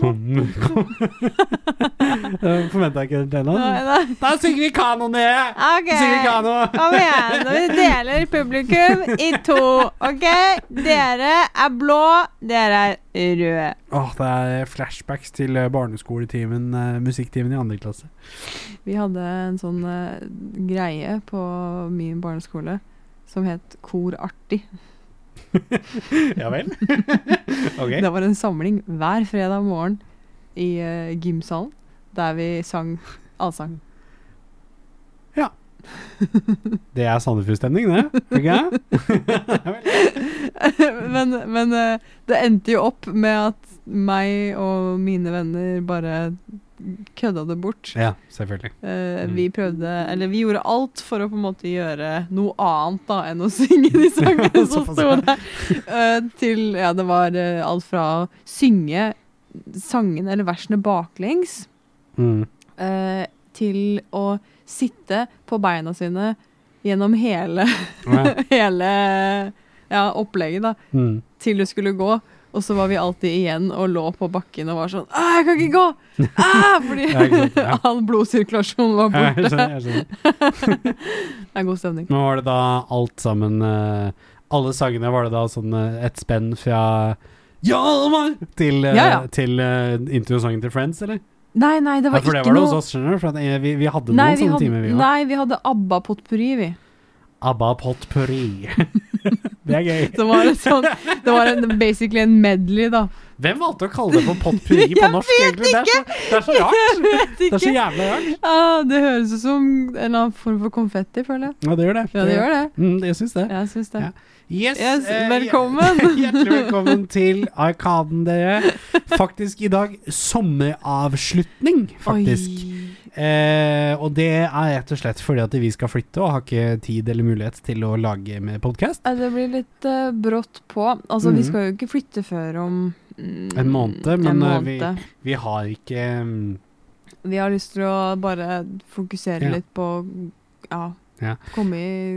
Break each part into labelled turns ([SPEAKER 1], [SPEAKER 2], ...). [SPEAKER 1] Sommer kommer
[SPEAKER 2] Forventa jeg ikke det nå.
[SPEAKER 3] Nei, nei.
[SPEAKER 2] Da synger vi kano ned!
[SPEAKER 3] Ok.
[SPEAKER 2] Synger vi kano!
[SPEAKER 3] Kom igjen. Nå deler publikum i to. OK? Dere er blå, dere er røde.
[SPEAKER 2] Åh, det er flashbacks til eh, barneskoletimen, eh, musikktimen i andre klasse.
[SPEAKER 3] Vi hadde en sånn eh, greie på min barneskole som het Korartig.
[SPEAKER 2] Ja vel? ok.
[SPEAKER 3] Det var en samling hver fredag morgen i eh, gymsalen der vi sang allsang.
[SPEAKER 2] Det er Sandefjord-stemning, det. Ikke?
[SPEAKER 3] men men eh, det endte jo opp med at meg og mine venner bare kødda det bort.
[SPEAKER 2] Ja, selvfølgelig.
[SPEAKER 3] Eh,
[SPEAKER 2] Mm.
[SPEAKER 3] Vi prøvde, eller vi gjorde alt for å på en måte gjøre noe annet da enn å synge de sangene som
[SPEAKER 2] Såpass,
[SPEAKER 3] sto
[SPEAKER 2] ja.
[SPEAKER 3] der, Eh, til ja, det var eh, alt fra å synge sangene eller versene baklengs,
[SPEAKER 2] Mm.
[SPEAKER 3] eh, til å sitte på beina sine gjennom hele,
[SPEAKER 2] Ja.
[SPEAKER 3] hele ja, opplegget, da,
[SPEAKER 2] Mm.
[SPEAKER 3] til du skulle gå. Og så var vi alltid igjen og lå på bakken og var sånn «Æ, 'Jeg kan ikke gå!' Æ!» Fordi
[SPEAKER 2] Ja, ikke sant, ja.
[SPEAKER 3] all blodsirkulasjon var
[SPEAKER 2] Jeg
[SPEAKER 3] borte.
[SPEAKER 2] skjønner, jeg skjønner.
[SPEAKER 3] Det er god stemning.
[SPEAKER 2] Nå var det da alt sammen eh, Alle sangene var det da sånn eh, et spenn fra Hjalmar til, eh,
[SPEAKER 3] Ja, ja.
[SPEAKER 2] til eh, introsangen til Friends, eller?
[SPEAKER 3] Nei, nei, det
[SPEAKER 2] Ja,
[SPEAKER 3] var
[SPEAKER 2] for det
[SPEAKER 3] ikke
[SPEAKER 2] var det hos
[SPEAKER 3] noe
[SPEAKER 2] oss, skjønner du. For at, eh, vi, vi hadde
[SPEAKER 3] nei,
[SPEAKER 2] noen
[SPEAKER 3] vi
[SPEAKER 2] sånne
[SPEAKER 3] hadde,
[SPEAKER 2] timer, vi òg.
[SPEAKER 3] nei, vi hadde ABBA-potpurri, vi.
[SPEAKER 2] Abba potpourri. det er gøy.
[SPEAKER 3] Det var, en sånn, det var en, basically en medley, da.
[SPEAKER 2] Hvem valgte å kalle det for potpourri på
[SPEAKER 3] Jeg
[SPEAKER 2] norsk,
[SPEAKER 3] vet
[SPEAKER 2] egentlig? Det er så, det er så rart.
[SPEAKER 3] Vet
[SPEAKER 2] Det er så
[SPEAKER 3] ikke.
[SPEAKER 2] jævla rart.
[SPEAKER 3] Ah, det høres ut som en eller annen form for konfetti, føler jeg.
[SPEAKER 2] Ja, det gjør det.
[SPEAKER 3] Ja, det gjør det.
[SPEAKER 2] Mm, jeg syns det.
[SPEAKER 3] Jeg syns det.
[SPEAKER 2] Ja. Yes,
[SPEAKER 3] Yes,
[SPEAKER 2] eh,
[SPEAKER 3] velkommen.
[SPEAKER 2] Hjertelig velkommen til Arkaden, dere. Faktisk i dag sommeravslutning, faktisk.
[SPEAKER 3] Oi.
[SPEAKER 2] Eh, og det er rett og slett fordi at vi skal flytte og har ikke tid eller mulighet til å lage med podkast.
[SPEAKER 3] Ja, Det blir litt eh, brått på. Altså,
[SPEAKER 2] Mhm.
[SPEAKER 3] vi skal jo ikke flytte før om mm,
[SPEAKER 2] En måned, men,
[SPEAKER 3] en
[SPEAKER 2] eh,
[SPEAKER 3] måned. Vi,
[SPEAKER 2] Vi har ikke mm,
[SPEAKER 3] har lyst til å bare fokusere
[SPEAKER 2] Ja.
[SPEAKER 3] litt på ja,
[SPEAKER 2] Ja.
[SPEAKER 3] komme i-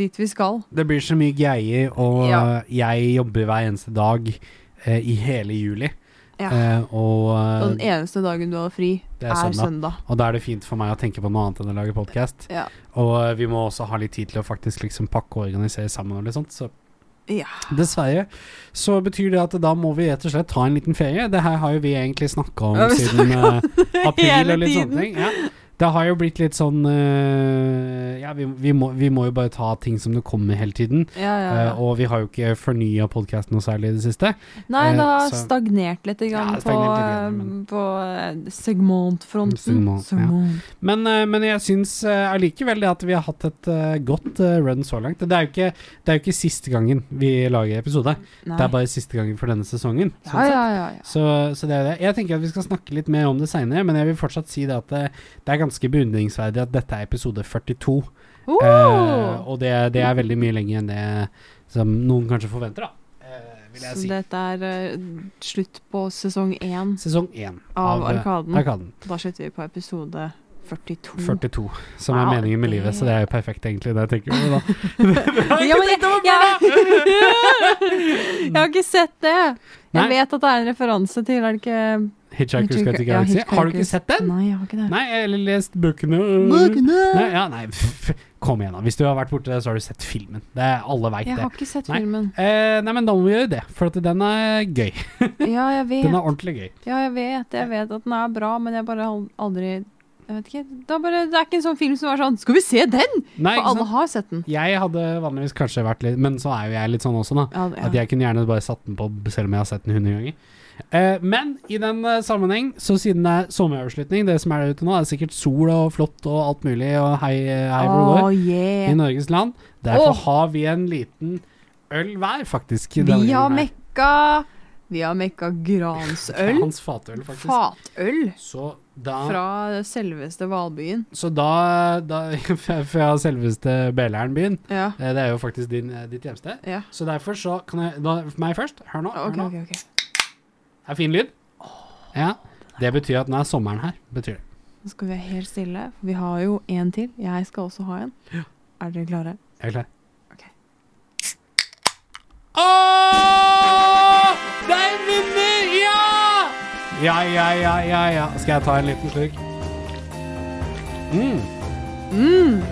[SPEAKER 3] dit vi skal.
[SPEAKER 2] Det blir så mye greier, og
[SPEAKER 3] Ja.
[SPEAKER 2] jeg jobber hver eneste dag eh, i hele juli.
[SPEAKER 3] Ja.
[SPEAKER 2] Eh, og, eh,
[SPEAKER 3] Og den eneste dagen du har fri,
[SPEAKER 2] Det
[SPEAKER 3] er,
[SPEAKER 2] er søndag.
[SPEAKER 3] søndag.
[SPEAKER 2] og da er det fint for meg å tenke på noe annet enn å lage podkast.
[SPEAKER 3] Ja.
[SPEAKER 2] Og eh, vi må også ha litt tid til å faktisk liksom pakke og organisere sammen og litt sånt. Så
[SPEAKER 3] Ja.
[SPEAKER 2] dessverre så betyr det at da må vi rett og slett ta en liten ferie. Det her har jo vi egentlig snakka om
[SPEAKER 3] Ja, vi
[SPEAKER 2] siden eh, april
[SPEAKER 3] hele
[SPEAKER 2] og litt
[SPEAKER 3] tiden.
[SPEAKER 2] sånne ting. Ja. Det har jo blitt litt sånn eh, Ja, vi, vi, må, vi må jo bare ta ting som det kommer hele tiden.
[SPEAKER 3] ja, ja, ja.
[SPEAKER 2] Eh, og vi har jo ikke fornya podkasten noe særlig i det siste.
[SPEAKER 3] Nei, det har
[SPEAKER 2] eh, så-
[SPEAKER 3] stagnert litt i gang
[SPEAKER 2] Ja, det
[SPEAKER 3] på,
[SPEAKER 2] stagnert litt igjen, men-
[SPEAKER 3] eh, på eh, segmentfronten.
[SPEAKER 2] Segment, ja.
[SPEAKER 3] Segment.
[SPEAKER 2] Men, eh, men jeg syns eh, allikevel det at vi har hatt et eh, godt eh, run så langt. Det er, jo ikke, det er jo ikke siste gangen vi lager episode.
[SPEAKER 3] Nei.
[SPEAKER 2] Det er bare siste gangen for denne sesongen.
[SPEAKER 3] ja,
[SPEAKER 2] sånn sett.
[SPEAKER 3] ja, ja, ja.
[SPEAKER 2] Så, så det er det. Jeg tenker at vi skal snakke litt mer om det seinere, men jeg vil fortsatt si det at det, det er ganske beundringsverdig at dette er episode 42.
[SPEAKER 3] Oh!
[SPEAKER 2] Eh, og det, det er veldig mye lenger enn det som noen kanskje forventer, da. eh, vil jeg
[SPEAKER 3] så
[SPEAKER 2] si.
[SPEAKER 3] dette er eh, slutt på sesong én
[SPEAKER 2] Sesong én
[SPEAKER 3] av
[SPEAKER 2] eh,
[SPEAKER 3] Arkaden.
[SPEAKER 2] Arkaden.
[SPEAKER 3] Da slutter vi på episode 42.
[SPEAKER 2] 42, som
[SPEAKER 3] Wow,
[SPEAKER 2] er meningen med
[SPEAKER 3] det-
[SPEAKER 2] livet. Så det er jo perfekt, egentlig. Det tenker jeg da.
[SPEAKER 3] Ja, men jeg, jeg, jeg har ikke sett det! Jeg
[SPEAKER 2] Nei.
[SPEAKER 3] vet at det er en referanse til, er det ikke
[SPEAKER 2] Hitchhiker's Guide to
[SPEAKER 3] Ja,
[SPEAKER 2] Galaxy. Har du ikke
[SPEAKER 3] Hitchhiker's-
[SPEAKER 2] sett den?
[SPEAKER 3] Nei, jeg har ikke det.
[SPEAKER 2] Nei, eller lest bøkene. Nei, ja, nei, pff, kom igjen, da. Hvis du har vært borti det, så har du sett filmen. Det er, alle veit
[SPEAKER 3] Jeg
[SPEAKER 2] det.
[SPEAKER 3] har ikke sett
[SPEAKER 2] Nei.
[SPEAKER 3] filmen.
[SPEAKER 2] Eh, nei, men da må vi gjøre det, for at den er gøy.
[SPEAKER 3] Ja, jeg vet.
[SPEAKER 2] Den er ordentlig gøy.
[SPEAKER 3] Ja, jeg vet, jeg vet at den er bra, men jeg bare al- aldri Jeg vet ikke. Det er, bare, det er ikke en sånn film som er sånn Skal vi se den?!
[SPEAKER 2] Nei,
[SPEAKER 3] For
[SPEAKER 2] ikke
[SPEAKER 3] alle
[SPEAKER 2] sant?
[SPEAKER 3] har sett den.
[SPEAKER 2] Jeg hadde vanligvis kanskje vært litt Men så er jo jeg litt sånn også, da.
[SPEAKER 3] Ja, ja.
[SPEAKER 2] At jeg kunne gjerne bare satt den på selv om jeg har sett den 100 ganger. Eh, men i den eh, sammenheng, så siden det er sommeravslutning, det som er der ute nå, er sikkert sol og flott og alt mulig og hei, eh, hei hvor det
[SPEAKER 3] Åh,
[SPEAKER 2] går i
[SPEAKER 3] yeah.
[SPEAKER 2] Norges land. Derfor
[SPEAKER 3] Åh.
[SPEAKER 2] har vi en liten øl hver, faktisk. denne
[SPEAKER 3] Vi har
[SPEAKER 2] gangen her.
[SPEAKER 3] mekka Vi har mekka gransøl.
[SPEAKER 2] Hans fatøl, faktisk.
[SPEAKER 3] Fatøl
[SPEAKER 2] Så da
[SPEAKER 3] fra selveste Valbyen.
[SPEAKER 2] Så da, da Fra selveste Belern-byen.
[SPEAKER 3] Ja.
[SPEAKER 2] Eh, Det er jo faktisk din, eh, ditt hjemsted.
[SPEAKER 3] ja.
[SPEAKER 2] Så derfor så kan jeg da, Meg først. Hør nå. Hør
[SPEAKER 3] Ok,
[SPEAKER 2] nå.
[SPEAKER 3] ok, ok.
[SPEAKER 2] Det er fin lyd. Ja. Det betyr at nå er sommeren her. Betyr det.
[SPEAKER 3] Nå skal vi være helt stille. for Vi har jo en til. Jeg skal også ha en. Er dere klare?
[SPEAKER 2] Jeg er klar.
[SPEAKER 3] Ok.
[SPEAKER 2] Åh! Det er vinner! Ja! Ja, ja, ja, ja, ja. Skal jeg ta en liten slurk? Mm.
[SPEAKER 3] Mm.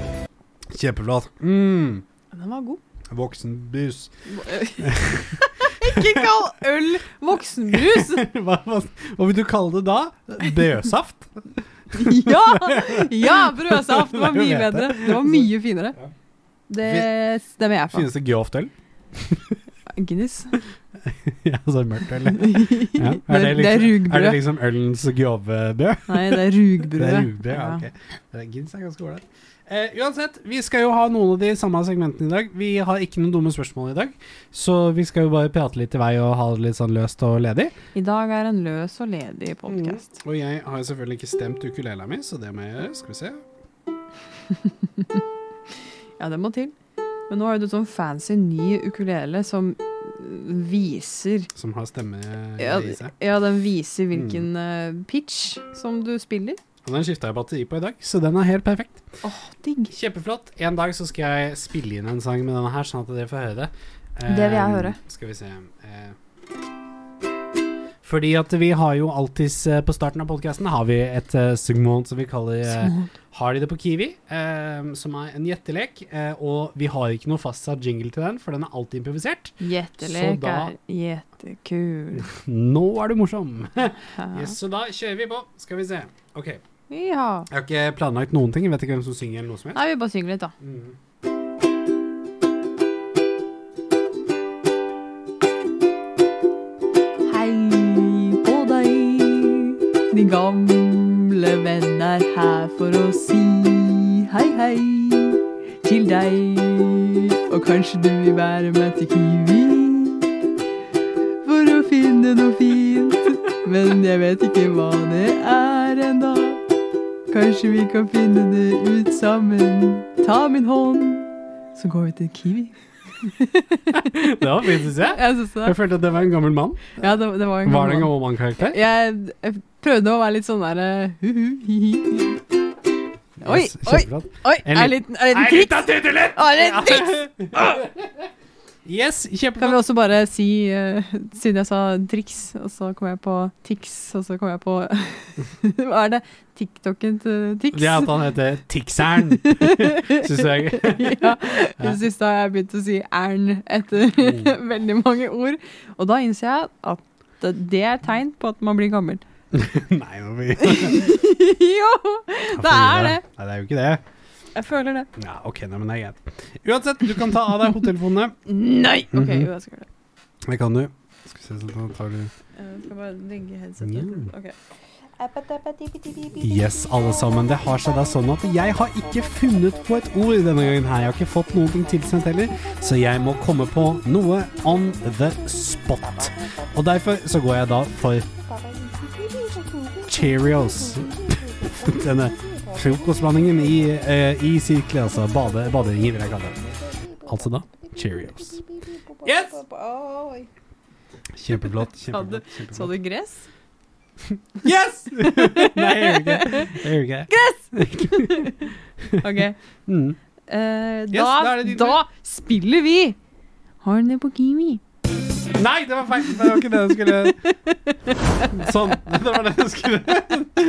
[SPEAKER 2] Kjempeflott. Mm.
[SPEAKER 3] Den var god.
[SPEAKER 2] Voksenbrus.
[SPEAKER 3] Ikke kall øl voksenbrus!
[SPEAKER 2] hva, hva, hva vil du kalle det da? Brødsaft?
[SPEAKER 3] Ja! ja brødsaft var mye bedre. Det var mye finere. Det stemmer jeg for.
[SPEAKER 2] Finnes det grovt øl?
[SPEAKER 3] Guinness.
[SPEAKER 2] ja, så mørkt øl. Ja.
[SPEAKER 3] Det er- det er rugbrød.
[SPEAKER 2] Er det liksom ølens grove brød?
[SPEAKER 3] Nei, det er
[SPEAKER 2] Det
[SPEAKER 3] rugbrød.
[SPEAKER 2] er rugbrød, ja, ok. Det er- Guinness er ganske ålreit. Eh, uansett, vi skal jo ha noen av de samme segmentene i dag. Vi har ikke noen dumme spørsmål i dag, så vi skal jo bare prate litt i vei og ha det litt sånn løst og ledig.
[SPEAKER 3] I dag er en løs og ledig podkast.
[SPEAKER 2] Og jeg har jo selvfølgelig ikke stemt ukulelen min, så det må jeg gjøre. Skal vi se. Mm.
[SPEAKER 3] Ja, det må til. Men nå har du sånn fancy ny ukulele som viser
[SPEAKER 2] Som har stemme
[SPEAKER 3] Ja,
[SPEAKER 2] i seg.
[SPEAKER 3] ja den viser hvilken
[SPEAKER 2] Mm.
[SPEAKER 3] eh, pitch som du spiller.
[SPEAKER 2] Og den skifta jeg batteri på i dag, så den er helt perfekt.
[SPEAKER 3] Åh, digg.
[SPEAKER 2] Kjempeflott. En dag så skal jeg spille inn en sang med denne her, sånn at dere får høre det.
[SPEAKER 3] Det vil jeg
[SPEAKER 2] Eh,
[SPEAKER 3] høre.
[SPEAKER 2] Skal vi se eh. Fordi at vi har jo alltids eh, på starten av podkasten har vi et eh, segment som vi kaller eh,
[SPEAKER 3] Små.
[SPEAKER 2] Har de det på Kiwi? Eh, som er en gjettelek. Eh, og vi har ikke noe fastsatt jingle til den, for den er alltid improvisert. så
[SPEAKER 3] Gjettelek
[SPEAKER 2] da-
[SPEAKER 3] er gjettekul.
[SPEAKER 2] Nå er du morsom!
[SPEAKER 3] Ja.
[SPEAKER 2] Yes, så da kjører vi på. Skal vi se. OK. Jeg
[SPEAKER 3] ja.
[SPEAKER 2] har ikke planlagt noen ting. Jeg vet ikke hvem som synger eller noe som helst.
[SPEAKER 3] Nei, vi bare synger litt, da.
[SPEAKER 2] Mm.
[SPEAKER 3] Hei på deg, din gamle venn er her for å si hei, hei til deg. Og kanskje du vil være med til Kiwi for å finne noe fint. Men jeg vet ikke hva det er ennå. Kanskje vi kan finne det ut sammen. Ta min hånd, så går vi til Kiwi.
[SPEAKER 2] Det var fint, syns jeg.
[SPEAKER 3] Jeg synes det.
[SPEAKER 2] Jeg følte at det var en gammel mann.
[SPEAKER 3] Ja, det, det var
[SPEAKER 2] Var det en
[SPEAKER 3] en gammel-
[SPEAKER 2] gammel mann-karakter?
[SPEAKER 3] Jeg, jeg prøvde å være litt sånn der eh, hu-hu, hi-hi. Oi,
[SPEAKER 2] Yes,
[SPEAKER 3] oi,
[SPEAKER 2] kjempebra.
[SPEAKER 3] oi!
[SPEAKER 2] En
[SPEAKER 3] Er det en liten
[SPEAKER 2] Nei, litt
[SPEAKER 3] tritt?
[SPEAKER 2] av tittelen!
[SPEAKER 3] Er det en tritt?
[SPEAKER 2] Yes,
[SPEAKER 3] Kan vi
[SPEAKER 2] kjempebra.
[SPEAKER 3] også bare si, eh, siden jeg sa triks, og så kom jeg på Tix, og så kom jeg på Hva er det? TikToken til Tix?
[SPEAKER 2] Det at han heter Tixeren, syns jeg.
[SPEAKER 3] ja. I det siste har jeg begynt å si Ern etter
[SPEAKER 2] Mm.
[SPEAKER 3] veldig mange ord. Og da innser jeg at det- det er tegn på at man blir gammel.
[SPEAKER 2] Nei, nå blir
[SPEAKER 3] jo! Det er det.
[SPEAKER 2] Nei, det er jo ikke det.
[SPEAKER 3] Jeg føler det.
[SPEAKER 2] Ja, OK, nei, men det er greit. Uansett, du kan ta av deg hodetelefonene.
[SPEAKER 3] Nei! OK,
[SPEAKER 2] Mhm.
[SPEAKER 3] jo, jeg skal gjøre det.
[SPEAKER 2] Det kan du. Skal vi se, så da tar du
[SPEAKER 3] Jeg skal bare legge
[SPEAKER 2] Ja.
[SPEAKER 3] headsetet litt. Ok.
[SPEAKER 2] Yes, alle sammen. Det har seg da sånn at jeg har ikke funnet på et ord denne gangen her. Jeg har ikke fått noen ting tilsendt heller, så jeg må komme på noe on the spot. Og derfor så går jeg da for Cheerios. Denne frokostblandingen i, eh, i sirkel, altså. Bade, baderinger, vil jeg kalle det. Altså da Cheerios. Yes! Kjempeflott. kjempeflott,
[SPEAKER 3] du- Så
[SPEAKER 2] kjempeflott.
[SPEAKER 3] du gress?
[SPEAKER 2] Yes! Nei, jeg gjør ikke det. Jeg gjør ikke det.
[SPEAKER 3] OK.
[SPEAKER 2] Mm.
[SPEAKER 3] Eh, da,
[SPEAKER 2] da er det din tur.
[SPEAKER 3] da spiller vi Har den det på Kiwi?
[SPEAKER 2] Nei, det var feil. Det var ikke det jeg skulle Sånn. Det var det jeg skulle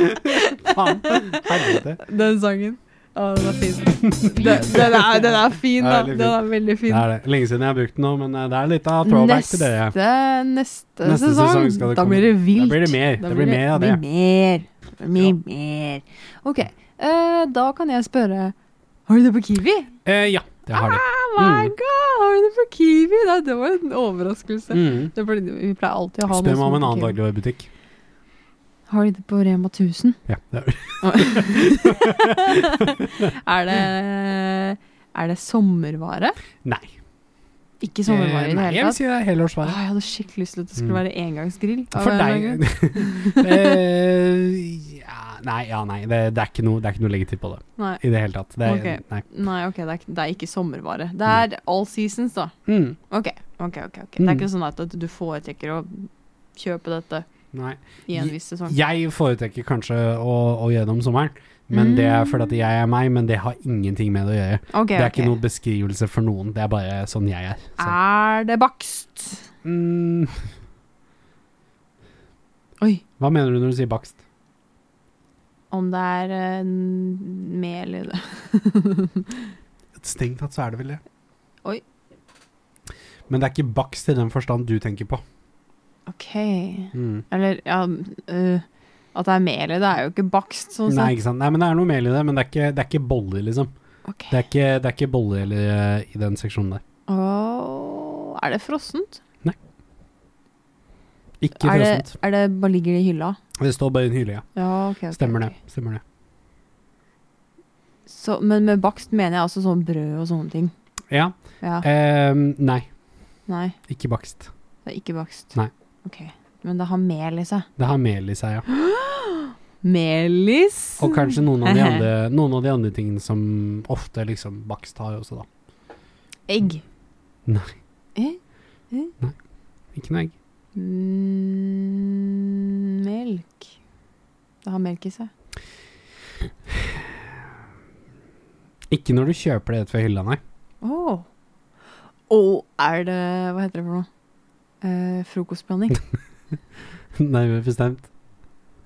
[SPEAKER 2] Faen. Helvete.
[SPEAKER 3] Den sangen. Å, den er fin. Den, den, er, den er fin, da.
[SPEAKER 2] Den er veldig fin.
[SPEAKER 3] Den er veldig
[SPEAKER 2] Det
[SPEAKER 3] fin.
[SPEAKER 2] er det. Lenge siden jeg har brukt den nå, men eh, det er litt av throwback til dere.
[SPEAKER 3] Neste, neste,
[SPEAKER 2] Neste
[SPEAKER 3] sesong,
[SPEAKER 2] sesong skal det
[SPEAKER 3] da
[SPEAKER 2] komme.
[SPEAKER 3] blir det vilt.
[SPEAKER 2] Da blir det mer. Det blir mer av det.
[SPEAKER 3] blir mer. Det blir mer. OK. eh, da kan jeg spørre Har du det på Kiwi?
[SPEAKER 2] Eh, ja, det har de.
[SPEAKER 3] Oh my
[SPEAKER 2] Mm.
[SPEAKER 3] god, har du det på Kiwi? Nei, det var en overraskelse.
[SPEAKER 2] Mm.
[SPEAKER 3] Det er fordi vi pleier alltid å ha
[SPEAKER 2] Spør meg
[SPEAKER 3] noe
[SPEAKER 2] om
[SPEAKER 3] som
[SPEAKER 2] en
[SPEAKER 3] er på
[SPEAKER 2] annen
[SPEAKER 3] Kiwi.
[SPEAKER 2] dagligvarebutikk.
[SPEAKER 3] Har de det på Rema 1000?
[SPEAKER 2] Ja, det er.
[SPEAKER 3] er det Er det sommervare?
[SPEAKER 2] Nei.
[SPEAKER 3] Ikke sommervare i det
[SPEAKER 2] Eh, Nei, jeg vil
[SPEAKER 3] hele tatt.
[SPEAKER 2] si det er
[SPEAKER 3] Åh,
[SPEAKER 2] helårsvare.
[SPEAKER 3] jeg hadde skikkelig lyst til at det skulle være engangsgrill. av
[SPEAKER 2] For
[SPEAKER 3] en eller annen
[SPEAKER 2] deg Eh, ja, Nei, ja, nei. Det, det, er ikke noe, det er ikke noe legitimt på det
[SPEAKER 3] grunn. Nei.
[SPEAKER 2] i det hele tatt. Det er,
[SPEAKER 3] Ok.
[SPEAKER 2] nei.
[SPEAKER 3] Nei, ok, det er, ikke- det er ikke sommervare. Det er all seasons, da.
[SPEAKER 2] Mm,
[SPEAKER 3] Ok, ok, ok. ok. Det er
[SPEAKER 2] Mm.
[SPEAKER 3] ikke sånn at at du foretrekker å kjøpe dette
[SPEAKER 2] nei.
[SPEAKER 3] i en viss sesong.
[SPEAKER 2] Jeg foretrekker kanskje å, å gjøre det om sommeren, men det
[SPEAKER 3] Mm.
[SPEAKER 2] er fordi at jeg er meg, men det har ingenting med det å gjøre.
[SPEAKER 3] Ok,
[SPEAKER 2] Det er
[SPEAKER 3] ok. Ah.
[SPEAKER 2] ikke noen beskrivelse for noen, det er bare sånn jeg er. Så.
[SPEAKER 3] Er det bakst?
[SPEAKER 2] Mm,
[SPEAKER 3] Oi.
[SPEAKER 2] hva mener du når du sier bakst?
[SPEAKER 3] Om det er eh, mel i det.
[SPEAKER 2] Strengt tatt så er det vel det.
[SPEAKER 3] Oi.
[SPEAKER 2] Men det er ikke bakst i den forstand du tenker på. Mm.
[SPEAKER 3] Ok. Eller, ja eh, At det er mel i det, er jo ikke bakst, sånn
[SPEAKER 2] Nei,
[SPEAKER 3] sett.
[SPEAKER 2] ikke sant? Nei, men det er noe mel i det, men det er ikke, det er ikke boller, liksom.
[SPEAKER 3] Ok.
[SPEAKER 2] Det er ikke, det er ikke boller eller, eh, i den seksjonen der.
[SPEAKER 3] Åh, er det frossent?
[SPEAKER 2] Ikke
[SPEAKER 3] er det,
[SPEAKER 2] frossent.
[SPEAKER 3] er det bare ligger det i hylla?
[SPEAKER 2] Det står bare i en hylle, ja.
[SPEAKER 3] Ja, ok. ok,
[SPEAKER 2] Stemmer
[SPEAKER 3] ok.
[SPEAKER 2] det. Stemmer det.
[SPEAKER 3] Så, men med bakst mener jeg altså sånn brød og sånne ting.
[SPEAKER 2] Ja.
[SPEAKER 3] Ja,
[SPEAKER 2] Eh, nei,
[SPEAKER 3] nei,
[SPEAKER 2] ikke bakst.
[SPEAKER 3] det er ikke bakst.
[SPEAKER 2] Nei.
[SPEAKER 3] Ok, men det har mel i seg.
[SPEAKER 2] Det har mel i seg, ja.
[SPEAKER 3] Melis!
[SPEAKER 2] Og kanskje noen av de andre, noen av de andre tingene som ofte liksom bakst har også, da.
[SPEAKER 3] Egg.
[SPEAKER 2] Nei.
[SPEAKER 3] Eh?
[SPEAKER 2] Ikke noe egg.
[SPEAKER 3] Mm, melk. Det har melk i seg.
[SPEAKER 2] Ikke når du kjøper det rett fra hylla, nei.
[SPEAKER 3] Åh. Åh, er det, hva heter det for noe? Eh, frokostblanding.
[SPEAKER 2] Nærmere bestemt.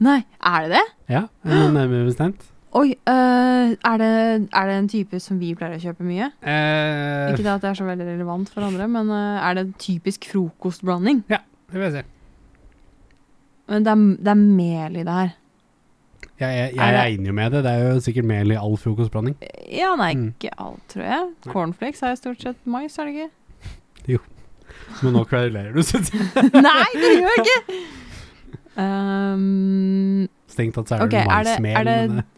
[SPEAKER 3] Nei, er det det?
[SPEAKER 2] Ja, er det nærmere bestemt.
[SPEAKER 3] Oi, eh, er, det, er det en type som vi pleier å kjøpe mye?
[SPEAKER 2] Eh,
[SPEAKER 3] Ikke det at det er så veldig relevant for andre, men eh, er det en typisk frokostblanding?
[SPEAKER 2] det vil jeg si.
[SPEAKER 3] Men det er, det er mel i det her.
[SPEAKER 2] Jeg, jeg, jeg
[SPEAKER 3] Er det- regner
[SPEAKER 2] regner jo med det. Det er jo sikkert mel i all frokostblanding.
[SPEAKER 3] Ja, nei,
[SPEAKER 2] Mm.
[SPEAKER 3] ikke alt, tror jeg.
[SPEAKER 2] Nei.
[SPEAKER 3] Cornflakes er jo stort sett mais, er det ikke?
[SPEAKER 2] Men nå kverulerer du, synes jeg.
[SPEAKER 3] nei, det gjør jeg ikke! Um,
[SPEAKER 2] Strengt tatt så er det
[SPEAKER 3] Ok,
[SPEAKER 2] okay,
[SPEAKER 3] er det-
[SPEAKER 2] maismel.
[SPEAKER 3] er det-
[SPEAKER 2] men, eh,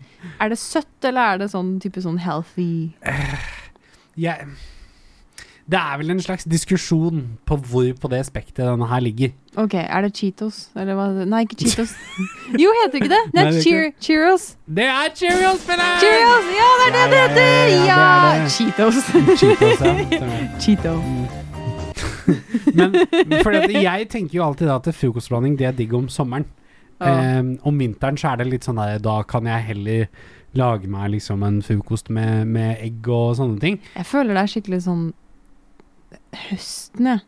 [SPEAKER 3] er det søtt, eller er det sånn type sånn healthy?
[SPEAKER 2] jeg, det er vel en slags diskusjon på hvor på det spekteret denne her ligger.
[SPEAKER 3] Ok, er det Cheetos? Eller hva? Nei, ikke Cheetos. jo, heter ikke det? Nei,
[SPEAKER 2] Nei, det er
[SPEAKER 3] cheer, Cheerios.
[SPEAKER 2] Det er Cheerios, Pelle!
[SPEAKER 3] Cheerios! Ja, det er det det
[SPEAKER 2] Ja, ja,
[SPEAKER 3] heter!
[SPEAKER 2] ja, ja,
[SPEAKER 3] Ja!
[SPEAKER 2] det er det.
[SPEAKER 3] Cheetos.
[SPEAKER 2] Cheetos, ja. Stemmer.
[SPEAKER 3] Cheeto.
[SPEAKER 2] Men fordi at jeg tenker jo alltid da at frokostblanding det er digg om sommeren.
[SPEAKER 3] Ja.
[SPEAKER 2] Eh, om vinteren så er det litt sånn der da kan jeg heller lage meg liksom en frokost med, med egg og sånne ting.
[SPEAKER 3] Jeg føler det er skikkelig sånn høsten, jeg.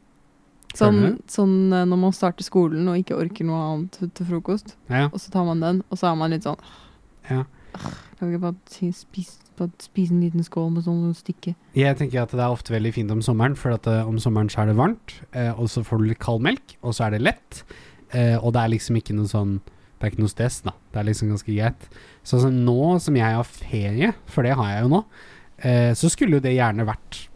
[SPEAKER 3] Sånn,
[SPEAKER 2] Føler
[SPEAKER 3] sånn eh, når man starter skolen og ikke orker noe annet til- til frokost,
[SPEAKER 2] Ja.
[SPEAKER 3] og så tar man den, og så er man litt sånn
[SPEAKER 2] Ja.
[SPEAKER 3] «Åh, Kan vi ikke bare ti- spise, bare spise en liten skål med sånn stykke?
[SPEAKER 2] Jeg tenker at det er ofte veldig fint om sommeren, for at eh, om sommeren så er det varmt, eh, og så får du litt kald melk, og så er det lett. Eh, og det er liksom ikke noe sånn Det er ikke noe stress, da. Det er liksom ganske greit. Så sånn nå som jeg har ferie, for det har jeg jo nå, eh, så skulle jo det gjerne vært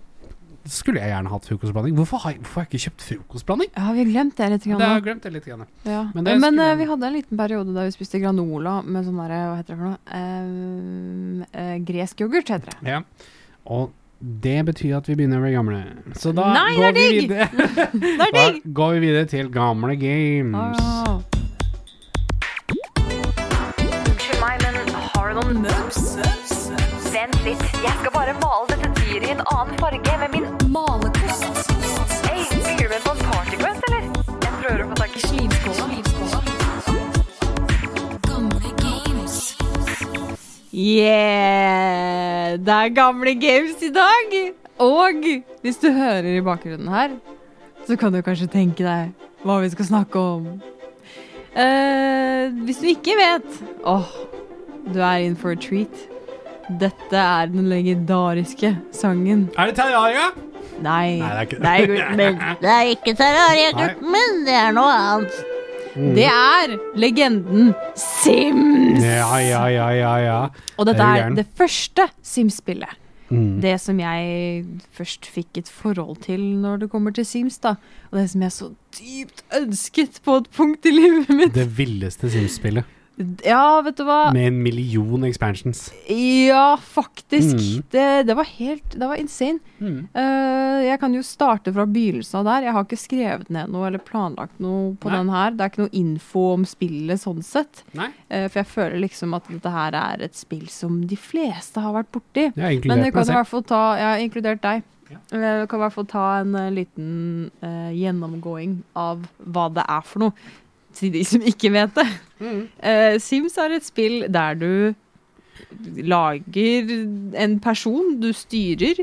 [SPEAKER 2] Skulle jeg gjerne hatt frokostblanding. Hvorfor har jeg, hvorfor har jeg ikke kjøpt frokostblanding?
[SPEAKER 3] Ja, vi har glemt det litt.
[SPEAKER 2] Det
[SPEAKER 3] Grann,
[SPEAKER 2] har
[SPEAKER 3] nå.
[SPEAKER 2] jeg glemt det litt. Grann.
[SPEAKER 3] ja.
[SPEAKER 2] men
[SPEAKER 3] Men,
[SPEAKER 2] det skulle-
[SPEAKER 3] eh, vi hadde en liten periode der vi spiste granola med sånn derre Hva heter det for noe? Ehm, eh, gresk yoghurt, heter det.
[SPEAKER 2] Ja. Og det betyr at vi begynner å bli gamle. Så da
[SPEAKER 3] Nei,
[SPEAKER 2] går
[SPEAKER 3] det
[SPEAKER 2] vi
[SPEAKER 3] er digg!
[SPEAKER 2] videre.
[SPEAKER 3] Det
[SPEAKER 2] Da
[SPEAKER 3] er digg!
[SPEAKER 2] går vi videre til gamle games.
[SPEAKER 3] Ah.
[SPEAKER 4] Unnskyld meg, men har du noen møbs? Vent litt, jeg skal bare male dette dyret i en annen farge med min malerkost. Hei, bygger du med en sånn partyquest, eller? Jeg prøver å få tak i slimskåla. Gamle games.
[SPEAKER 3] Yeah! Det er gamle games i dag! Og hvis du hører i bakgrunnen her, så kan du kanskje tenke deg hva vi skal snakke om. Eh, hvis du ikke vet Åh, du er in for a treat. Dette er den legendariske sangen.
[SPEAKER 2] Er det Terraria?
[SPEAKER 3] Nei,
[SPEAKER 2] Nei, det er ikke det.
[SPEAKER 3] gulmen. Det er ikke terrariegulmen, det er noe annet.
[SPEAKER 2] Mm.
[SPEAKER 3] Det er legenden Sims!
[SPEAKER 2] Ja, ja, ja, ja, ja.
[SPEAKER 3] Og
[SPEAKER 2] Er
[SPEAKER 3] dette
[SPEAKER 2] du
[SPEAKER 3] er
[SPEAKER 2] gæren?
[SPEAKER 3] det første Sims-spillet.
[SPEAKER 2] Mm.
[SPEAKER 3] Det som jeg først fikk et forhold til når det kommer til Sims, da. Og det som jeg så dypt ønsket på et punkt i livet mitt.
[SPEAKER 2] Det villeste Sims-spillet.
[SPEAKER 3] Ja, vet du hva.
[SPEAKER 2] med en million expansions.
[SPEAKER 3] Ja, faktisk.
[SPEAKER 2] Mm.
[SPEAKER 3] Det, det var helt Det var insane.
[SPEAKER 2] Mm.
[SPEAKER 3] Eh, jeg kan jo starte fra begynnelsen av der. Jeg har ikke skrevet ned noe eller planlagt noe på
[SPEAKER 2] Nei.
[SPEAKER 3] den her. Det er ikke noe info om spillet sånn sett.
[SPEAKER 2] Nei.
[SPEAKER 3] Eh, for jeg føler liksom at dette her er et spill som de fleste har vært borti.
[SPEAKER 2] Jeg har
[SPEAKER 3] Men
[SPEAKER 2] inkludert
[SPEAKER 3] jeg kan
[SPEAKER 2] meg
[SPEAKER 3] i
[SPEAKER 2] selv.
[SPEAKER 3] hvert fall ta Jeg har inkludert deg. Eh,
[SPEAKER 2] Ja.
[SPEAKER 3] Jeg kan i hvert fall ta en eh, liten eh, gjennomgåing av hva det er for noe, til de som ikke vet det. Eh, Sims er et spill der du lager en person du styrer,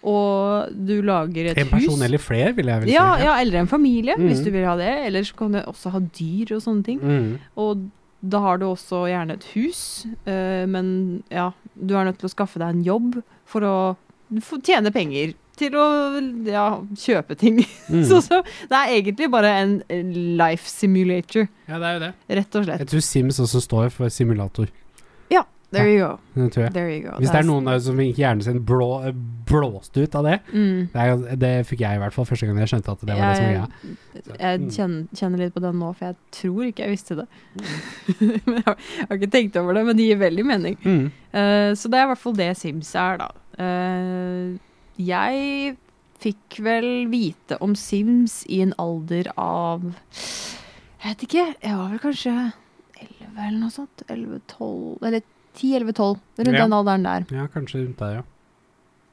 [SPEAKER 3] og du lager et
[SPEAKER 2] En person
[SPEAKER 3] hus.
[SPEAKER 2] eller flere, vil jeg vel si.
[SPEAKER 3] ja, ja, eller en familie,
[SPEAKER 2] Mhm.
[SPEAKER 3] hvis du vil ha det. Eller så kan du også ha dyr og sånne ting.
[SPEAKER 2] Mm.
[SPEAKER 3] Og da har du også gjerne et hus, eh, men ja, du er nødt til å skaffe deg en jobb for å få tjene penger til å ja, kjøpe ting.
[SPEAKER 2] Mm.
[SPEAKER 3] Så, så det er egentlig bare en life simulator,
[SPEAKER 2] Ja, det er jo det.
[SPEAKER 3] rett og slett.
[SPEAKER 2] Jeg tror Sims også står for simulator.
[SPEAKER 3] There you go.
[SPEAKER 2] Det tror jeg.
[SPEAKER 3] There you go.
[SPEAKER 2] Hvis det er noen der som fikk hjernen sin blå, blåst ut av det
[SPEAKER 3] mm,
[SPEAKER 2] det, er, jo- det fikk jeg i hvert fall første gang jeg skjønte at det var det som var greia.
[SPEAKER 3] Jeg
[SPEAKER 2] Mm.
[SPEAKER 3] kjenner, kjenner litt på den nå, for jeg tror ikke jeg visste det. Men jeg har jeg har ikke tenkt over det, men det gir veldig mening.
[SPEAKER 2] Mm.
[SPEAKER 3] Eh, så det er i hvert fall det Sims er, da. Eh, jeg fikk vel vite om Sims i en alder av Jeg vet ikke, jeg var vel kanskje 11 eller noe sånt. 11-12 Eller 10-11-12. Rundt
[SPEAKER 2] Ja.
[SPEAKER 3] den alderen der.
[SPEAKER 2] Ja, kanskje rundt der, ja.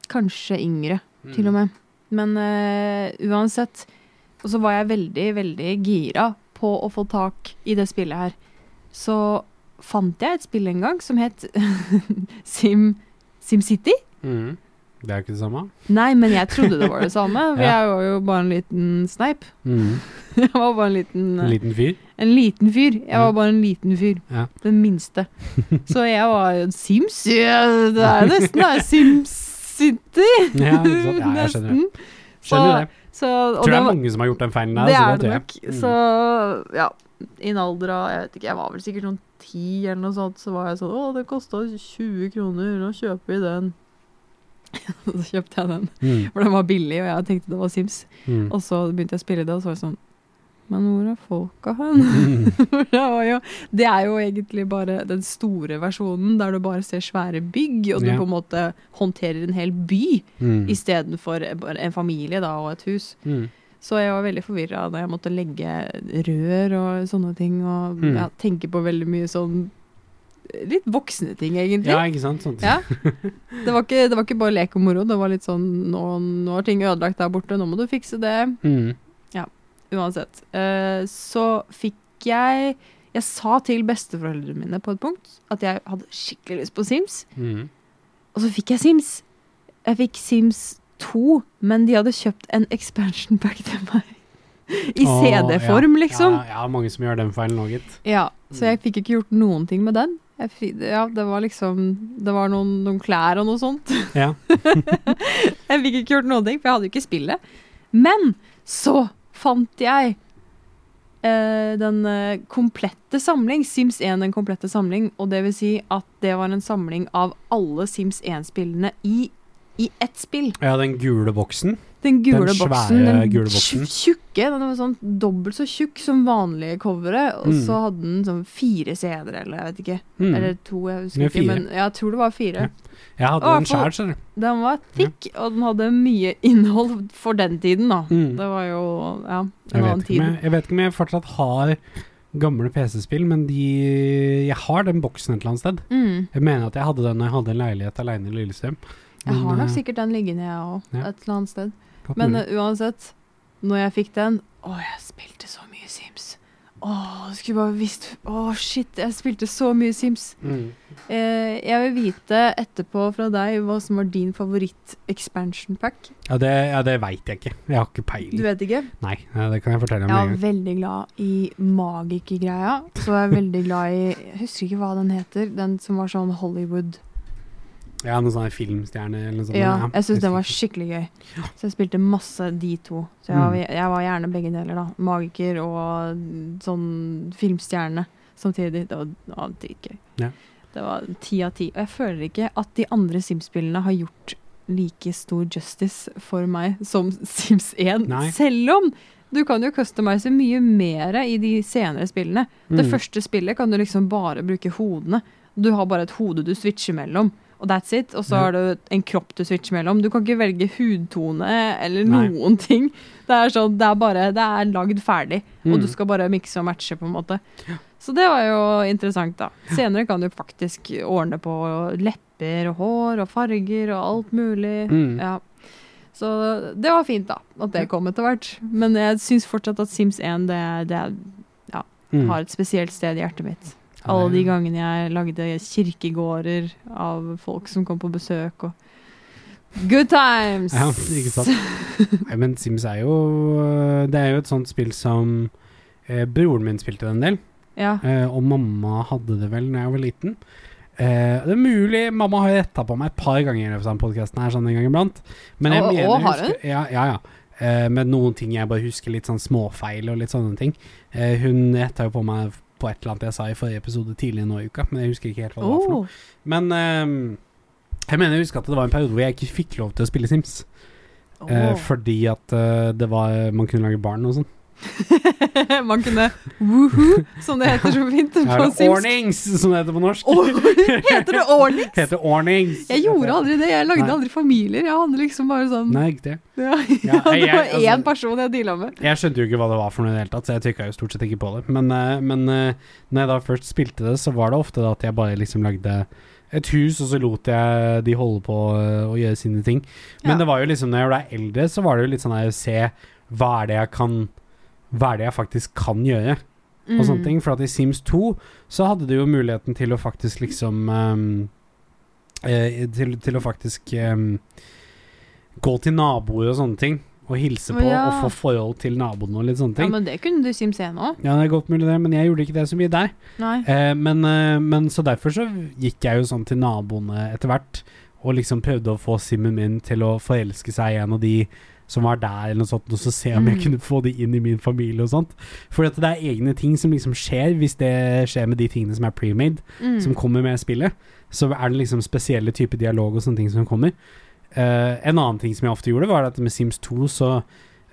[SPEAKER 3] Kanskje yngre, til
[SPEAKER 2] Mm.
[SPEAKER 3] og med. Men eh, uansett Og så var jeg veldig, veldig gira på å få tak i det spillet her. Så fant jeg et spill en gang som het Sim SimCity.
[SPEAKER 2] Mm. Det er jo ikke det samme.
[SPEAKER 3] Nei, men jeg trodde det var det samme. for
[SPEAKER 2] Ja.
[SPEAKER 3] Jeg var jo bare en liten sneip.
[SPEAKER 2] Mm.
[SPEAKER 3] Jeg var bare en liten, eh,
[SPEAKER 2] En liten fyr.
[SPEAKER 3] en liten fyr. Jeg var
[SPEAKER 2] Mm.
[SPEAKER 3] bare en liten fyr.
[SPEAKER 2] Ja.
[SPEAKER 3] Den minste. Så jeg var jo en Sims. Ja, Det er nesten det er Sims City.
[SPEAKER 2] Ja, ikke sant? ja jeg skjønner det.
[SPEAKER 3] Nesten.
[SPEAKER 2] Skjønner det.
[SPEAKER 3] Så, og
[SPEAKER 2] Tror det
[SPEAKER 3] det,
[SPEAKER 2] er
[SPEAKER 3] var,
[SPEAKER 2] mange som har gjort den feilen der.
[SPEAKER 3] det
[SPEAKER 2] så
[SPEAKER 3] er det
[SPEAKER 2] altså, tror jeg. Mm.
[SPEAKER 3] nok. Så ja, i en alder av Jeg vet ikke, jeg var vel sikkert sånn ti eller noe sånt, så var jeg sånn Å, det kosta 20 kroner, nå kjøper vi den. Så kjøpte jeg den,
[SPEAKER 2] Mm.
[SPEAKER 3] for den var billig, og jeg tenkte det var Sims.
[SPEAKER 2] Mm.
[SPEAKER 3] Og så begynte jeg å spille det, og så var det sånn Men hvor er folka hen?
[SPEAKER 2] Mm.
[SPEAKER 3] For det, var jo, det er jo egentlig bare den store versjonen, der du bare ser svære bygg, og du
[SPEAKER 2] Ja.
[SPEAKER 3] på en måte håndterer en hel by
[SPEAKER 2] Mm.
[SPEAKER 3] istedenfor bare en familie da, og et hus.
[SPEAKER 2] Mm.
[SPEAKER 3] Så jeg var veldig forvirra da jeg måtte legge rør og sånne ting, og
[SPEAKER 2] Mm.
[SPEAKER 3] ja, tenke på veldig mye sånn Litt voksne ting, egentlig.
[SPEAKER 2] Ja, ikke sant? Sånn. Sånt.
[SPEAKER 3] Ja. Det, var ikke, det var ikke bare lek og moro. Det var litt sånn nå, nå er ting ødelagt der borte, nå må du fikse det.
[SPEAKER 2] Mm.
[SPEAKER 3] Uansett. eh, så fikk jeg Jeg sa til besteforeldrene mine på et punkt at jeg hadde skikkelig lyst på Sims,
[SPEAKER 2] Mm.
[SPEAKER 3] og så fikk jeg Sims. Jeg fikk Sims 2, men de hadde kjøpt en expansion pack til meg. I
[SPEAKER 2] Åh,
[SPEAKER 3] CD-form,
[SPEAKER 2] ja.
[SPEAKER 3] liksom.
[SPEAKER 2] Ja, ja, mange som gjør den feilen òg, gitt.
[SPEAKER 3] Ja,
[SPEAKER 2] Mm.
[SPEAKER 3] så jeg fikk ikke gjort noen ting med den. Jeg, fi- ja, det var liksom Det var noen, noen klær og noe sånt.
[SPEAKER 2] Ja.
[SPEAKER 3] Jeg fikk ikke gjort noen ting, for jeg hadde jo ikke spillet. Men så fant jeg eh, den eh, komplette samling, Sims 1 den komplette samling, og det vil si at det var en samling av alle Sims 1-spillene i, i ett spill.
[SPEAKER 2] ja, den gule boksen.
[SPEAKER 3] Den gule
[SPEAKER 2] Den svære
[SPEAKER 3] boksen. Den
[SPEAKER 2] gule boksen.
[SPEAKER 3] tj- tjukke. Den var sånn dobbelt så tjukk som vanlige covere. Og
[SPEAKER 2] Mm.
[SPEAKER 3] så hadde den sånn fire CD-er, eller jeg vet ikke.
[SPEAKER 2] Mm.
[SPEAKER 3] Eller to, jeg husker
[SPEAKER 2] Det er
[SPEAKER 3] ikke.
[SPEAKER 2] fire.
[SPEAKER 3] Men jeg tror det var fire.
[SPEAKER 2] Ja. Jeg hadde
[SPEAKER 3] Å,
[SPEAKER 2] den
[SPEAKER 3] for-
[SPEAKER 2] sjæl, skjønner du.
[SPEAKER 3] Den var thick, og den hadde mye innhold for den tiden, da.
[SPEAKER 2] Mm.
[SPEAKER 3] Det var jo ja, en
[SPEAKER 2] Jeg vet,
[SPEAKER 3] annen
[SPEAKER 2] ikke om
[SPEAKER 3] tid.
[SPEAKER 2] jeg, jeg vet ikke om jeg fortsatt har gamle PC-spill, men de, jeg har den boksen et eller annet sted.
[SPEAKER 3] Mm.
[SPEAKER 2] Jeg mener at jeg hadde den da jeg hadde en leilighet alene i Lillestrøm.
[SPEAKER 3] Jeg har
[SPEAKER 2] eh,
[SPEAKER 3] nok sikkert den liggende, jeg òg,
[SPEAKER 2] ja. Mm.
[SPEAKER 3] et eller annet sted.
[SPEAKER 2] godt
[SPEAKER 3] Men
[SPEAKER 2] mulig.
[SPEAKER 3] eh, uansett, når jeg fikk den Å, jeg spilte så mye Sims. Å, du skulle bare visst Å, shit, jeg spilte så mye Sims.
[SPEAKER 2] mm.
[SPEAKER 3] Eh, jeg vil vite etterpå fra deg hva som var din favoritt-expansion pack.
[SPEAKER 2] Ja, det, ja, det veit jeg ikke. Jeg har ikke
[SPEAKER 3] Du
[SPEAKER 2] peiling.
[SPEAKER 3] vet ikke?
[SPEAKER 2] Nei, ja, det kan jeg fortelle om
[SPEAKER 3] Jeg
[SPEAKER 2] med
[SPEAKER 3] er
[SPEAKER 2] en gang.
[SPEAKER 3] veldig glad i magikergreia. Så jeg er veldig glad i Jeg husker ikke hva den heter. Den som var sånn Hollywood.
[SPEAKER 2] Ja, noen sånne filmstjerner eller noe sånt.
[SPEAKER 3] Ja,
[SPEAKER 2] sånn, men
[SPEAKER 3] jeg syns den var skikkelig gøy. Så jeg spilte masse de to. Så jeg, var-
[SPEAKER 2] Mm.
[SPEAKER 3] jeg var gjerne begge deler, da. Magiker og sånn filmstjerne samtidig. Det var, det var dritgøy.
[SPEAKER 2] Ja.
[SPEAKER 3] Det var ti av ti. Og jeg føler ikke at de andre Sims-spillene har gjort like stor justice for meg som Sims 1,
[SPEAKER 2] Nei.
[SPEAKER 3] selv om Du kan jo customize mye mer i de senere spillene. Det
[SPEAKER 2] Mm.
[SPEAKER 3] første spillet kan du liksom bare bruke hodene. Du har bare et hode du switcher mellom, og that's it. Og så
[SPEAKER 2] Ja.
[SPEAKER 3] har du en kropp du switcher mellom. Du kan ikke velge hudtone eller
[SPEAKER 2] Nei.
[SPEAKER 3] noen ting. Det er sånn, det er bare Det er lagd ferdig,
[SPEAKER 2] Mm.
[SPEAKER 3] og du skal bare mikse og matche, på en måte. Så det var jo interessant, da. Senere kan du faktisk ordne på lepper og hår og farger og alt mulig.
[SPEAKER 2] Mm.
[SPEAKER 3] Ja. Så det var fint, da, at det kom etter hvert. Men jeg syns fortsatt at Sims 1 det, det
[SPEAKER 2] Mm.
[SPEAKER 3] har et spesielt sted i hjertet mitt.
[SPEAKER 2] Ja,
[SPEAKER 3] Alle de
[SPEAKER 2] det-
[SPEAKER 3] gangene jeg lagde kirkegårder av folk som kom på besøk og Good times!
[SPEAKER 2] Ja, ikke sant. Nei, men Sims er jo eh, Det er jo et sånt spill som eh, broren min spilte en del,
[SPEAKER 3] Ja.
[SPEAKER 2] eh, og mamma hadde det vel da jeg var liten. Eh, det er mulig mamma har retta på meg et par ganger i løpet av podkasten her, sånn en gang iblant. Men jeg
[SPEAKER 3] Og-
[SPEAKER 2] mener
[SPEAKER 3] og har
[SPEAKER 2] jeg husker- Ja, ja. ja. Eh, med noen ting jeg bare husker litt sånn småfeil og litt sånne ting. Eh, hun retta jo på meg på et eller annet jeg sa i forrige episode tidligere nå i uka, men jeg husker ikke helt hva det var for noe.
[SPEAKER 3] Oh,
[SPEAKER 2] Men ehm, jeg mener jeg husker at det var en periode hvor jeg ikke fikk lov til å spille Sims.
[SPEAKER 3] oh.
[SPEAKER 2] Eh, fordi at eh, det var man kunne lage barn og sånn.
[SPEAKER 3] Man kunne woohoo, som det heter så fint
[SPEAKER 2] Ja,
[SPEAKER 3] på
[SPEAKER 2] eller
[SPEAKER 3] Sims.
[SPEAKER 2] Ornings, som det heter på norsk.
[SPEAKER 3] Or- Heter det ordning?
[SPEAKER 2] Heter ornings.
[SPEAKER 3] Jeg gjorde aldri det. Jeg lagde
[SPEAKER 2] Nei.
[SPEAKER 3] aldri familier. Jeg hadde liksom bare sånn
[SPEAKER 2] Nei, ikke det.
[SPEAKER 3] Ja,
[SPEAKER 2] Ja, nei,
[SPEAKER 3] det var
[SPEAKER 2] jeg-
[SPEAKER 3] én
[SPEAKER 2] altså-
[SPEAKER 3] person jeg deala med.
[SPEAKER 2] Jeg skjønte jo ikke hva det var for noe i det hele tatt, så jeg trykka jo stort sett ikke på det. Men, eh, men eh, når jeg da først spilte det, så var det ofte da at jeg bare liksom lagde et hus, og så lot jeg de holde på eh, å gjøre sine ting. Men
[SPEAKER 3] Ja.
[SPEAKER 2] det var jo liksom, når jeg ble eldre, så var det jo litt sånn her se hva er det jeg kan Hva er det jeg faktisk kan gjøre?
[SPEAKER 3] Mm.
[SPEAKER 2] og sånne ting. For at i Sims 2 så hadde du jo muligheten til å faktisk liksom ehm, eh, til, til å faktisk ehm, gå til naboer og sånne ting. Og hilse
[SPEAKER 3] Å,
[SPEAKER 2] på
[SPEAKER 3] ja.
[SPEAKER 2] og få forhold til naboene og litt sånne
[SPEAKER 3] Ja,
[SPEAKER 2] ting. Ja,
[SPEAKER 3] men det kunne du i Sims 1 òg.
[SPEAKER 2] det er godt mulig det, men jeg gjorde ikke det så mye der.
[SPEAKER 3] Nei.
[SPEAKER 2] Eh, men, eh, men så derfor så gikk jeg jo sånn til naboene etter hvert, og liksom prøvde å få Simmen min til å forelske seg i en av de som var der, eller noe sånt, og så se om jeg
[SPEAKER 3] Mm.
[SPEAKER 2] kunne få de inn i min familie og sånt. For at det er egne ting som liksom skjer, hvis det skjer med de tingene som er pre-made,
[SPEAKER 3] Mm.
[SPEAKER 2] som kommer med spillet, så er det liksom spesielle typer dialog og sånne ting som kommer. Eh, en annen ting som jeg ofte gjorde, var at med Sims 2 så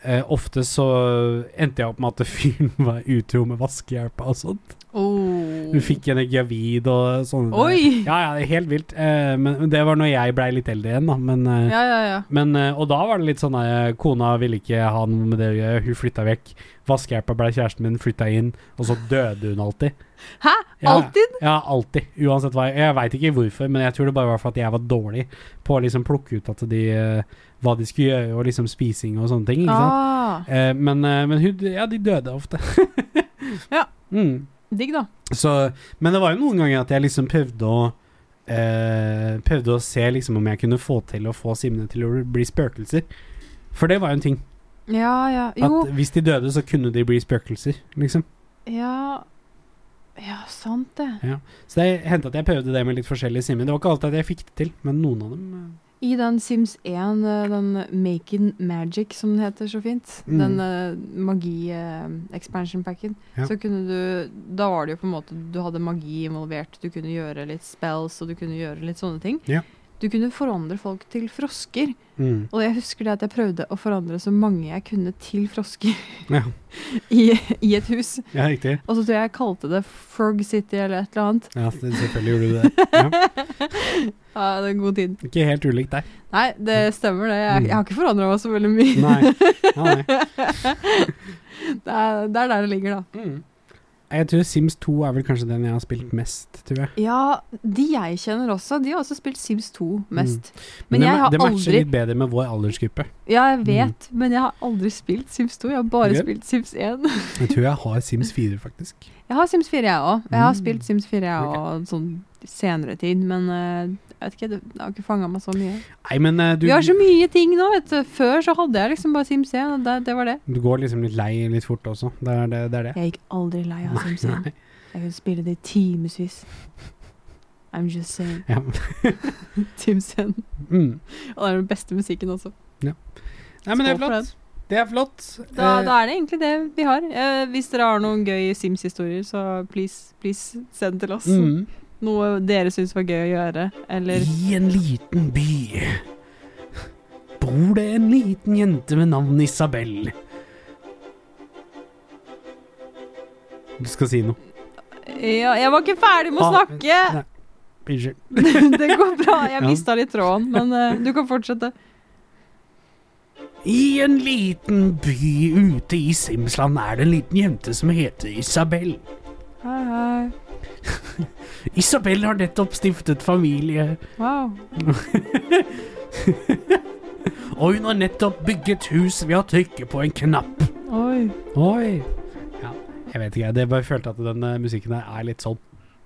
[SPEAKER 2] eh, ofte så endte jeg opp med at fyren var utro med vaskehjelpa og sånn.
[SPEAKER 3] Oh.
[SPEAKER 2] Hun fikk henne gravid og sånne
[SPEAKER 3] Oi!
[SPEAKER 2] Ja, ja, det er helt vilt. Eh, men men det var når jeg blei litt eldre igjen, da. Men, eh,
[SPEAKER 3] Ja, ja, ja.
[SPEAKER 2] men eh, Og da var det litt sånn eh, Kona ville ikke ha noe med det å gjøre, hun flytta vekk. Vaskehjelpa blei kjæresten min, flytta inn, og så døde hun alltid.
[SPEAKER 3] Hæ?
[SPEAKER 2] Ja, Mm,
[SPEAKER 3] Alltid?
[SPEAKER 2] Ja, alltid. Uansett hva. Jeg, jeg veit ikke hvorfor, men jeg tror det bare var for at jeg var dårlig på å liksom plukke ut at de eh, hva de skulle gjøre, og liksom spising og sånne ting. Ikke sant?
[SPEAKER 3] Ah,
[SPEAKER 2] Eh, men eh, men hun, ja, de døde ofte.
[SPEAKER 3] Ja.
[SPEAKER 2] Mm.
[SPEAKER 3] digg, da.
[SPEAKER 2] Så, men det var jo noen ganger at jeg liksom prøvde å eh, Prøvde å se liksom om jeg kunne få til å få simene til å bli spøkelser. For det var jo en ting.
[SPEAKER 3] Ja, ja. Jo.
[SPEAKER 2] At hvis de døde, så kunne de bli spøkelser, liksom.
[SPEAKER 3] Ja Ja, sant det.
[SPEAKER 2] Så det hendte at jeg prøvde det med litt forskjellige simer. Det var ikke alltid at jeg fikk det til, men noen av dem eh,
[SPEAKER 3] I den Sims 1, eh, den Making Magic som den heter så fint,
[SPEAKER 2] Mm.
[SPEAKER 3] den eh, magi-expansion-packen,
[SPEAKER 2] Ja.
[SPEAKER 3] så kunne du Da var det jo på en måte Du hadde magi involvert, du kunne gjøre litt spells, og du kunne gjøre litt sånne ting.
[SPEAKER 2] Ja.
[SPEAKER 3] Du kunne forandre folk til frosker.
[SPEAKER 2] mm.
[SPEAKER 3] Og jeg husker det at jeg prøvde å forandre så mange jeg kunne til frosker
[SPEAKER 2] Ja.
[SPEAKER 3] i, i et hus.
[SPEAKER 2] Ja, riktig.
[SPEAKER 3] Og så tror jeg jeg kalte det Frog City eller et eller annet.
[SPEAKER 2] Ja, så selvfølgelig gjorde du det. Ja.
[SPEAKER 3] Ja, det er en god tid.
[SPEAKER 2] Ikke helt ulikt deg.
[SPEAKER 3] Nei, det stemmer det. Jeg, jeg har ikke forandra meg så veldig mye.
[SPEAKER 2] Nei. Ja, nei.
[SPEAKER 3] Det er, det er der det ligger, da.
[SPEAKER 2] Mm. Jeg tror Sims 2 er vel kanskje den jeg har spilt mest, tror jeg.
[SPEAKER 3] Ja, de jeg kjenner også, de har også spilt Sims 2 mest. Men
[SPEAKER 2] Mm. det
[SPEAKER 3] jeg
[SPEAKER 2] ma-
[SPEAKER 3] har
[SPEAKER 2] det matcher
[SPEAKER 3] aldri-
[SPEAKER 2] litt bedre med vår aldersgruppe.
[SPEAKER 3] Ja, jeg vet, men jeg har aldri spilt Sims 2. Jeg har bare
[SPEAKER 2] Ok.
[SPEAKER 3] spilt Sims 1.
[SPEAKER 2] Jeg tror jeg har Sims 4, faktisk.
[SPEAKER 3] Jeg har Sims 4, jeg òg. Jeg har
[SPEAKER 2] Mm.
[SPEAKER 3] spilt Sims 4 jeg
[SPEAKER 2] Ok.
[SPEAKER 3] òg, sånn senere tid, men eh, jeg vet ikke, det det har ikke fanga meg så mye.
[SPEAKER 2] Nei, men eh, du,
[SPEAKER 3] Vi har så mye ting nå, vet du. Før så hadde jeg liksom bare Sims 1, og det, det var det.
[SPEAKER 2] du går liksom litt lei litt fort også. Det er det. det, er det.
[SPEAKER 3] Jeg gikk aldri lei av Sims 1.
[SPEAKER 2] Nei.
[SPEAKER 3] Jeg kunne spille det i timevis. I'm just saying.
[SPEAKER 2] Ja.
[SPEAKER 3] Sims 1.
[SPEAKER 2] Mm.
[SPEAKER 3] Og det er den beste musikken også.
[SPEAKER 2] Nei, men det er
[SPEAKER 3] Skål for
[SPEAKER 2] flott. Det er flott.
[SPEAKER 3] Da,
[SPEAKER 2] Eh,
[SPEAKER 3] da er det egentlig det vi har. Eh, hvis dere har noen gøy Sims-historier, så please, please send til oss.
[SPEAKER 2] mm.
[SPEAKER 3] Noe dere syns var gøy å gjøre, eller
[SPEAKER 2] I en liten by bor det en liten jente med navn Isabel. Du skal si noe.
[SPEAKER 3] Ja, jeg var ikke ferdig med å
[SPEAKER 2] Ah,
[SPEAKER 3] snakke!
[SPEAKER 2] Nei, Unnskyld.
[SPEAKER 3] Det går bra. Jeg
[SPEAKER 2] Ja.
[SPEAKER 3] mista litt tråden, men eh, du kan fortsette.
[SPEAKER 2] I en liten by ute i Simsland er det en liten jente som heter Isabel.
[SPEAKER 3] Hei, hei.
[SPEAKER 2] Isabel har nettopp stiftet familie,
[SPEAKER 3] Wow.
[SPEAKER 2] og hun har nettopp bygget hus ved å trykke på en knapp.
[SPEAKER 3] Oi.
[SPEAKER 2] Oi. Ja, jeg vet ikke, jeg. Det bare følte at den eh, musikken der er litt sånn.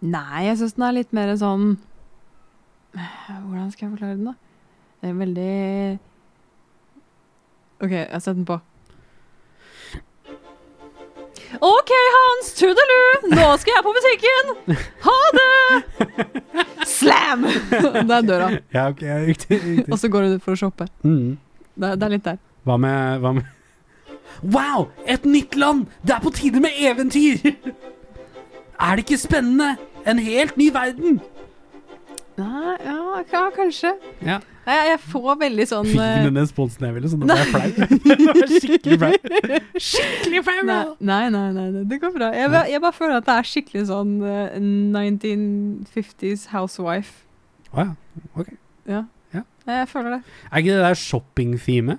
[SPEAKER 3] Nei, jeg syns den er litt mer sånn Hvordan skal jeg forklare den, da? Det er veldig OK, jeg setter den på. OK, Hans, tudelu! Nå skal jeg på butikken! Ha det! Slam! Der er døra.
[SPEAKER 2] Ja, ok, riktig.
[SPEAKER 3] Og så går hun ut for å shoppe.
[SPEAKER 2] Mm.
[SPEAKER 3] Det er, det er litt der.
[SPEAKER 2] Hva med, hva med Wow! Et nytt land! Det er på tide med eventyr! Er det ikke spennende? En helt ny verden!
[SPEAKER 3] Nei, ja, ja kanskje.
[SPEAKER 2] Ja.
[SPEAKER 3] Nei, Jeg, jeg får veldig sånn
[SPEAKER 2] Fikk
[SPEAKER 3] eh,
[SPEAKER 2] den responsen jeg ville, så nå ble jeg flau. Det var skikkelig flau. Skikkelig flau!
[SPEAKER 3] Nei,
[SPEAKER 2] nå.
[SPEAKER 3] nei, nei, nei, nei, det går bra. Jeg, ba- jeg bare føler at det er skikkelig sånn eh, 1950s housewife.
[SPEAKER 2] Å ja.
[SPEAKER 3] Ja.
[SPEAKER 2] Ja.
[SPEAKER 3] Nei, Jeg føler det.
[SPEAKER 2] Er ikke det der shoppingtheme?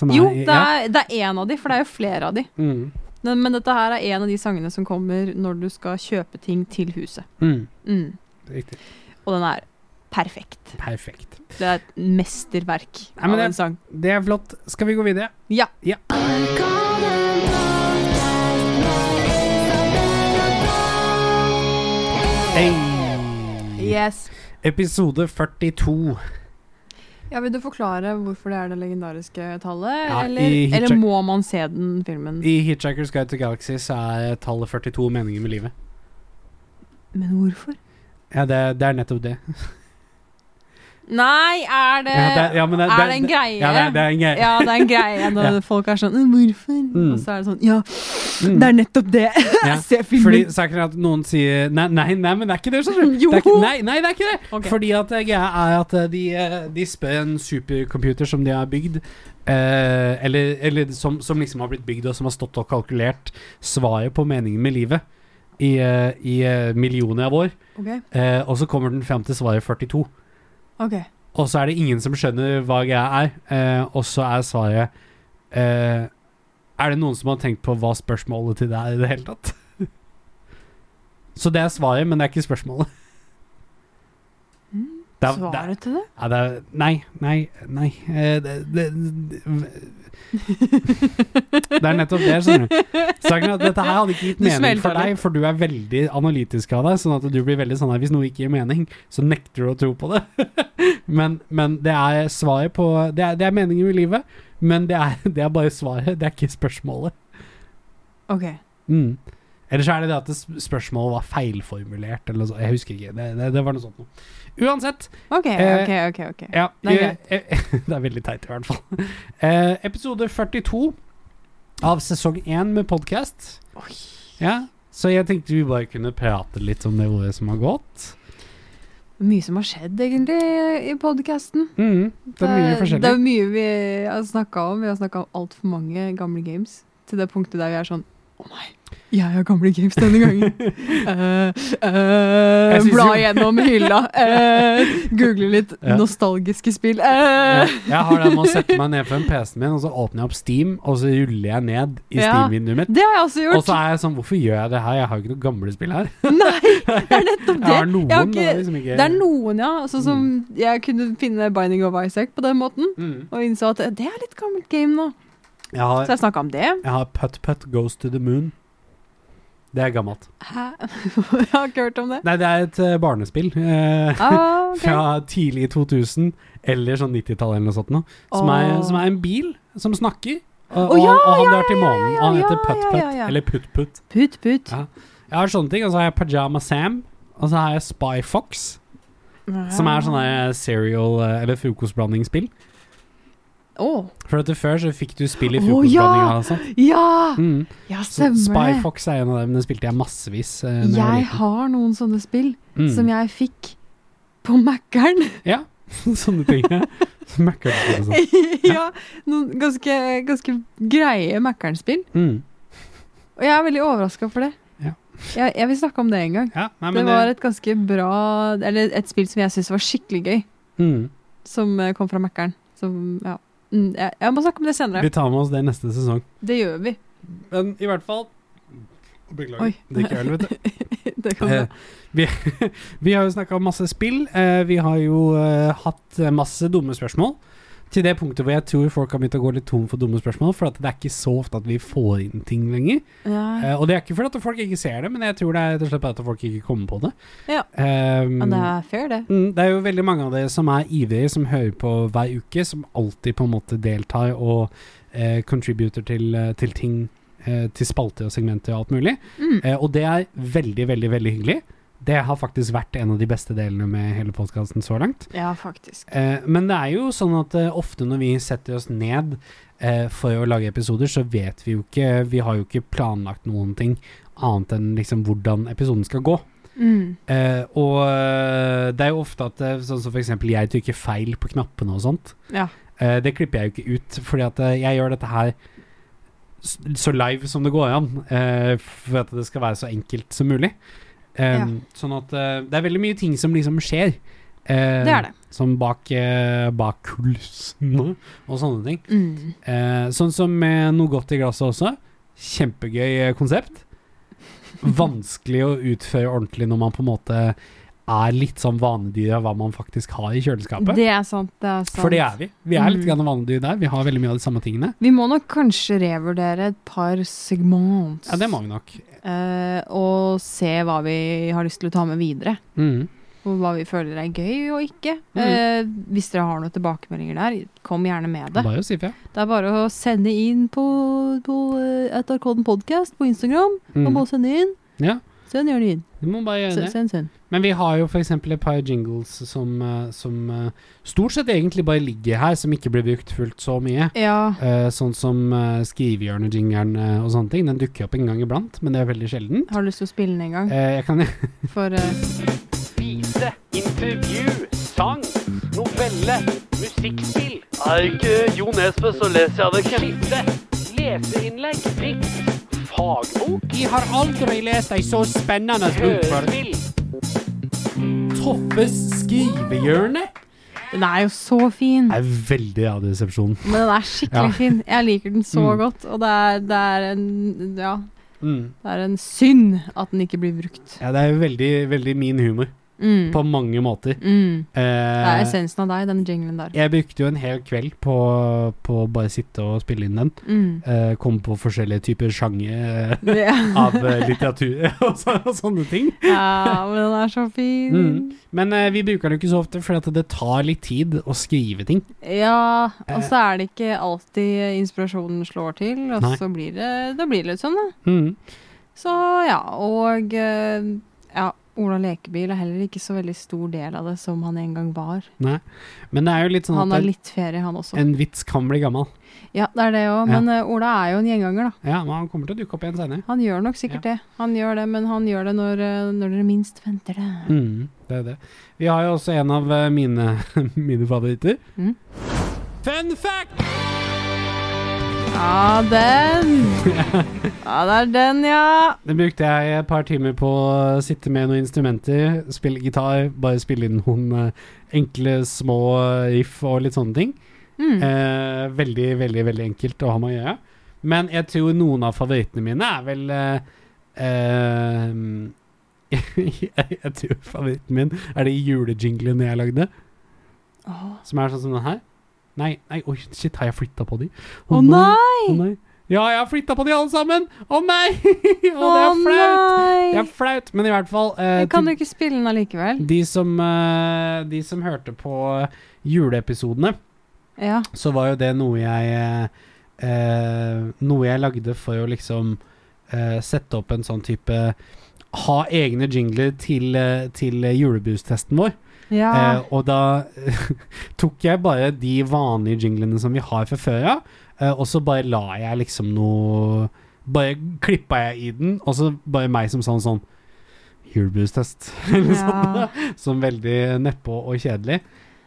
[SPEAKER 2] Som
[SPEAKER 3] Jo,
[SPEAKER 2] i-
[SPEAKER 3] det er, det er en av de, for det er jo flere av de.
[SPEAKER 2] Ja. Mm.
[SPEAKER 3] Men, men dette her er en av de sangene som kommer når du skal kjøpe ting til huset.
[SPEAKER 2] Mm.
[SPEAKER 3] Mm.
[SPEAKER 2] Riktig.
[SPEAKER 3] Og den er perfekt.
[SPEAKER 2] Perfekt.
[SPEAKER 3] Det er et mesterverk
[SPEAKER 2] Nei, men
[SPEAKER 3] av
[SPEAKER 2] det-
[SPEAKER 3] en sang.
[SPEAKER 2] Det er flott. Skal vi gå videre?
[SPEAKER 3] Ja.
[SPEAKER 2] Hey.
[SPEAKER 3] Yes.
[SPEAKER 2] Episode 42.
[SPEAKER 3] Ja, Vil du forklare hvorfor det er det legendariske tallet,
[SPEAKER 2] Ja,
[SPEAKER 3] eller,
[SPEAKER 2] i
[SPEAKER 3] eller
[SPEAKER 2] Hitchhik-
[SPEAKER 3] må man se den filmen?
[SPEAKER 2] I Hitchhiker's Guide to the Galaxy så er tallet 42 meningen med livet.
[SPEAKER 3] Men hvorfor?
[SPEAKER 2] Ja, det, det er nettopp det.
[SPEAKER 3] Nei, er det,
[SPEAKER 2] Ja, det- ja, men det-
[SPEAKER 3] Er
[SPEAKER 2] det-
[SPEAKER 3] det en greie?
[SPEAKER 2] Ja, det er, det er en greie.
[SPEAKER 3] Ja, det er en greie når
[SPEAKER 2] Ja.
[SPEAKER 3] folk er sånn «Øh, 'Hvorfor?'
[SPEAKER 2] Mm.
[SPEAKER 3] Og så er det sånn 'Ja,
[SPEAKER 2] Mm.
[SPEAKER 3] det er nettopp det!'
[SPEAKER 2] Ja,
[SPEAKER 3] Se
[SPEAKER 2] Fordi
[SPEAKER 3] filmen!
[SPEAKER 2] saken er at noen sier Nei, nei, nei men det er ikke det, skjønner du.
[SPEAKER 3] Jo.
[SPEAKER 2] Det er ikke, nei, nei, det er ikke det.
[SPEAKER 3] Ok.
[SPEAKER 2] Fordi at eh, greia er at eh, de, eh, de spør en supercomputer som de har bygd, eh, eller, eller som, som liksom har blitt bygd og som har stått og kalkulert svaret på meningen med livet i, eh, i eh, millioner av år,
[SPEAKER 3] Ok,
[SPEAKER 2] eh, og så kommer den fram til svaret 42.
[SPEAKER 3] ok.
[SPEAKER 2] Og så er det ingen som skjønner hva greia er, eh, og så er svaret eh, Er det noen som har tenkt på hva spørsmålet til deg er i det hele tatt? Så det er svaret, men det er ikke spørsmålet.
[SPEAKER 3] Mm,
[SPEAKER 2] Det er, det,
[SPEAKER 3] Svaret til det?
[SPEAKER 2] ja, det er, nei, nei, nei eh, det, det, det er nettopp det, skjønner du. Saken er at dette her hadde ikke gitt
[SPEAKER 3] Du
[SPEAKER 2] mening for
[SPEAKER 3] smelter
[SPEAKER 2] deg, for du er veldig analytisk av deg. Sånn at du blir veldig sånn her Hvis noe ikke gir mening, så nekter du å tro på det. Men, men det er svaret på Det er, det er meningen med livet, men det er, det er bare svaret. Det er ikke spørsmålet.
[SPEAKER 3] Ok.
[SPEAKER 2] Mm. Eller så er det det at det sp- spørsmålet var feilformulert, eller noe sånt. Jeg husker ikke. Det, det, det var noe sånt noe. Uansett.
[SPEAKER 3] Ok,
[SPEAKER 2] Eh,
[SPEAKER 3] ok, ok. ok.
[SPEAKER 2] Ja,
[SPEAKER 3] Det er
[SPEAKER 2] eh, eh, det er veldig teit i hvert fall. Eh, episode 42 av sesong 1 med podkast. Ja, så jeg tenkte vi bare kunne prate litt om det året som har gått.
[SPEAKER 3] Mye som har skjedd, egentlig, i podkasten.
[SPEAKER 2] Mm, det er mye
[SPEAKER 3] Eh, Det
[SPEAKER 2] forskjellig.
[SPEAKER 3] er mye vi har snakka om. Vi har snakka om altfor mange gamle games. Til det punktet der vi er sånn Å nei, jeg har gamle games denne gangen. Eh, eh,
[SPEAKER 2] Jeg synes
[SPEAKER 3] bla
[SPEAKER 2] jo-
[SPEAKER 3] gjennom hylla. eh, google litt
[SPEAKER 2] Ja.
[SPEAKER 3] nostalgiske spill.
[SPEAKER 2] Ja,
[SPEAKER 3] eh.
[SPEAKER 2] jeg har det med å sette meg ned foran PC-en min, og så åpner jeg opp Steam, og så ruller jeg ned i
[SPEAKER 3] Ja.
[SPEAKER 2] Steam-vinduet mitt.
[SPEAKER 3] Det har jeg også
[SPEAKER 2] Og
[SPEAKER 3] gjort.
[SPEAKER 2] så er jeg sånn Hvorfor gjør jeg det her? Jeg har jo ikke noen gamle spill her.
[SPEAKER 3] Nei, det er
[SPEAKER 2] Jeg
[SPEAKER 3] nettopp det.
[SPEAKER 2] har noen, Mm. men
[SPEAKER 3] jeg har
[SPEAKER 2] det
[SPEAKER 3] ikke-
[SPEAKER 2] er liksom ikke
[SPEAKER 3] Det er noen, ja. Sånn som jeg kunne finne Binding of Isaac på den måten.
[SPEAKER 2] mm.
[SPEAKER 3] Og innså at det er litt gammelt game nå.
[SPEAKER 2] Jeg har,
[SPEAKER 3] Så jeg snakka om det.
[SPEAKER 2] jeg har Putt Putt Goes to the Moon. Det er gammelt.
[SPEAKER 3] Hæ? jeg har ikke hørt om det.
[SPEAKER 2] Nei, det er et eh, barnespill. eh,
[SPEAKER 3] Ah, ok.
[SPEAKER 2] Fra tidlig 2000, eller sånn 90-tall eller noe sånt noe. Som, er,
[SPEAKER 3] Åh.
[SPEAKER 2] som er en bil som snakker. Og,
[SPEAKER 3] Å,
[SPEAKER 2] og,
[SPEAKER 3] ja,
[SPEAKER 2] han- og han
[SPEAKER 3] ja,
[SPEAKER 2] drar til
[SPEAKER 3] ja,
[SPEAKER 2] månen.
[SPEAKER 3] ja,
[SPEAKER 2] og han
[SPEAKER 3] ja,
[SPEAKER 2] heter
[SPEAKER 3] ja,
[SPEAKER 2] Putt Putt,
[SPEAKER 3] ja, ja.
[SPEAKER 2] eller Putt Putt.
[SPEAKER 3] Putt, putt.
[SPEAKER 2] Ja. Jeg har sånne ting, og så har jeg Pajama Sam. Og så har jeg Spy Fox, som er sånn
[SPEAKER 3] Ah.
[SPEAKER 2] der cereal- eh, eller frokostblandingsspill.
[SPEAKER 3] Å,
[SPEAKER 2] For at før så fikk du spill i
[SPEAKER 3] Å,
[SPEAKER 2] frokostblandinga.
[SPEAKER 3] ja!
[SPEAKER 2] og sånt.
[SPEAKER 3] ja!
[SPEAKER 2] Mm.
[SPEAKER 3] Ja,
[SPEAKER 2] Så Spy
[SPEAKER 3] stemmer det.
[SPEAKER 2] Fox er en av dem. Den spilte jeg massevis. eh, når
[SPEAKER 3] Jeg
[SPEAKER 2] jeg var liten.
[SPEAKER 3] har noen sånne spill
[SPEAKER 2] Mm.
[SPEAKER 3] som jeg fikk på Mækkern.
[SPEAKER 2] Ja, sånne ting. ja. Så Mac-er spilte sånn.
[SPEAKER 3] ja, noen ganske, ganske greie Mækkern-spill.
[SPEAKER 2] Mm.
[SPEAKER 3] Og jeg er veldig overraska for det.
[SPEAKER 2] Ja.
[SPEAKER 3] Jeg, jeg vil snakke om det en gang.
[SPEAKER 2] Ja, nei,
[SPEAKER 3] Det
[SPEAKER 2] men
[SPEAKER 3] var et ganske bra Eller et spill som jeg syntes var skikkelig gøy,
[SPEAKER 2] mm.
[SPEAKER 3] som eh, kom fra Mækkern. Som, ja. Mm, jeg, jeg må snakke om det senere.
[SPEAKER 2] Vi tar med oss det neste sesong.
[SPEAKER 3] Det gjør vi.
[SPEAKER 2] Men i hvert fall Beklager.
[SPEAKER 3] Oi.
[SPEAKER 2] Drikker øl, vet du.
[SPEAKER 3] Det kan
[SPEAKER 2] Eh, vi, vi har jo snakka om masse spill. Eh, vi har jo eh, hatt eh, masse dumme spørsmål. Til det punktet hvor jeg tror folk har begynt å gå litt tom for dumme spørsmål, for at det er ikke så ofte at vi får inn ting lenger.
[SPEAKER 3] ja.
[SPEAKER 2] Eh, og det er ikke fordi at folk ikke ser det, men jeg tror det er rett og slett bare at folk ikke kommer på det.
[SPEAKER 3] Ja.
[SPEAKER 2] Eh,
[SPEAKER 3] Men det er fair, det.
[SPEAKER 2] Mm, Det er jo veldig mange av dere som er ivrige, som hører på hver uke, som alltid på en måte deltar og eh, contributer til, eh, til ting, eh, til spalter og segmenter og alt mulig.
[SPEAKER 3] Mm.
[SPEAKER 2] Eh, og det er veldig, veldig, veldig hyggelig. Det har faktisk vært en av de beste delene med hele podkasten så langt.
[SPEAKER 3] Ja, faktisk.
[SPEAKER 2] Eh, men det er jo sånn at eh, ofte når vi setter oss ned eh, for å lage episoder, så vet vi jo ikke Vi har jo ikke planlagt noen ting annet enn liksom hvordan episoden skal gå.
[SPEAKER 3] Mm.
[SPEAKER 2] Eh, og eh, det er jo ofte at eh, sånn som for eksempel jeg trykker feil på knappene og sånt.
[SPEAKER 3] Ja.
[SPEAKER 2] Eh, det klipper jeg jo ikke ut, fordi at eh, jeg gjør dette her s- så live som det går an. eh, for at det skal være så enkelt som mulig. Eh,
[SPEAKER 3] Ja.
[SPEAKER 2] Sånn at eh, det er veldig mye ting som liksom skjer. eh,
[SPEAKER 3] Det er det.
[SPEAKER 2] Som bak, eh, bak kulissene og sånne ting.
[SPEAKER 3] Mm.
[SPEAKER 2] Eh, sånn som med noe godt i glasset også. Kjempegøy eh, konsept. Vanskelig å utføre ordentlig når man på en måte er litt sånn vanedyr av hva man faktisk har i kjøleskapet.
[SPEAKER 3] Det er sant. Det er sant.
[SPEAKER 2] For det er vi. Vi er litt
[SPEAKER 3] Mm.
[SPEAKER 2] grann vanedyr der. Vi har veldig mye av de samme tingene.
[SPEAKER 3] Vi må nok kanskje revurdere et par segment.
[SPEAKER 2] Ja, det må vi nok.
[SPEAKER 3] Eh, og se hva vi har lyst til å ta med videre.
[SPEAKER 2] Mm.
[SPEAKER 3] Og hva vi føler er gøy og ikke.
[SPEAKER 2] Mm.
[SPEAKER 3] Eh, hvis dere har noen tilbakemeldinger der, kom gjerne med det.
[SPEAKER 2] Bare å si fra.
[SPEAKER 3] Det er bare å sende inn på, på eh, et Arkoden podcast på Instagram. Man
[SPEAKER 2] Mm.
[SPEAKER 3] må sende inn.
[SPEAKER 2] Ja.
[SPEAKER 3] Send gjerne inn.
[SPEAKER 2] Du må bare gjøre
[SPEAKER 3] Send,
[SPEAKER 2] det.
[SPEAKER 3] send, send.
[SPEAKER 2] Men vi har jo f.eks. et par jingles som, eh, som eh, stort sett egentlig bare ligger her, som ikke blir brukt fullt så mye.
[SPEAKER 3] Ja.
[SPEAKER 2] Eh, sånn som uh, skrivehjørnejingeren eh, og sånne ting. Den dukker opp en gang iblant, men det er veldig sjelden.
[SPEAKER 3] Har du lyst til å spille den en gang?
[SPEAKER 2] Eh, jeg kan
[SPEAKER 3] For eh,
[SPEAKER 5] Vise, intervju, sang, novelle, musikkspill. Er ikke Jo Nesbø, så leser jeg det ikke. Skisse, leserinnlegg, dikt, fagbok,
[SPEAKER 2] Jeg har aldri lest ei så spennende bok før.
[SPEAKER 5] hørespill.
[SPEAKER 2] Toppes skrivehjørne
[SPEAKER 3] den er jo så fin!
[SPEAKER 2] er veldig Radioresepsjonen.
[SPEAKER 3] Men den er skikkelig
[SPEAKER 2] Ja.
[SPEAKER 3] fin. Jeg liker den så
[SPEAKER 2] Mm.
[SPEAKER 3] godt. Og det er, det er en Ja.
[SPEAKER 2] Mm.
[SPEAKER 3] Det er en synd at den ikke blir brukt.
[SPEAKER 2] Ja, det er jo veldig, veldig min humor
[SPEAKER 3] Mm.
[SPEAKER 2] på mange måter.
[SPEAKER 3] Mm. Det er
[SPEAKER 2] Eh,
[SPEAKER 3] essensen av deg, den jinglen der.
[SPEAKER 2] jeg brukte jo en hel kveld på, på å bare sitte og spille inn den.
[SPEAKER 3] Mm.
[SPEAKER 2] Eh, kom på forskjellige typer sjanger eh,
[SPEAKER 3] Ja.
[SPEAKER 2] av eh, litteratur og, så, og sånne ting.
[SPEAKER 3] ja, men den er så fin.
[SPEAKER 2] Mm. Men eh, vi bruker den jo ikke så ofte, for det tar litt tid å skrive ting.
[SPEAKER 3] Ja, og
[SPEAKER 2] Eh.
[SPEAKER 3] så er det ikke alltid inspirasjonen slår til, og
[SPEAKER 2] Nei.
[SPEAKER 3] så blir det, da blir det litt sånn, da.
[SPEAKER 2] Mm.
[SPEAKER 3] Så ja, og eh, ja, Ola Lekebil er heller ikke så veldig stor del av det som han en gang var.
[SPEAKER 2] Nei. Men det er jo litt sånn
[SPEAKER 3] Han
[SPEAKER 2] at
[SPEAKER 3] har
[SPEAKER 2] en-
[SPEAKER 3] litt sånn. ferie, han også.
[SPEAKER 2] en vits kan bli gammel.
[SPEAKER 3] Ja, det er det òg, men eh, Ola er jo en gjenganger, da.
[SPEAKER 2] Ja, men han kommer til å dukke opp igjen senere.
[SPEAKER 3] Han gjør nok sikkert det, Han gjør det, men han gjør det når, eh, når dere minst venter det.
[SPEAKER 2] Mm, det er det. Vi har jo også en av eh, mine, mine favoritter.
[SPEAKER 3] Mm.
[SPEAKER 2] Fun fact!
[SPEAKER 3] Ja, den! Ja, det er den, ja.
[SPEAKER 2] Den brukte jeg et par timer på å sitte med noen instrumenter, spille gitar, bare spille inn noen eh, enkle små riff og litt sånne ting.
[SPEAKER 3] Mm.
[SPEAKER 2] Eh, veldig, veldig, veldig enkelt å ha med å gjøre. Men jeg tror noen av favorittene mine er vel eh, eh, jeg, jeg tror favoritten min er de julejinglene jeg lagde.
[SPEAKER 3] Åh.
[SPEAKER 2] Som er sånn som den her. Nei, nei, oi, shit, har jeg flytta på de? Å
[SPEAKER 3] Å nei!
[SPEAKER 2] nei! Ja, jeg har flytta på de alle sammen! Å nei! Å, det er flaut! Det
[SPEAKER 3] nei!
[SPEAKER 2] er flaut, men i hvert fall eh,
[SPEAKER 3] Jeg kan
[SPEAKER 2] til
[SPEAKER 3] jo ikke spille den allikevel.
[SPEAKER 2] de, som, eh, de som hørte på juleepisodene,
[SPEAKER 3] Ja.
[SPEAKER 2] så var jo det noe jeg eh, eh, Noe jeg lagde for å liksom eh, sette opp en sånn type ha egne jingler til, eh, til julebrustesten vår.
[SPEAKER 3] ja.
[SPEAKER 2] Eh, og da tok jeg bare de vanlige jinglene som vi har fra før av, eh, og så bare la jeg liksom noe Bare klippa jeg i den, og så bare meg som sånn sånn Julebrustest, eller
[SPEAKER 3] Ja.
[SPEAKER 2] sånn. da. Som veldig nedpå og kjedelig.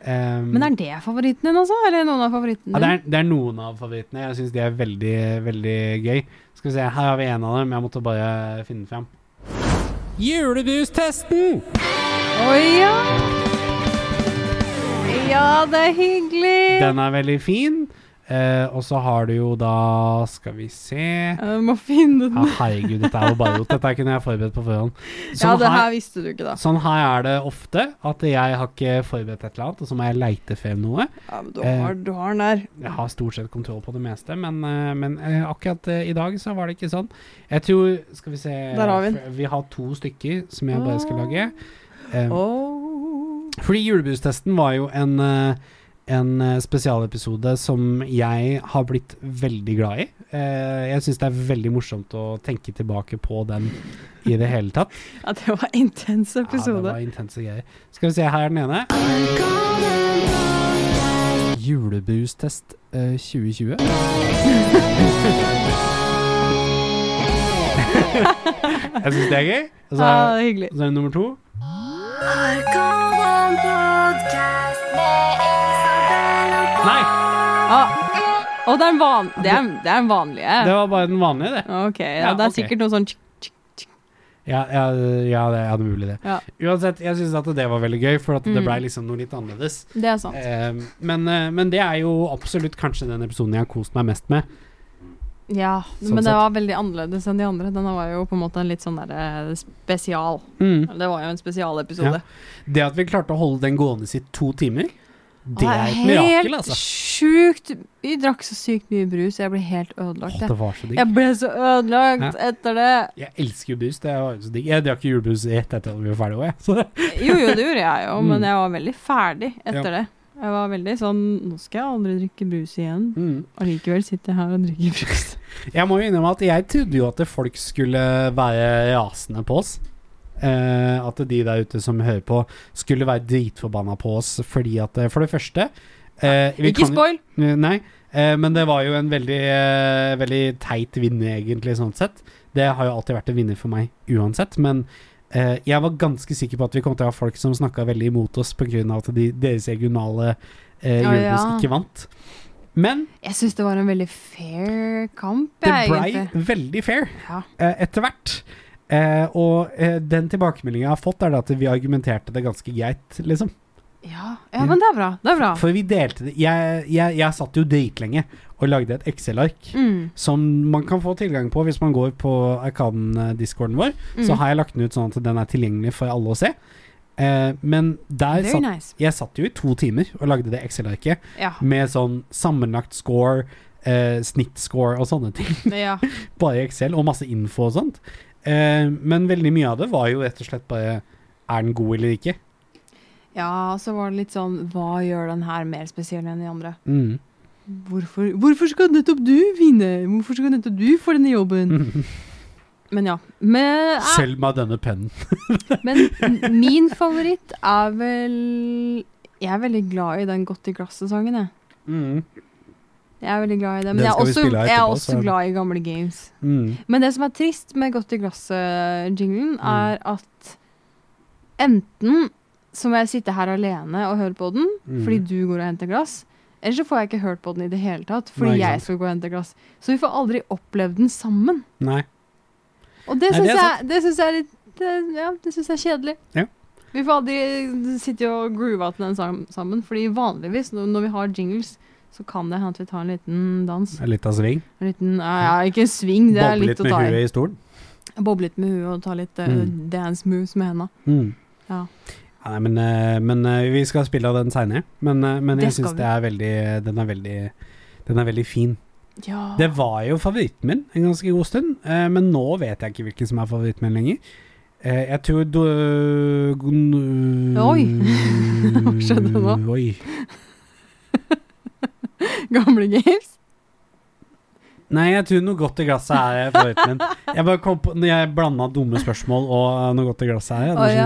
[SPEAKER 2] Eh,
[SPEAKER 3] Men er det favoritten din, altså? Eller noen av favorittene
[SPEAKER 2] ja, det,
[SPEAKER 3] dine?
[SPEAKER 2] er, det er noen av favorittene. Jeg syns de er veldig, veldig gøy. Skal vi se, Her har vi en av dem. Jeg måtte bare finne den fram. Julebustesten!
[SPEAKER 3] Å ja! Ja, det er hyggelig!
[SPEAKER 2] Den er veldig fin. Eh, og så har du jo da Skal vi se
[SPEAKER 3] Jeg må
[SPEAKER 2] ja,
[SPEAKER 3] finne den.
[SPEAKER 2] Herregud, dette er jo bare rot. Dette kunne jeg forberedt på forhånd.
[SPEAKER 3] Ja,
[SPEAKER 2] Sånn
[SPEAKER 3] det
[SPEAKER 2] her-
[SPEAKER 3] her visste du ikke, da.
[SPEAKER 2] Sånn her er det ofte, at jeg har ikke forberedt et eller annet, og så må jeg leite frem noe.
[SPEAKER 3] Ja, men du
[SPEAKER 2] Eh.
[SPEAKER 3] har, du har den der.
[SPEAKER 2] Jeg har stort sett kontroll på det meste, men, eh, men eh, akkurat eh, i dag så var det ikke sånn. Jeg tror Skal vi se
[SPEAKER 3] Der har vi den.
[SPEAKER 2] f- Vi har to stykker som jeg bare skal lage. Eh,
[SPEAKER 3] Åh.
[SPEAKER 2] Fordi julebustesten var jo en, eh, en eh, spesialepisode som jeg har blitt veldig glad i. Eh, Jeg syns det er veldig morsomt å tenke tilbake på den i det hele tatt.
[SPEAKER 3] Ja, det var en intens
[SPEAKER 2] Ja, det
[SPEAKER 3] episode.
[SPEAKER 2] var intense greier. Skal vi se, her er den ene. Julebustest eh, 2020. Jeg syns det er gøy. Og så
[SPEAKER 3] Ja,
[SPEAKER 2] er,
[SPEAKER 3] Ah, det er hyggelig.
[SPEAKER 2] så er det nummer to. Nei,
[SPEAKER 3] Ah. Og det er en, van det er, det er en vanlige.
[SPEAKER 2] det var bare den vanlige, det.
[SPEAKER 3] Ok, ja,
[SPEAKER 2] Ja,
[SPEAKER 3] det er
[SPEAKER 2] ok.
[SPEAKER 3] sikkert noe sånn tsk, tsk, tsk.
[SPEAKER 2] Ja, ja, ja det er mulig, det.
[SPEAKER 3] Ja.
[SPEAKER 2] Uansett, jeg syns at det var veldig gøy, for at det
[SPEAKER 3] Mm.
[SPEAKER 2] blei liksom noe litt annerledes.
[SPEAKER 3] Det er sant.
[SPEAKER 2] Eh, men, eh, men det er jo absolutt kanskje den episoden jeg har kost meg mest med.
[SPEAKER 3] Ja,
[SPEAKER 2] Sånn
[SPEAKER 3] men
[SPEAKER 2] sett.
[SPEAKER 3] det var veldig annerledes enn de andre. Denne var jo på en måte en litt sånn der eh, spesial.
[SPEAKER 2] Mm.
[SPEAKER 3] Det var jo en spesialepisode.
[SPEAKER 2] Det at vi klarte å holde den gående i to timer, det er et
[SPEAKER 3] helt
[SPEAKER 2] mirakel, altså.
[SPEAKER 3] sjukt. Vi drakk så sykt mye brus, jeg ble helt
[SPEAKER 2] Åh,
[SPEAKER 3] ødelagt.
[SPEAKER 2] det
[SPEAKER 3] Jeg,
[SPEAKER 2] var så digg.
[SPEAKER 3] jeg ble så ødelagt etter det.
[SPEAKER 2] Jeg elsker jo brus. Det var så digg. Jeg drakk jo julebrus rett etter at vi var ferdige òg, jeg. Så
[SPEAKER 3] Jo, jo, det gjorde jeg jo,
[SPEAKER 2] Mm.
[SPEAKER 3] men jeg var veldig ferdig
[SPEAKER 2] Ja.
[SPEAKER 3] etter det. Jeg var veldig sånn Nå skal jeg aldri drikke brus igjen.
[SPEAKER 2] mm.
[SPEAKER 3] Allikevel sitter jeg her og drikker brus.
[SPEAKER 2] Jeg må jo innrømme at jeg trodde jo at folk skulle være rasende på oss. Eh, at de der ute som hører på, skulle være dritforbanna på oss fordi at eh, For det første eh, vi
[SPEAKER 3] Ikke
[SPEAKER 2] kan jo-
[SPEAKER 3] spoil!
[SPEAKER 2] Nei, eh, men det var jo en veldig, eh, veldig teit vinner, egentlig, sånn sett. Det har jo alltid vært en vinner for meg, uansett. Men eh, jeg var ganske sikker på at vi kom til å ha folk som snakka veldig imot oss pga. at de, deres regionale eh,
[SPEAKER 3] Ja,
[SPEAKER 2] julebuss
[SPEAKER 3] ja.
[SPEAKER 2] ikke vant. Men
[SPEAKER 3] Jeg syns det var en veldig fair kamp,
[SPEAKER 2] det
[SPEAKER 3] jeg,
[SPEAKER 2] blei
[SPEAKER 3] egentlig.
[SPEAKER 2] veldig fair
[SPEAKER 3] Ja.
[SPEAKER 2] eh, etter hvert. Eh, og eh, den tilbakemeldinga jeg har fått, er det at vi argumenterte det ganske greit, liksom.
[SPEAKER 3] Ja. ja, men det er bra. Det er bra.
[SPEAKER 2] Mm. For vi delte det Jeg, jeg, jeg satt jo dritlenge og lagde et Excel-ark.
[SPEAKER 3] Mm.
[SPEAKER 2] som man kan få tilgang på hvis man går på Arkaden-discorden vår. Så
[SPEAKER 3] Mm.
[SPEAKER 2] har jeg lagt den ut sånn at den er tilgjengelig for alle å se. Eh, men der
[SPEAKER 3] Very
[SPEAKER 2] satt
[SPEAKER 3] nice.
[SPEAKER 2] jeg satt jo i to timer og lagde det Excel-arket
[SPEAKER 3] Ja.
[SPEAKER 2] med sånn sammenlagt score, eh, snittscore og sånne ting.
[SPEAKER 3] ja.
[SPEAKER 2] Bare i Excel, og masse info og sånt. Eh, men veldig mye av det var jo rett og slett bare Er den god eller ikke?
[SPEAKER 3] ja, og så var det litt sånn Hva gjør den her mer spesiell enn de andre?
[SPEAKER 2] Mm.
[SPEAKER 3] Hvorfor, hvorfor skal nettopp du vinne? Hvorfor skal nettopp du få denne jobben? Men ja. Men, eh,
[SPEAKER 2] Mm. Selv med denne pennen.
[SPEAKER 3] men n- min favoritt er vel Jeg er veldig glad i den Godt i glasset-sangen, jeg.
[SPEAKER 2] Mm.
[SPEAKER 3] Jeg er veldig glad i det.
[SPEAKER 2] Den
[SPEAKER 3] Men jeg er
[SPEAKER 2] skal vi
[SPEAKER 3] også,
[SPEAKER 2] spille
[SPEAKER 3] jeg er
[SPEAKER 2] etterpå, så er
[SPEAKER 3] også
[SPEAKER 2] det-
[SPEAKER 3] glad i gamle games.
[SPEAKER 2] Mm.
[SPEAKER 3] Men det som er trist med Godt i glasset-jinglen, er at enten så må jeg sitte her alene og høre på den,
[SPEAKER 2] Mm.
[SPEAKER 3] fordi du går og henter glass, eller så får jeg ikke hørt på den i det hele tatt, fordi
[SPEAKER 2] Nei, ikke
[SPEAKER 3] jeg
[SPEAKER 2] sant.
[SPEAKER 3] skal gå og hente glass. Så vi får aldri opplevd den sammen.
[SPEAKER 2] Nei.
[SPEAKER 3] Og det
[SPEAKER 2] Nei,
[SPEAKER 3] syns
[SPEAKER 2] det er
[SPEAKER 3] jeg, det syns jeg er litt det, ja, det syns jeg er kjedelig.
[SPEAKER 2] Ja.
[SPEAKER 3] Vi får aldri sitte og groove til den sam- sammen, fordi vanligvis når når vi har jingles, så kan det hende at vi tar en liten dans.
[SPEAKER 2] Litt av sving.
[SPEAKER 3] En liten, ja, ja, ikke en sving, det er
[SPEAKER 2] Boble
[SPEAKER 3] litt
[SPEAKER 2] litt
[SPEAKER 3] å
[SPEAKER 2] med
[SPEAKER 3] ta i.
[SPEAKER 2] huet i stolen.
[SPEAKER 3] Boble litt med huet og ta litt eh,
[SPEAKER 2] Mm.
[SPEAKER 3] dance moves med henda.
[SPEAKER 2] Mm.
[SPEAKER 3] Ja.
[SPEAKER 2] Ja, Nei, men, eh, men eh, vi skal spille av den seinere. Men, eh, men
[SPEAKER 3] Det
[SPEAKER 2] jeg
[SPEAKER 3] skal
[SPEAKER 2] syns
[SPEAKER 3] vi.
[SPEAKER 2] det er veldig Den er veldig den er veldig fin.
[SPEAKER 3] Ja.
[SPEAKER 2] Det var jo favoritten min en ganske god stund, eh, men nå vet jeg ikke hvilken som er favoritten min lenger. Eh, jeg tror du,
[SPEAKER 3] Oi. Hva skjedde nå?
[SPEAKER 2] Oi.
[SPEAKER 3] Gamle games.
[SPEAKER 2] Nei, jeg tror noe godt i glasset er eh, favoritten min. Jeg bare kom på, når jeg blanda dumme spørsmål og eh, noe godt i glasset er. jeg,
[SPEAKER 3] Å
[SPEAKER 2] da skjønner
[SPEAKER 3] ja.
[SPEAKER 2] jeg.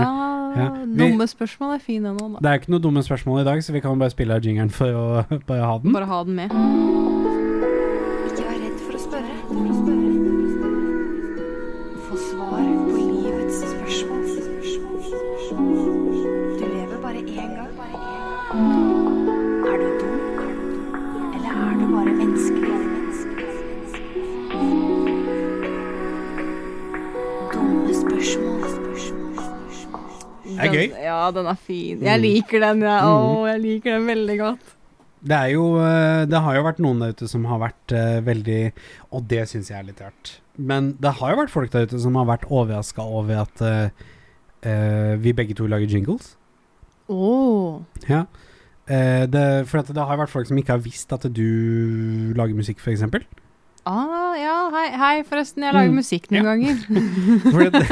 [SPEAKER 2] Ja, vi-
[SPEAKER 3] Dumme spørsmål er fine nå, da.
[SPEAKER 2] Det er ikke noe dumme spørsmål i dag, så vi kan bare spille av jingeren for å bare ha den.
[SPEAKER 3] Bare ha den med.
[SPEAKER 6] Ikke vær redd for å spørre. For å spørre. Få svar på livets spørsmål. Du lever bare én gang. Er du dum? Eller er du bare menneskelig? Dumme spørsmål.
[SPEAKER 3] Ja, den er fin.
[SPEAKER 2] Mm.
[SPEAKER 3] Jeg liker den, jeg. Å, jeg liker den veldig godt.
[SPEAKER 2] Det er jo eh, Det har jo vært noen der ute som har vært eh, veldig Og det syns jeg er litt rart. Men det har jo vært folk der ute som har vært overraska over at eh, eh, vi begge to lager jingles.
[SPEAKER 3] Åh.
[SPEAKER 2] Ja. Eh, det, for at det har vært folk som ikke har visst at du lager musikk, f.eks.
[SPEAKER 3] Ah, ja, hei, hei, forresten. Jeg lager
[SPEAKER 2] Mm.
[SPEAKER 3] musikk noen
[SPEAKER 2] Ja.
[SPEAKER 3] ganger.
[SPEAKER 2] For det,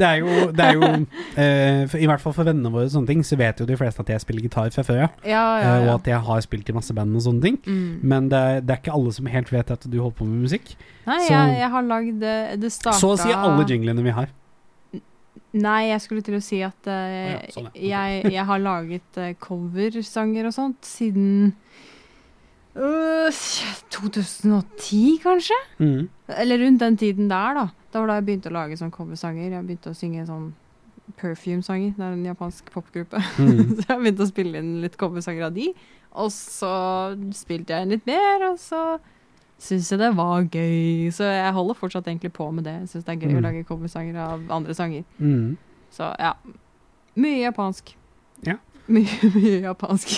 [SPEAKER 2] det er jo, det er jo eh, for, I hvert fall for vennene våre og sånne ting, så vet jo de fleste at jeg spiller gitar fra før av.
[SPEAKER 3] Ja, ja,
[SPEAKER 2] eh, Og
[SPEAKER 3] ja.
[SPEAKER 2] at jeg har spilt i masse band og sånne ting.
[SPEAKER 3] Mm.
[SPEAKER 2] Men det er, det er ikke alle som helt vet at du holder på med musikk.
[SPEAKER 3] Nei,
[SPEAKER 2] så-
[SPEAKER 3] jeg, jeg har lagd eh, Det starta
[SPEAKER 2] Så å si alle jinglene vi har.
[SPEAKER 3] Nei, jeg skulle til å si at eh,
[SPEAKER 2] Å ja, sånn, ja.
[SPEAKER 3] jeg, jeg har laget eh, coversanger og sånt siden øh, 2010, kanskje?
[SPEAKER 2] Mm.
[SPEAKER 3] Eller rundt den tiden der, da. Da var da jeg begynte å lage sånn coversanger. Jeg begynte å synge sånn Perfume-sanger. Det er en japansk popgruppe.
[SPEAKER 2] Mm.
[SPEAKER 3] så jeg begynte å spille inn litt coversanger av de. Og så spilte jeg inn litt mer, og så syns jeg det var gøy. Så jeg holder fortsatt egentlig på med det. Jeg syns det er gøy
[SPEAKER 2] Mm.
[SPEAKER 3] å lage coversanger av andre sanger.
[SPEAKER 2] Mm.
[SPEAKER 3] Så ja. Mye japansk.
[SPEAKER 2] Ja.
[SPEAKER 3] Mye, mye japansk.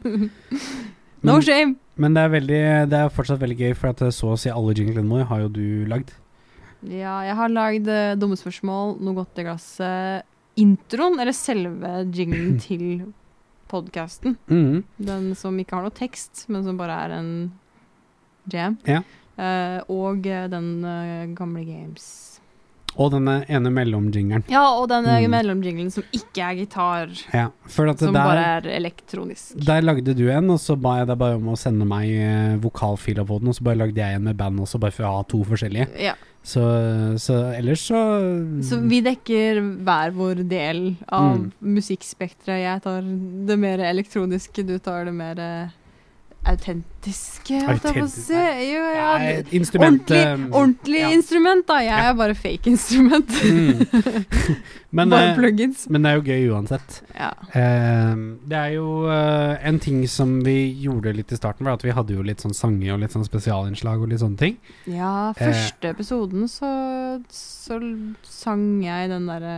[SPEAKER 3] no
[SPEAKER 2] Men,
[SPEAKER 3] shame!
[SPEAKER 2] men det, er veldig, det er fortsatt veldig gøy, for at så å si alle jinglene våre har jo du lagd.
[SPEAKER 3] Ja, jeg har lagd eh, dumme spørsmål, noe godt i glasset, introen, eller selve jinglen til podkasten.
[SPEAKER 2] Mm.
[SPEAKER 3] Den som ikke har noe tekst, men som bare er en jam.
[SPEAKER 2] Ja.
[SPEAKER 3] Eh, og eh, den eh, gamle games.
[SPEAKER 2] Og denne ene mellomjingeren.
[SPEAKER 3] Ja, og den eh,
[SPEAKER 2] Mm.
[SPEAKER 3] mellomjinglen som ikke er gitar,
[SPEAKER 2] Ja, for at
[SPEAKER 3] som
[SPEAKER 2] det
[SPEAKER 3] bare
[SPEAKER 2] er
[SPEAKER 3] er elektronisk.
[SPEAKER 2] Der lagde du en, og så ba jeg deg bare om å sende meg eh, vokalfiler på den, og så bare lagde jeg en med band også, bare for å ha to forskjellige.
[SPEAKER 3] Ja.
[SPEAKER 2] Så, så ellers så
[SPEAKER 3] Så vi dekker hver vår del av
[SPEAKER 2] Mm.
[SPEAKER 3] musikkspekteret. Jeg tar det mer elektroniske, du tar det mer eh, autentiske. holdt jeg på å
[SPEAKER 2] Autentisk,
[SPEAKER 3] si. Jo, ja,
[SPEAKER 2] Nei,
[SPEAKER 3] d-
[SPEAKER 2] instrumentet
[SPEAKER 3] ordentlig ordentlig
[SPEAKER 2] ja.
[SPEAKER 3] instrument, da. Jeg er bare fake instrument.
[SPEAKER 2] Mm. Men,
[SPEAKER 3] bare
[SPEAKER 2] eh,
[SPEAKER 3] plugins.
[SPEAKER 2] men det er jo gøy uansett.
[SPEAKER 3] Ja.
[SPEAKER 2] Eh, det er jo eh, en ting som vi gjorde litt i starten, var at vi hadde jo litt sånn sanger og litt sånn spesialinnslag og litt sånne ting.
[SPEAKER 3] ja, første episoden så, så sang jeg den derre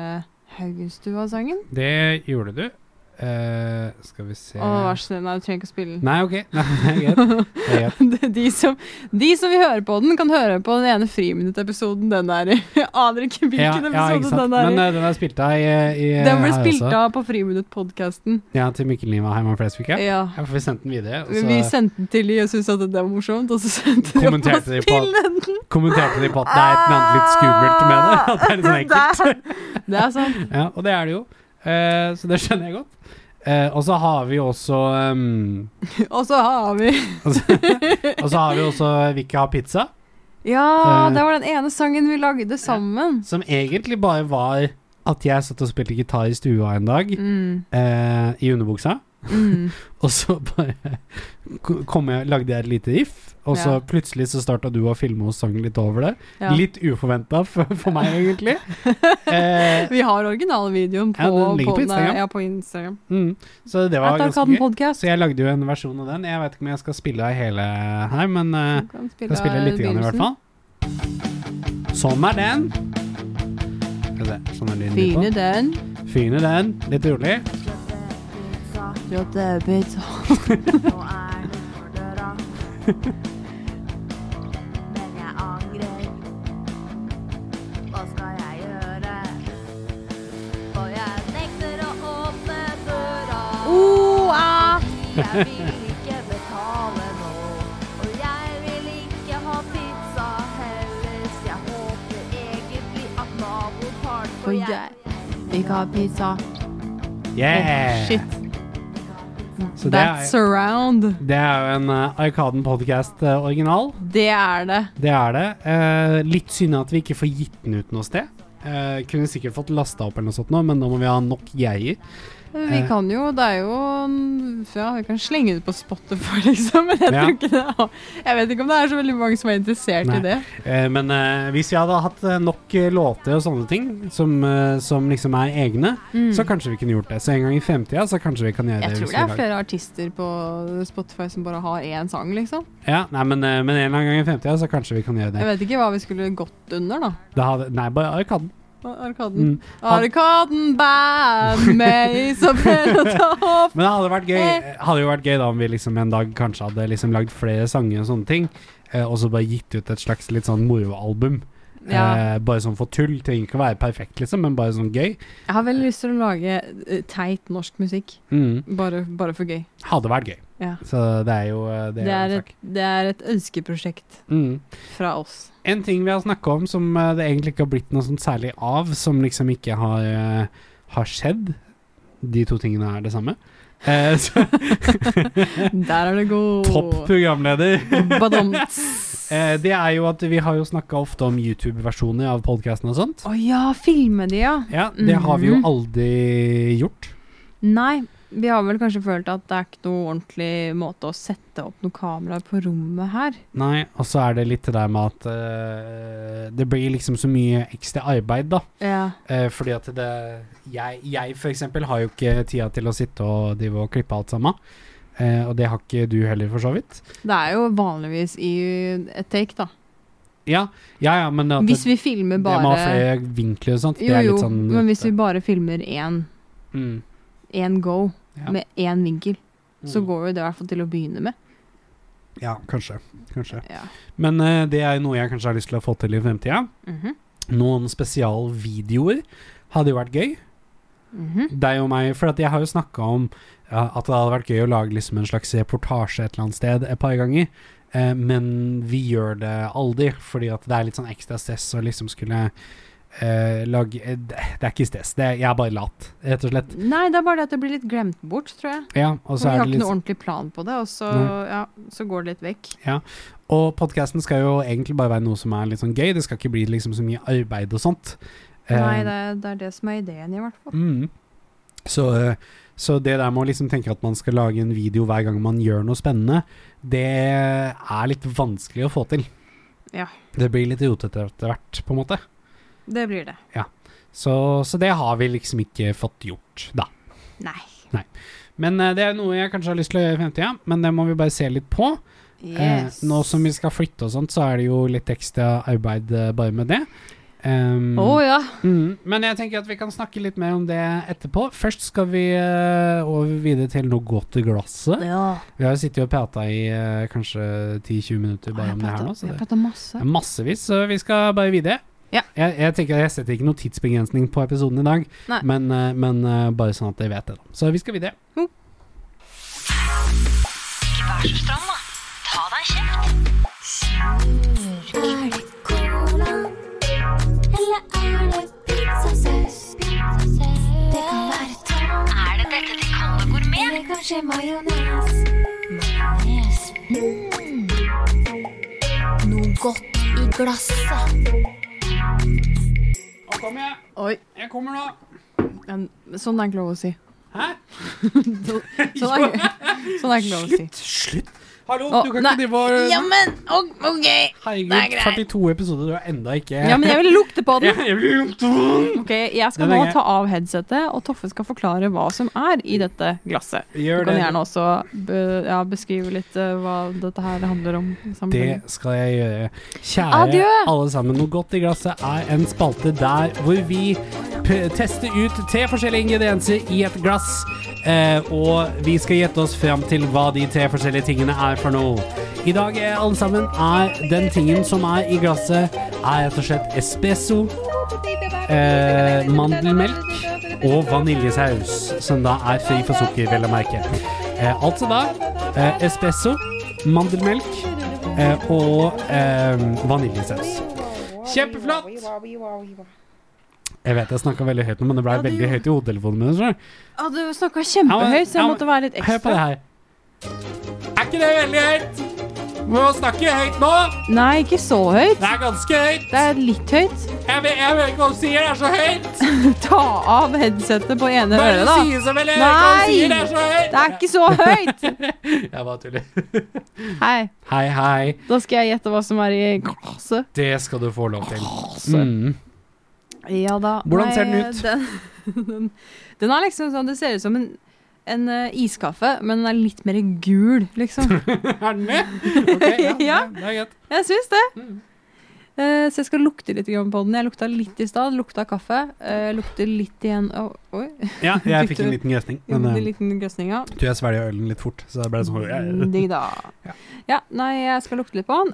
[SPEAKER 3] Haugenstua-sangen.
[SPEAKER 2] Det gjorde du. Eh, skal vi se
[SPEAKER 3] Å, vær så snill, nei, du trenger ikke å spille den.
[SPEAKER 2] Nei, ok. Nei, det er greit. Det er greit.
[SPEAKER 3] Det- De som, de som vil høre på den, kan høre på den ene friminuttepisoden den er i. Jeg aner ikke hvilken
[SPEAKER 2] ikke
[SPEAKER 3] episode
[SPEAKER 2] sant.
[SPEAKER 3] den er i.
[SPEAKER 2] Men eh, den er spilt av i, i
[SPEAKER 3] Den ble
[SPEAKER 2] her
[SPEAKER 3] spilt
[SPEAKER 2] også.
[SPEAKER 3] av på Friminutt-podkasten.
[SPEAKER 2] Ja, til Mikkel Niva og Herman Flesvig. Ja.
[SPEAKER 3] Ja.
[SPEAKER 2] Ja, for vi sendte den videre, og
[SPEAKER 3] Men Vi
[SPEAKER 2] så
[SPEAKER 3] sendte den til de og syntes at det var morsomt, og så sendte de opp og
[SPEAKER 2] Kommenterte de på-
[SPEAKER 3] spilte den.
[SPEAKER 2] kommenterte de på at det er et eller annet litt skummelt med det. At det er litt sånn ekkelt.
[SPEAKER 3] Det er sant.
[SPEAKER 2] Ja, og det er det jo. Eh, så det skjønner jeg godt. Eh, og så har vi også ehm,
[SPEAKER 3] Og så har vi
[SPEAKER 2] Og så har vi også Vi ikke har pizza,
[SPEAKER 3] Ja,
[SPEAKER 2] Altså, Eh.
[SPEAKER 3] det var den ene sangen vi lagde sammen.
[SPEAKER 2] som egentlig bare var at jeg satt og spilte gitar i stua en dag,
[SPEAKER 3] Mm,
[SPEAKER 2] eh, i underbuksa,
[SPEAKER 3] mm.
[SPEAKER 2] og så bare kom jeg, lagde jeg et lite riff, og så
[SPEAKER 3] Ja.
[SPEAKER 2] plutselig så starta du å filme og sang litt over det.
[SPEAKER 3] Ja.
[SPEAKER 2] Litt uforventa for, for meg, egentlig. Eh,
[SPEAKER 3] Vi har originalvideoen på,
[SPEAKER 2] Ja, den ligger på
[SPEAKER 3] på,
[SPEAKER 2] Instagram.
[SPEAKER 3] Ja, på Instagram.
[SPEAKER 2] mm, så det var
[SPEAKER 3] At han
[SPEAKER 2] ganske
[SPEAKER 3] kan
[SPEAKER 2] gøy.
[SPEAKER 3] podcast.
[SPEAKER 2] Så jeg lagde jo en versjon av den. Jeg vet ikke om jeg skal spille av hele her, men eh,
[SPEAKER 3] Du Kan
[SPEAKER 2] jeg kan spille litt grann, i hvert fall. Sånn er den. Skal vi se, Sånn er lyden
[SPEAKER 3] Fine
[SPEAKER 2] litt
[SPEAKER 3] den.
[SPEAKER 2] på. Fine den. Litt rolig.
[SPEAKER 6] Nå er du for døra. Men jeg angrer. Hva skal jeg gjøre? For jeg nekter å åpne døra. Jeg vil ikke betale nå. Og jeg vil ikke ha pizza heller. Så jeg håper egentlig at naboen tar den.
[SPEAKER 3] For jeg vil ikke ha pizza.
[SPEAKER 2] Yeah!
[SPEAKER 3] Shit.
[SPEAKER 2] Eh. Så det
[SPEAKER 3] That's
[SPEAKER 2] er,
[SPEAKER 3] around.
[SPEAKER 2] det er jo en uh, Arkaden eh, Podcast-original.
[SPEAKER 3] Det er det.
[SPEAKER 2] Det er det. Eh, litt synd at vi ikke får gitt den ut noe sted. Eh, kunne sikkert fått lasta opp eller noe sånt nå, men da må vi ha nok greier.
[SPEAKER 3] Vi
[SPEAKER 2] Eh.
[SPEAKER 3] kan jo Det er jo en- Ja, vi kan slenge det på Spotify, liksom. Men jeg
[SPEAKER 2] Ja.
[SPEAKER 3] tror ikke det er- Jeg vet ikke om det er så veldig mange som er interessert
[SPEAKER 2] Nei.
[SPEAKER 3] i det.
[SPEAKER 2] Eh, men eh, hvis vi hadde hatt eh, nok eh, låter og sånne ting, som, eh, som liksom er egne, så kanskje vi kunne gjort det. Så en gang i fremtida, så kanskje vi kan gjøre
[SPEAKER 3] Mm. Jeg
[SPEAKER 2] det.
[SPEAKER 3] tror
[SPEAKER 2] hvis
[SPEAKER 3] det
[SPEAKER 2] vi
[SPEAKER 3] er
[SPEAKER 2] lager-
[SPEAKER 3] flere artister på Spotify som bare har én sang, liksom.
[SPEAKER 2] Ja, nei, men, eh, men en eller annen gang i fremtida, så kanskje vi kan gjøre det.
[SPEAKER 3] Jeg vet ikke hva vi skulle gått under, da.
[SPEAKER 2] det hadde, nei, bare Arkaden.
[SPEAKER 3] Arkaden.
[SPEAKER 2] Mm.
[SPEAKER 3] Arkaden band med Isabel og Topp.
[SPEAKER 2] Men det hadde vært gøy
[SPEAKER 3] Eh.
[SPEAKER 2] Hadde jo vært gøy da om vi liksom en dag kanskje hadde liksom lagd flere sanger og sånne ting, eh, og så bare gitt ut et slags litt sånn moroalbum.
[SPEAKER 3] Ja.
[SPEAKER 2] Eh, bare sånn for tull. Trenger ikke å være perfekt, liksom, men bare sånn gøy.
[SPEAKER 3] Jeg har veldig lyst til å lage eh, teit norsk musikk.
[SPEAKER 2] Mm.
[SPEAKER 3] Bare, bare for gøy.
[SPEAKER 2] Hadde vært gøy.
[SPEAKER 3] Ja.
[SPEAKER 2] Så det er jo eh,
[SPEAKER 3] Det
[SPEAKER 2] det,
[SPEAKER 3] er,
[SPEAKER 2] er en
[SPEAKER 3] et, det er et ønskeprosjekt
[SPEAKER 2] sak. Mm.
[SPEAKER 3] fra oss.
[SPEAKER 2] En ting vi har snakka om som eh, det egentlig ikke har blitt noe sånn særlig av, som liksom ikke har, eh, har skjedd. De to tingene er det samme. Eh, så,
[SPEAKER 3] Der er det god
[SPEAKER 2] topp programleder.
[SPEAKER 3] Badomt.
[SPEAKER 2] Eh, det er jo at vi har jo snakka ofte om YouTube-versjoner av podkasten og sånt.
[SPEAKER 3] Å ja, filme de, ja.
[SPEAKER 2] Ja, det har vi jo
[SPEAKER 3] Mhm.
[SPEAKER 2] aldri gjort.
[SPEAKER 3] Nei, vi har vel kanskje følt at det er ikke noe ordentlig måte å sette opp noen kameraer på rommet her.
[SPEAKER 2] Nei, og så er det litt det der med at eh, det blir liksom så mye ekstra arbeid, da.
[SPEAKER 3] Ja.
[SPEAKER 2] Eh, fordi at det Jeg, jeg for eksempel har jo ikke tida til å sitte og drive og klippe alt sammen. Eh, og det har ikke du heller, for så vidt.
[SPEAKER 3] Det er jo vanligvis i et take, da.
[SPEAKER 2] Ja, ja, ja men at
[SPEAKER 3] Hvis
[SPEAKER 2] det,
[SPEAKER 3] vi filmer
[SPEAKER 2] det må ha
[SPEAKER 3] bare
[SPEAKER 2] flere vinkler og sånt.
[SPEAKER 3] Jo,
[SPEAKER 2] det er
[SPEAKER 3] jo,
[SPEAKER 2] litt sånn
[SPEAKER 3] men hvis vi bare filmer én,
[SPEAKER 2] Mm,
[SPEAKER 3] én go
[SPEAKER 2] Ja.
[SPEAKER 3] med én vinkel, så
[SPEAKER 2] mm.
[SPEAKER 3] går jo det i hvert fall til å begynne med.
[SPEAKER 2] Ja, kanskje. kanskje.
[SPEAKER 3] Ja.
[SPEAKER 2] Men eh, det er noe jeg kanskje har lyst til å få til i fremtida.
[SPEAKER 3] Mhm,
[SPEAKER 2] Noen spesialvideoer hadde jo vært gøy.
[SPEAKER 3] mhm.
[SPEAKER 2] deg og meg, for at jeg har jo snakka om ja, at det hadde vært gøy å lage liksom en slags reportasje et eller annet sted et par ganger. Eh, men vi gjør det aldri, fordi at det er litt sånn ekstra stress å liksom skulle eh, lage eh, Det det er ikke stress, det er, jeg er bare lat, rett og slett.
[SPEAKER 3] Nei, det er bare det at det blir litt glemt bort, tror jeg.
[SPEAKER 2] Ja, og
[SPEAKER 3] For
[SPEAKER 2] så er
[SPEAKER 3] vi har
[SPEAKER 2] det
[SPEAKER 3] ikke
[SPEAKER 2] litt
[SPEAKER 3] noe ordentlig plan på det, og så,
[SPEAKER 2] Nei.
[SPEAKER 3] ja, så går det litt vekk.
[SPEAKER 2] Og podkasten skal jo egentlig bare være noe som er litt sånn gøy, det skal ikke bli liksom så mye arbeid og sånt. Eh,
[SPEAKER 3] Nei, det, er- det er det som er ideen, i hvert fall.
[SPEAKER 2] Mm. Så, eh, så det der med å liksom tenke at man skal lage en video hver gang man gjør noe spennende, det er litt vanskelig å få til.
[SPEAKER 3] Ja.
[SPEAKER 2] Det blir litt rotete etter hvert, på en måte.
[SPEAKER 3] Det blir det.
[SPEAKER 2] Så, så det har vi liksom ikke fått gjort, da.
[SPEAKER 3] Nei.
[SPEAKER 2] Men eh, det er noe jeg kanskje har lyst til å gjøre i fremtida, men det må vi bare se litt på. Eh,
[SPEAKER 3] Yes.
[SPEAKER 2] nå som vi skal flytte og sånt, så er det jo litt ekstra arbeid eh, bare med det. Um,
[SPEAKER 3] Å ja.
[SPEAKER 2] Mm, men jeg tenker at vi kan snakke litt mer om det etterpå. Først skal vi eh, over videre til noe godt i glasset. Vi har jo sittet og prata i eh, kanskje 10-20 minutter bare
[SPEAKER 3] Jeg
[SPEAKER 2] om det her
[SPEAKER 3] prater-
[SPEAKER 2] nå. Så
[SPEAKER 3] jeg
[SPEAKER 2] det
[SPEAKER 3] prater masse.
[SPEAKER 2] er massevis, så vi skal bare videre.
[SPEAKER 3] Ja.
[SPEAKER 2] Jeg, jeg tenker jeg setter ikke noen tidsbegrensning på episoden i dag,
[SPEAKER 3] Nei.
[SPEAKER 2] men, eh, men eh, bare sånn at dere vet det. da. Så vi skal videre.
[SPEAKER 6] Ikke vær så stram, da. Ta deg kjeft.
[SPEAKER 7] Er det cola? Eller er det pizzasaus? Det kan være tang.
[SPEAKER 6] Er det dette de kaller gourmet?
[SPEAKER 7] Eller kanskje majones? Majones. Mm. Noe godt i glasset.
[SPEAKER 2] Nå kommer jeg.
[SPEAKER 3] Oi.
[SPEAKER 2] Jeg kommer nå.
[SPEAKER 3] Men, sånn er ikke lov å si.
[SPEAKER 2] Hæ?
[SPEAKER 3] Sånn er, sånn er ikke lov å si.
[SPEAKER 2] Slutt. Slutt. Hallo,
[SPEAKER 3] Å,
[SPEAKER 2] du kan
[SPEAKER 3] nei.
[SPEAKER 2] ikke drive og
[SPEAKER 3] Jammen, o- ok. det
[SPEAKER 2] Herregud,
[SPEAKER 3] er greit.
[SPEAKER 2] 42 episoder, du har enda ikke
[SPEAKER 3] Ja, men jeg vil lukte på den.
[SPEAKER 2] Jeg blir vondt.
[SPEAKER 3] Ok, Jeg skal
[SPEAKER 2] Den er
[SPEAKER 3] nå
[SPEAKER 2] grei.
[SPEAKER 3] ta av headsetet, og Toffe skal forklare hva som er i dette glasset. Du
[SPEAKER 2] Gjør
[SPEAKER 3] kan
[SPEAKER 2] det.
[SPEAKER 3] gjerne også be, ja, beskrive litt eh, hva dette her handler om. i sammenhengen.
[SPEAKER 2] Det skal jeg gjøre. Kjære
[SPEAKER 3] Adjø!
[SPEAKER 2] alle sammen, noe godt i glasset er en spalte der hvor vi p tester ut tre forskjellige ingredienser i et glass, eh, og vi skal gjette oss fram til hva de tre forskjellige tingene er for noe. I dag, eh, alle sammen, er den tingen som er i glasset, er rett og slett espresso, eh, mandelmelk og vaniljesaus, som da er fri for sukker, vel å merke. Eh, altså da eh, espresso, mandelmelk eh, og eh, vaniljesaus. Kjempeflott! Jeg vet jeg snakka veldig høyt nå, men det ble
[SPEAKER 3] Ja, det
[SPEAKER 2] veldig
[SPEAKER 3] gjorde-
[SPEAKER 2] høyt i hodetelefonen min. skjønner du.
[SPEAKER 3] Å, du snakka kjempehøyt, så
[SPEAKER 2] Ja,
[SPEAKER 3] jeg
[SPEAKER 2] men-
[SPEAKER 3] måtte være litt
[SPEAKER 2] Hør på det
[SPEAKER 3] ekstra.
[SPEAKER 2] her. Er ikke det veldig høyt? Må snakke høyt nå.
[SPEAKER 3] Nei, ikke så høyt.
[SPEAKER 2] Det er ganske høyt.
[SPEAKER 3] Det er litt høyt.
[SPEAKER 2] Jeg vet, jeg vet ikke hva hun sier, det er så høyt.
[SPEAKER 3] Ta av headsetet på ene
[SPEAKER 2] Bare
[SPEAKER 3] øret, da.
[SPEAKER 2] sier så veldig høyt hva hun
[SPEAKER 3] Nei!
[SPEAKER 2] sier, det er så høyt.
[SPEAKER 3] Det er ikke så høyt!
[SPEAKER 2] Jeg bare tuller.
[SPEAKER 3] Hei,
[SPEAKER 2] Hei, hei.
[SPEAKER 3] da skal jeg gjette hva som er i glasset.
[SPEAKER 2] Det skal du få lov til.
[SPEAKER 3] Altså,
[SPEAKER 2] Mm.
[SPEAKER 3] Ja da.
[SPEAKER 2] Hvordan ser den ut?
[SPEAKER 3] Den, den, den er liksom sånn, det ser ut som en, en eh, iskaffe, men den er litt mer gul, liksom.
[SPEAKER 2] Er den med? Ok, ja,
[SPEAKER 3] Ja.
[SPEAKER 2] Det er greit.
[SPEAKER 3] Jeg syns det. Mm. Eh, så jeg skal lukte litt grann på den. Jeg lukta litt i stad, lukta kaffe. Eh, lukter litt igjen Å, Oi,
[SPEAKER 8] Ja, jeg fikk en liten grøsning,
[SPEAKER 3] jeg
[SPEAKER 8] men
[SPEAKER 3] gjorde en
[SPEAKER 8] eh,
[SPEAKER 3] liten grøsning, ja.
[SPEAKER 8] jeg tror jeg svelget ølen litt fort. Så det ble sånn eh,
[SPEAKER 3] Digg, Mm, da.
[SPEAKER 8] Ja.
[SPEAKER 3] Ja, nei, jeg skal lukte litt på den.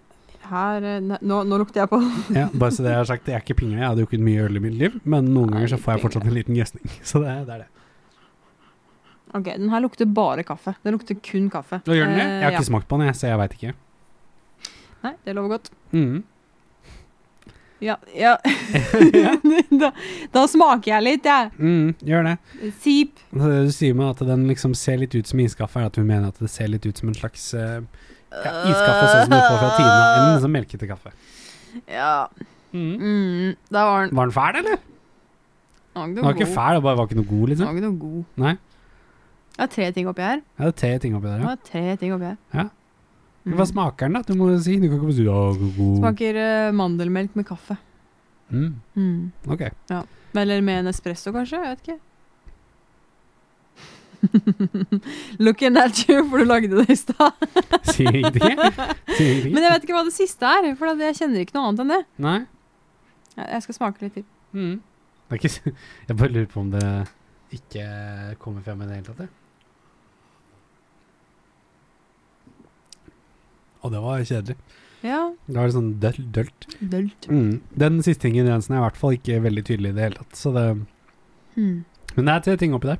[SPEAKER 3] Her eh, ne- Nå, nå lukter jeg på den.
[SPEAKER 8] ja, Bare så det jeg har sagt, jeg er ikke pinga, jeg hadde jo ikke mye øl i mitt liv, men noen ganger så får jeg fortsatt en liten grøsning. Så det, det er det.
[SPEAKER 3] Ok, den her lukter bare kaffe. Den lukter kun kaffe.
[SPEAKER 8] Og gjør den det?
[SPEAKER 3] Eh,
[SPEAKER 8] Jeg har
[SPEAKER 3] ja.
[SPEAKER 8] ikke smakt på den, jeg, så jeg veit ikke.
[SPEAKER 3] Nei, det lover godt.
[SPEAKER 8] Mm.
[SPEAKER 3] Ja, ja. da, da smaker jeg litt, jeg.
[SPEAKER 8] Mm, gjør det.
[SPEAKER 3] Sip.
[SPEAKER 8] Så det du sier med at den liksom ser litt ut som iskaffe, er at hun mener at det ser litt ut som en slags eh, ja, iskaffe, sånn som du får fra Tina. En sånn melkete kaffe.
[SPEAKER 3] Ja.
[SPEAKER 8] Mm.
[SPEAKER 3] Mm, der var den.
[SPEAKER 8] Var den fæl, eller?
[SPEAKER 3] Den
[SPEAKER 8] Den var ikke fæl, det bare var ikke noe god,
[SPEAKER 3] Den
[SPEAKER 8] liksom.
[SPEAKER 3] var ikke noe god.
[SPEAKER 8] Nei.
[SPEAKER 3] Jeg har tre ting oppi her.
[SPEAKER 8] Jeg hadde tre ting oppi der,
[SPEAKER 3] Jeg
[SPEAKER 8] ja.
[SPEAKER 3] har tre ting oppi her.
[SPEAKER 8] Ja.
[SPEAKER 3] Mm.
[SPEAKER 8] Hva smaker den, da? Du må jo si. Du kan ikke bare si ja, god, god.
[SPEAKER 3] Smaker eh, mandelmelk med kaffe.
[SPEAKER 8] Mm.
[SPEAKER 3] Mm.
[SPEAKER 8] Ok.
[SPEAKER 3] Eller med en espresso, kanskje? Jeg vet ikke. Looking at you, for du lagde det i stad.
[SPEAKER 8] Sier ingenting. jeg. Sier ingenting.
[SPEAKER 3] Men jeg vet ikke hva det siste er, for at jeg kjenner ikke noe annet enn det.
[SPEAKER 8] Nei.
[SPEAKER 3] Jeg- Jeg skal smake litt til.
[SPEAKER 8] Mm. Det er ikke s- Jeg bare lurer på om det ikke kommer frem i det hele tatt, jeg. Og det var kjedelig.
[SPEAKER 3] Ja,
[SPEAKER 8] Det var litt sånn dølt. dølt.
[SPEAKER 3] dølt.
[SPEAKER 8] Mm. Den siste ingrediensen er i hvert fall ikke veldig tydelig i det hele tatt. Så det,
[SPEAKER 3] Mm.
[SPEAKER 8] men det er tre ting oppi der.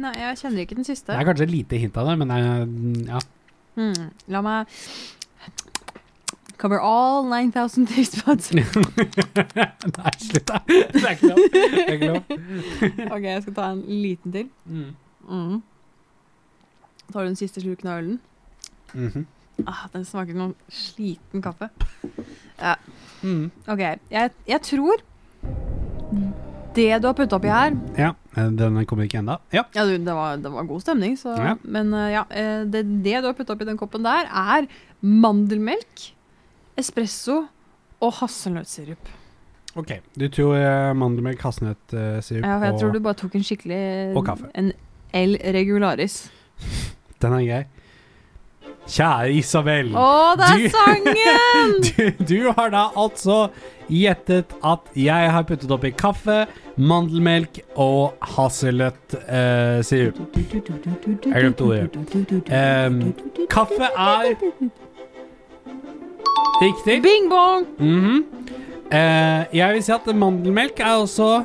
[SPEAKER 3] Nei, jeg kjenner ikke den
[SPEAKER 8] Det
[SPEAKER 3] siste.
[SPEAKER 8] er kanskje lite hint av det, men det er- ja.
[SPEAKER 3] Mm. La meg cover all 9000 taste buds.
[SPEAKER 8] Nei, slutt, da. Det er ikke lov. Det er ikke lov.
[SPEAKER 3] Ok, jeg skal ta en liten til.
[SPEAKER 8] Mm.
[SPEAKER 3] Mm. Tar du den siste slurken av ølen?
[SPEAKER 8] Mhm.
[SPEAKER 3] Ah, den smaker noen sliten kaffe.
[SPEAKER 8] Mm.
[SPEAKER 3] Ok, jeg, jeg tror det du har puttet oppi her
[SPEAKER 8] Ja, eh, den kommer ikke ennå. Ja.
[SPEAKER 3] Ja, du, det var, det var god stemning, så
[SPEAKER 8] Ja.
[SPEAKER 3] Men eh, ja, eh, det, det du har puttet oppi den koppen der, er mandelmelk, espresso og hasselnøttsirup.
[SPEAKER 8] Ok. Du tror eh, mandelmelk, hasselnøttsirup
[SPEAKER 3] Ja, for jeg
[SPEAKER 8] og
[SPEAKER 3] tror du bare tok en skikkelig
[SPEAKER 8] og kaffe.
[SPEAKER 3] En L regularis.
[SPEAKER 8] Den er grei. Kjære Isabel.
[SPEAKER 3] Å, det er
[SPEAKER 8] Mm. Du-
[SPEAKER 3] sangen!
[SPEAKER 8] Du, du har da altså gjettet at jeg har puttet oppi kaffe, mandelmelk og eh, hasselnøttsirup. jeg glemte ordet. Em, Ehm, kaffe er riktig.
[SPEAKER 3] Bing bong!
[SPEAKER 8] Mhm. Eh, jeg vil si at mandelmelk er også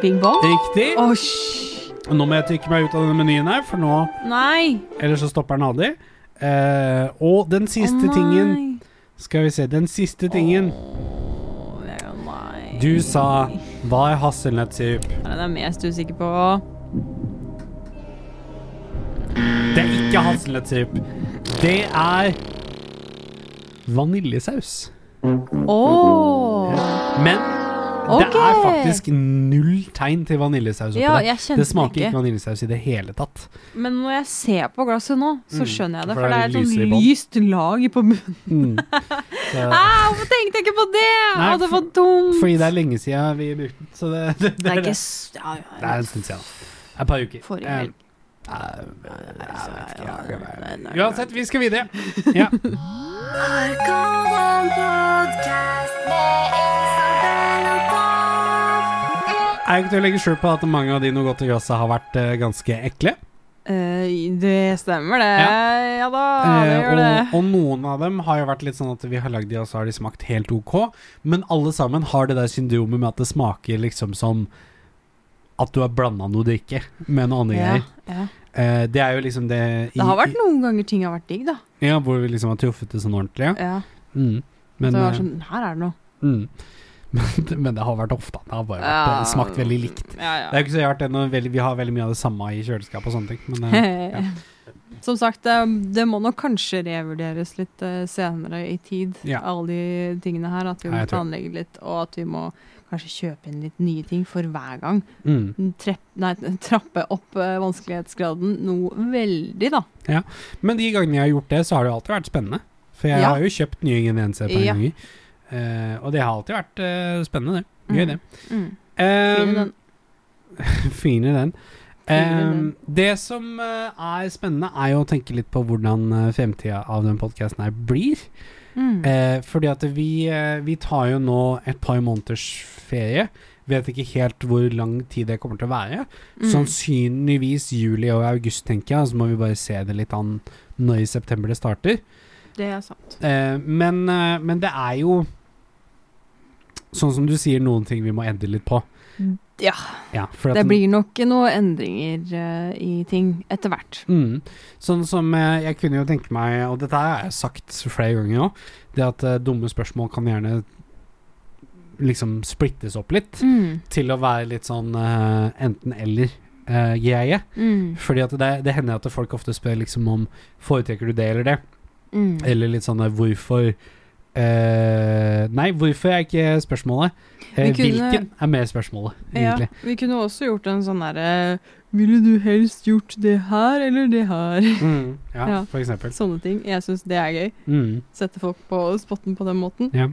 [SPEAKER 3] Bing bong?
[SPEAKER 8] riktig.
[SPEAKER 3] Åh, hysj!
[SPEAKER 8] Nå må jeg trykke meg ut av denne menyen her, for nå
[SPEAKER 3] Nei!
[SPEAKER 8] Ellers så stopper den aldri. Eh, og den siste
[SPEAKER 3] Å,
[SPEAKER 8] tingen
[SPEAKER 3] nei.
[SPEAKER 8] Skal vi se. Den siste tingen
[SPEAKER 3] Å, det er jo nei.
[SPEAKER 8] du sa, var hasselnøttsirup.
[SPEAKER 3] Hva er det jeg er mest usikker på?
[SPEAKER 8] Det er ikke hasselnøttsirup. Det er vaniljesaus.
[SPEAKER 3] Åh!
[SPEAKER 8] Men
[SPEAKER 3] Ok.
[SPEAKER 8] det er faktisk null tegn til vaniljesaus oppi
[SPEAKER 3] Ja,
[SPEAKER 8] der.
[SPEAKER 3] jeg kjente
[SPEAKER 8] Det smaker
[SPEAKER 3] den
[SPEAKER 8] ikke
[SPEAKER 3] ikke.
[SPEAKER 8] vaniljesaus i det hele tatt.
[SPEAKER 3] Men når jeg ser på glasset nå, så
[SPEAKER 8] Mm,
[SPEAKER 3] skjønner jeg det.
[SPEAKER 8] for
[SPEAKER 3] For
[SPEAKER 8] det
[SPEAKER 3] det
[SPEAKER 8] er
[SPEAKER 3] er
[SPEAKER 8] litt
[SPEAKER 3] et
[SPEAKER 8] lysere i
[SPEAKER 3] sånn
[SPEAKER 8] bånn.
[SPEAKER 3] lyst lag på bunnen.
[SPEAKER 8] Mm. Så,
[SPEAKER 3] Ah, hvorfor tenkte jeg ikke på det? Å,
[SPEAKER 8] Nei,
[SPEAKER 3] det var
[SPEAKER 8] for-
[SPEAKER 3] dumt.
[SPEAKER 8] fordi det er lenge siden vi brukte den. Så det, det, det,
[SPEAKER 3] det
[SPEAKER 8] er
[SPEAKER 3] er ikke
[SPEAKER 8] det.
[SPEAKER 3] s- ja, ja,
[SPEAKER 8] det er sånn- en stund siden. Det er Et par uker.
[SPEAKER 3] Forrige
[SPEAKER 8] Eh,
[SPEAKER 3] helg.
[SPEAKER 8] eh,
[SPEAKER 3] ja, ja, ja, ja.
[SPEAKER 8] Uansett, vi skal videre. Ja.
[SPEAKER 6] Arkaden Podcast med Isabel og Bob.
[SPEAKER 8] Jeg er ikke til å legge skjul på at mange av de noe godt i glasset har vært eh, ganske ekle.
[SPEAKER 3] Eh, det stemmer, det. Ja, da, det
[SPEAKER 8] Eh,
[SPEAKER 3] gjør det.
[SPEAKER 8] og, og noen av dem har jo vært litt sånn at vi har lagd de, og så har de smakt helt ok. Men alle sammen har det der syndromet med at det smaker liksom som at du har blanda noe drikke med noe annet
[SPEAKER 3] Ja,
[SPEAKER 8] greier.
[SPEAKER 3] ja.
[SPEAKER 8] Eh, det er jo liksom det i-
[SPEAKER 3] Det har vært noen ganger ting har vært digg, da.
[SPEAKER 8] i- Ja, hvor vi liksom har truffet det sånn ordentlig. Ja.
[SPEAKER 3] Ja.
[SPEAKER 8] Mm. Men,
[SPEAKER 3] det var
[SPEAKER 8] eh,
[SPEAKER 3] sånn, her er det noe.
[SPEAKER 8] mm. men, men det har vært ofte. Det har bare vært,
[SPEAKER 3] Ja.
[SPEAKER 8] eh, smakt veldig likt.
[SPEAKER 3] Ja,
[SPEAKER 8] Det er jo ikke så rart, det når veldig- vi har veldig mye av det samme i kjøleskapet og sånne ting. Men, eh,
[SPEAKER 3] ja. Som sagt, det, det må nok kanskje revurderes litt eh, senere i tid,
[SPEAKER 8] Ja.
[SPEAKER 3] alle de tingene her. At vi
[SPEAKER 8] Ja,
[SPEAKER 3] må
[SPEAKER 8] jeg tror
[SPEAKER 3] planlegge litt, og at vi må kanskje kjøpe inn litt nye ting for hver gang.
[SPEAKER 8] mm.
[SPEAKER 3] Trepp, nei, trappe opp eh, vanskelighetsgraden noe veldig, da.
[SPEAKER 8] Men de gangene jeg har gjort det, så har det jo alltid vært spennende. For jeg
[SPEAKER 3] Ja.
[SPEAKER 8] har jo kjøpt nye ingredienser et par
[SPEAKER 3] Ja.
[SPEAKER 8] ganger. Eh, og det har alltid vært eh, spennende, det.
[SPEAKER 3] Mm.
[SPEAKER 8] Gøy, det.
[SPEAKER 3] Mm.
[SPEAKER 8] Um,
[SPEAKER 3] Fin i den.
[SPEAKER 8] fin i den.
[SPEAKER 3] Fin i
[SPEAKER 8] Um,
[SPEAKER 3] den.
[SPEAKER 8] det som eh, er spennende, er jo å tenke litt på hvordan uh, fremtida av den podkasten her blir.
[SPEAKER 3] Mm.
[SPEAKER 8] Eh, fordi at vi, eh, vi tar jo nå et par måneders ferie. Vet ikke helt hvor lang tid det kommer til å være.
[SPEAKER 3] Mm.
[SPEAKER 8] sånn Sannsynligvis juli og august, tenker jeg. Så må vi bare se det litt an når i september det starter.
[SPEAKER 3] Det er sant.
[SPEAKER 8] Eh, men, eh, men det er jo Sånn som du sier, noen ting vi må endre litt på.
[SPEAKER 3] Mm. Ja.
[SPEAKER 8] Ja, for at
[SPEAKER 3] Det blir nok noen endringer eh, i ting etter hvert.
[SPEAKER 8] Mm. Sånn som eh, jeg kunne jo tenke meg, og dette har jeg sagt flere ganger nå, det at eh, dumme spørsmål kan gjerne liksom splittes opp litt
[SPEAKER 3] Mm.
[SPEAKER 8] til å være litt sånn eh, enten-eller-greie.
[SPEAKER 3] Mm.
[SPEAKER 8] Fordi at det, det hender at folk ofte spør liksom om foretrekker du det eller det,
[SPEAKER 3] Mm.
[SPEAKER 8] eller litt sånn eh, hvorfor eh, Nei, hvorfor er ikke spørsmålet? Eh,
[SPEAKER 3] Vi kunne-
[SPEAKER 8] Hvilken er mer spørsmålet,
[SPEAKER 3] Ja,
[SPEAKER 8] egentlig?
[SPEAKER 3] vi kunne også gjort en sånn derre Ville du helst gjort det her eller det her?
[SPEAKER 8] Ja, mm, ja,
[SPEAKER 3] Ja.
[SPEAKER 8] for eksempel.
[SPEAKER 3] Sånne ting. Jeg syns det er gøy.
[SPEAKER 8] Mm,
[SPEAKER 3] Sette folk på spotten på den måten.
[SPEAKER 8] ja.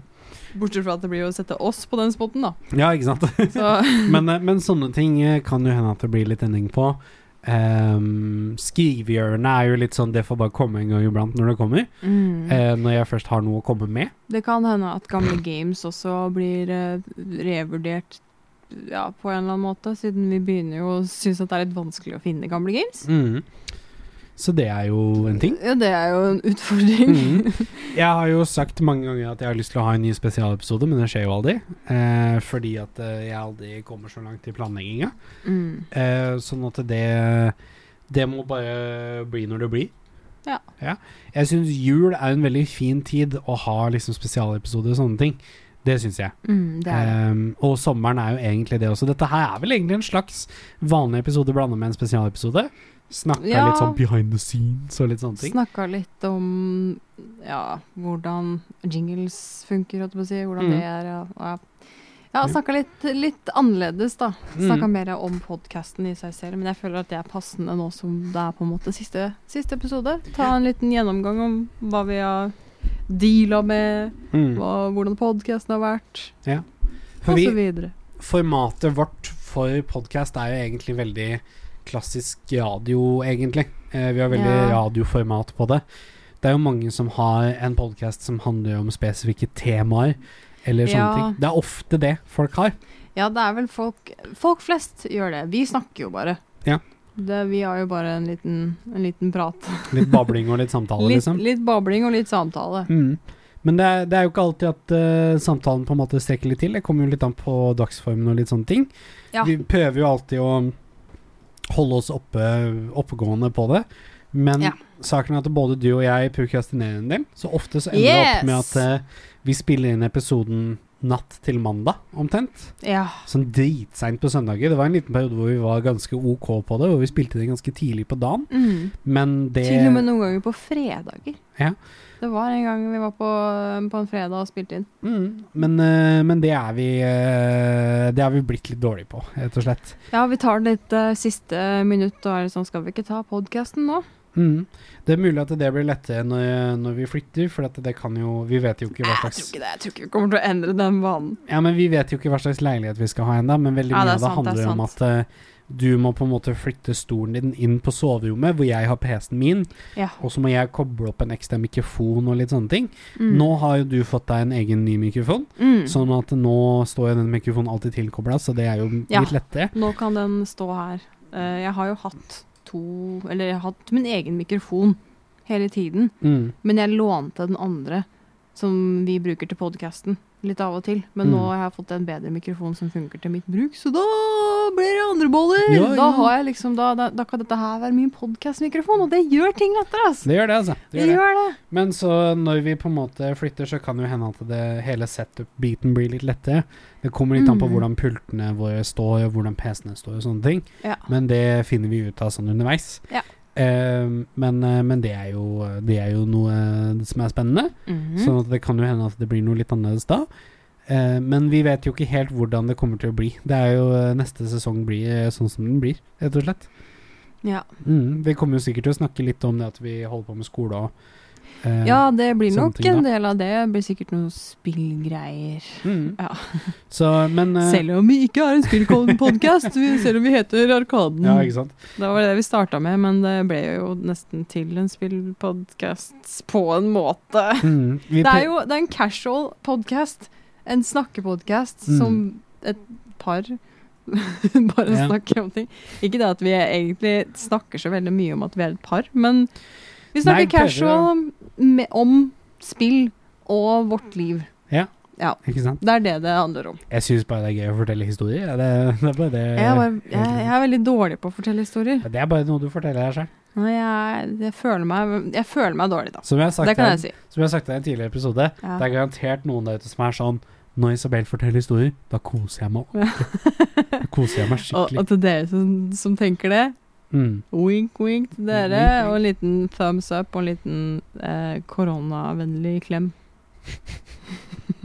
[SPEAKER 3] Bortsett fra at det blir å sette oss på den spotten, da.
[SPEAKER 8] ja, ikke sant?
[SPEAKER 3] Så
[SPEAKER 8] men, eh, men sånne ting eh, kan jo hende at det blir litt endring på. Um, Skrivehjørnet er jo litt sånn Det får bare komme en gang iblant når det kommer. Eh, når jeg først har noe å komme med.
[SPEAKER 3] Mm. Det kan hende at gamle games også blir eh, revurdert ja, på en eller annen måte, siden vi begynner jo å synes at det er litt vanskelig å finne gamle games.
[SPEAKER 8] Mm. Så det er jo en ting.
[SPEAKER 3] Ja, det er jo en utfordring.
[SPEAKER 8] Mm. Jeg har jo sagt mange ganger at jeg har lyst til å ha en ny spesialepisode, men det skjer jo aldri. Eh, fordi at eh, jeg aldri kommer så langt i planlegginga.
[SPEAKER 3] Mm.
[SPEAKER 8] Eh, sånn at det Det må bare bli når det blir.
[SPEAKER 3] Ja.
[SPEAKER 8] Jeg syns jul er en veldig fin tid å ha liksom spesialepisoder og sånne ting. Det syns jeg.
[SPEAKER 3] Mm, det er det.
[SPEAKER 8] Ehm, og sommeren er jo egentlig det også. Dette her er vel egentlig en slags vanlig episode blanda med en spesialepisode. Snakka
[SPEAKER 3] Ja.
[SPEAKER 8] litt sånn
[SPEAKER 9] Behind the scenes.
[SPEAKER 8] så litt sånne ting.
[SPEAKER 3] Snakka litt om ja, hvordan jingles funker, holdt jeg på å si. Hvordan
[SPEAKER 8] Mm.
[SPEAKER 3] det er. Ja, og ja. ja snakka litt, litt annerledes, da.
[SPEAKER 8] Mm.
[SPEAKER 3] Snakka mer om podkasten i seg selv. Men jeg føler at det er passende nå som det er på en måte siste, siste episode. Ta en liten gjennomgang om hva vi har deala med,
[SPEAKER 8] Mm.
[SPEAKER 3] hva, hvordan podkasten har vært,
[SPEAKER 8] For
[SPEAKER 3] osv.
[SPEAKER 8] vi, formatet vårt for podkast er jo egentlig veldig klassisk radio, egentlig. Eh, vi har veldig
[SPEAKER 3] Ja.
[SPEAKER 8] radioformat på det. Det er jo mange som har en podkast som handler om spesifikke temaer, eller sånne
[SPEAKER 3] Ja.
[SPEAKER 8] ting. Det er ofte det folk har.
[SPEAKER 3] Ja, det er vel folk Folk flest gjør det. Vi snakker jo bare.
[SPEAKER 8] Ja.
[SPEAKER 3] Det, vi har jo bare en liten, en liten prat.
[SPEAKER 8] Litt babling og litt samtale,
[SPEAKER 3] Litt,
[SPEAKER 8] liksom.
[SPEAKER 3] litt babling og litt samtale.
[SPEAKER 8] Mm. Men det er, det er jo ikke alltid at eh, samtalen på en måte strekker litt til. Det kommer jo litt an på dagsformen og litt sånne ting.
[SPEAKER 3] Ja.
[SPEAKER 8] Vi prøver jo alltid å holde oss oppe, oppegående på det. Men
[SPEAKER 3] Ja.
[SPEAKER 8] saken er at både du og jeg prokrastinerer en del. Så ofte så ender det opp med
[SPEAKER 3] Yes!
[SPEAKER 8] at eh, vi spiller inn episoden natt til mandag, omtrent.
[SPEAKER 3] Ja.
[SPEAKER 8] Sånn dritseint på søndager. Det var en liten periode hvor vi var ganske OK på det, hvor vi spilte det ganske tidlig på dagen.
[SPEAKER 3] Mm.
[SPEAKER 8] Men det
[SPEAKER 3] Til og med noen ganger på fredager.
[SPEAKER 8] Ja.
[SPEAKER 3] Det var en gang vi var på, eh, på en fredag og spilte inn.
[SPEAKER 8] Mm, men, eh, men det er vi eh, Det er vi blitt litt dårlige på, rett og slett.
[SPEAKER 3] Ja, vi tar det litt eh, siste minutt og er litt sånn Skal vi ikke ta podkasten nå?
[SPEAKER 8] Mm. Det er mulig at det blir lettere når, når vi flytter, for at det kan jo Vi vet jo ikke
[SPEAKER 3] Jeg
[SPEAKER 8] hva
[SPEAKER 3] tror
[SPEAKER 8] slags
[SPEAKER 3] ikke det. Jeg tror ikke vi kommer til å endre den vanen.
[SPEAKER 8] Ja, men vi vet jo ikke hva slags leilighet vi skal ha ennå, men veldig
[SPEAKER 3] Ja,
[SPEAKER 8] mye
[SPEAKER 3] det er
[SPEAKER 8] av det
[SPEAKER 3] sant, det
[SPEAKER 8] handler
[SPEAKER 3] er
[SPEAKER 8] jo om at eh, du må på en måte flytte stolen din inn på soverommet, hvor jeg har PC-en min,
[SPEAKER 3] Ja.
[SPEAKER 8] og så må jeg koble opp en ekstra mikrofon og litt sånne ting.
[SPEAKER 3] Mm.
[SPEAKER 8] Nå har jo du fått deg en egen ny mikrofon,
[SPEAKER 3] Mm.
[SPEAKER 8] sånn at nå står jo den mikrofonen alltid tilkobla, så det er jo
[SPEAKER 3] Ja.
[SPEAKER 8] litt lettere.
[SPEAKER 3] Nå kan den stå her. Eh, jeg har jo hatt to Eller jeg har hatt min egen mikrofon hele tiden.
[SPEAKER 8] Mm.
[SPEAKER 3] Men jeg lånte den andre som vi bruker til podkasten litt av og til. Men
[SPEAKER 8] Mm.
[SPEAKER 3] nå har jeg fått en bedre mikrofon som funker til mitt bruk, så da blir det andre boller!
[SPEAKER 8] Ja, ja.
[SPEAKER 3] Da, har jeg liksom, da, da, da kan dette her være min podkastmikrofon, og det gjør ting lettere, ass!
[SPEAKER 8] Det gjør det, altså.
[SPEAKER 3] Det gjør det.
[SPEAKER 8] Men så når vi på en måte flytter, så kan det jo hende at det hele setup-biten blir litt lettere. Det kommer litt an på
[SPEAKER 3] Mm.
[SPEAKER 8] hvordan pultene våre står, og hvordan PC-ene står og sånne ting.
[SPEAKER 3] Ja.
[SPEAKER 8] Men det finner vi ut av sånn underveis.
[SPEAKER 3] Ja.
[SPEAKER 8] Eh, men eh, men det, er jo, det er jo noe eh, som er spennende,
[SPEAKER 3] Mm.
[SPEAKER 8] sånn at det kan jo hende at det blir noe litt annerledes da. Eh, men vi vet jo ikke helt hvordan det kommer til å bli. Det er jo eh, Neste sesong blir eh, sånn som den blir, rett og slett.
[SPEAKER 3] Ja.
[SPEAKER 8] Mm, vi kommer jo sikkert til å snakke litt om det at vi holder på med skole og
[SPEAKER 2] Eh,
[SPEAKER 3] Ja, det blir
[SPEAKER 2] sånne
[SPEAKER 3] nok
[SPEAKER 2] ting,
[SPEAKER 3] en
[SPEAKER 2] da.
[SPEAKER 3] del av det. Det blir sikkert noen spillgreier.
[SPEAKER 2] Mm.
[SPEAKER 3] Ja.
[SPEAKER 2] Så, men eh,
[SPEAKER 3] Selv om vi ikke er en spillpodkast, selv om vi heter Arkaden.
[SPEAKER 2] Ja, ikke sant?
[SPEAKER 3] Det var det vi starta med, men det ble jo nesten til en spillpodkast på en måte.
[SPEAKER 2] Mm. Vi
[SPEAKER 3] Det
[SPEAKER 2] pr-
[SPEAKER 3] er jo det er en casual podkast, en snakkepodkast,
[SPEAKER 2] Mm.
[SPEAKER 3] som et par bare
[SPEAKER 2] Ja.
[SPEAKER 3] snakker om ting. Ikke det at vi egentlig snakker så veldig mye om at vi er et par, men vi snakker
[SPEAKER 2] Nei, prøver å-
[SPEAKER 3] casual med, om spill og vårt liv.
[SPEAKER 2] Ikke sant?
[SPEAKER 3] Det er det det handler om.
[SPEAKER 2] Jeg syns bare det er gøy å fortelle historier. Ja, det, det er bare det
[SPEAKER 3] Jeg, var, jeg, jeg er veldig dårlig på å fortelle historier.
[SPEAKER 2] Det er bare noe du forteller deg selv
[SPEAKER 3] Nei, Jeg, jeg, føler, meg, jeg føler meg dårlig, da.
[SPEAKER 2] Som jeg har sagt
[SPEAKER 3] Det kan jeg
[SPEAKER 2] deg-
[SPEAKER 3] si.
[SPEAKER 2] som jeg har sagt deg i en tidligere episode,
[SPEAKER 3] Ja.
[SPEAKER 2] det er garantert noen der ute som er sånn Når Isabel forteller historier, da koser jeg meg ordentlig. Da koser jeg meg
[SPEAKER 3] Og,
[SPEAKER 2] skikkelig.
[SPEAKER 3] og til dere som, som tenker det,
[SPEAKER 2] Mm.
[SPEAKER 3] wink wink til dere,
[SPEAKER 2] Wink, wink.
[SPEAKER 3] og en liten thumbs up og en liten eh, koronavennlig klem.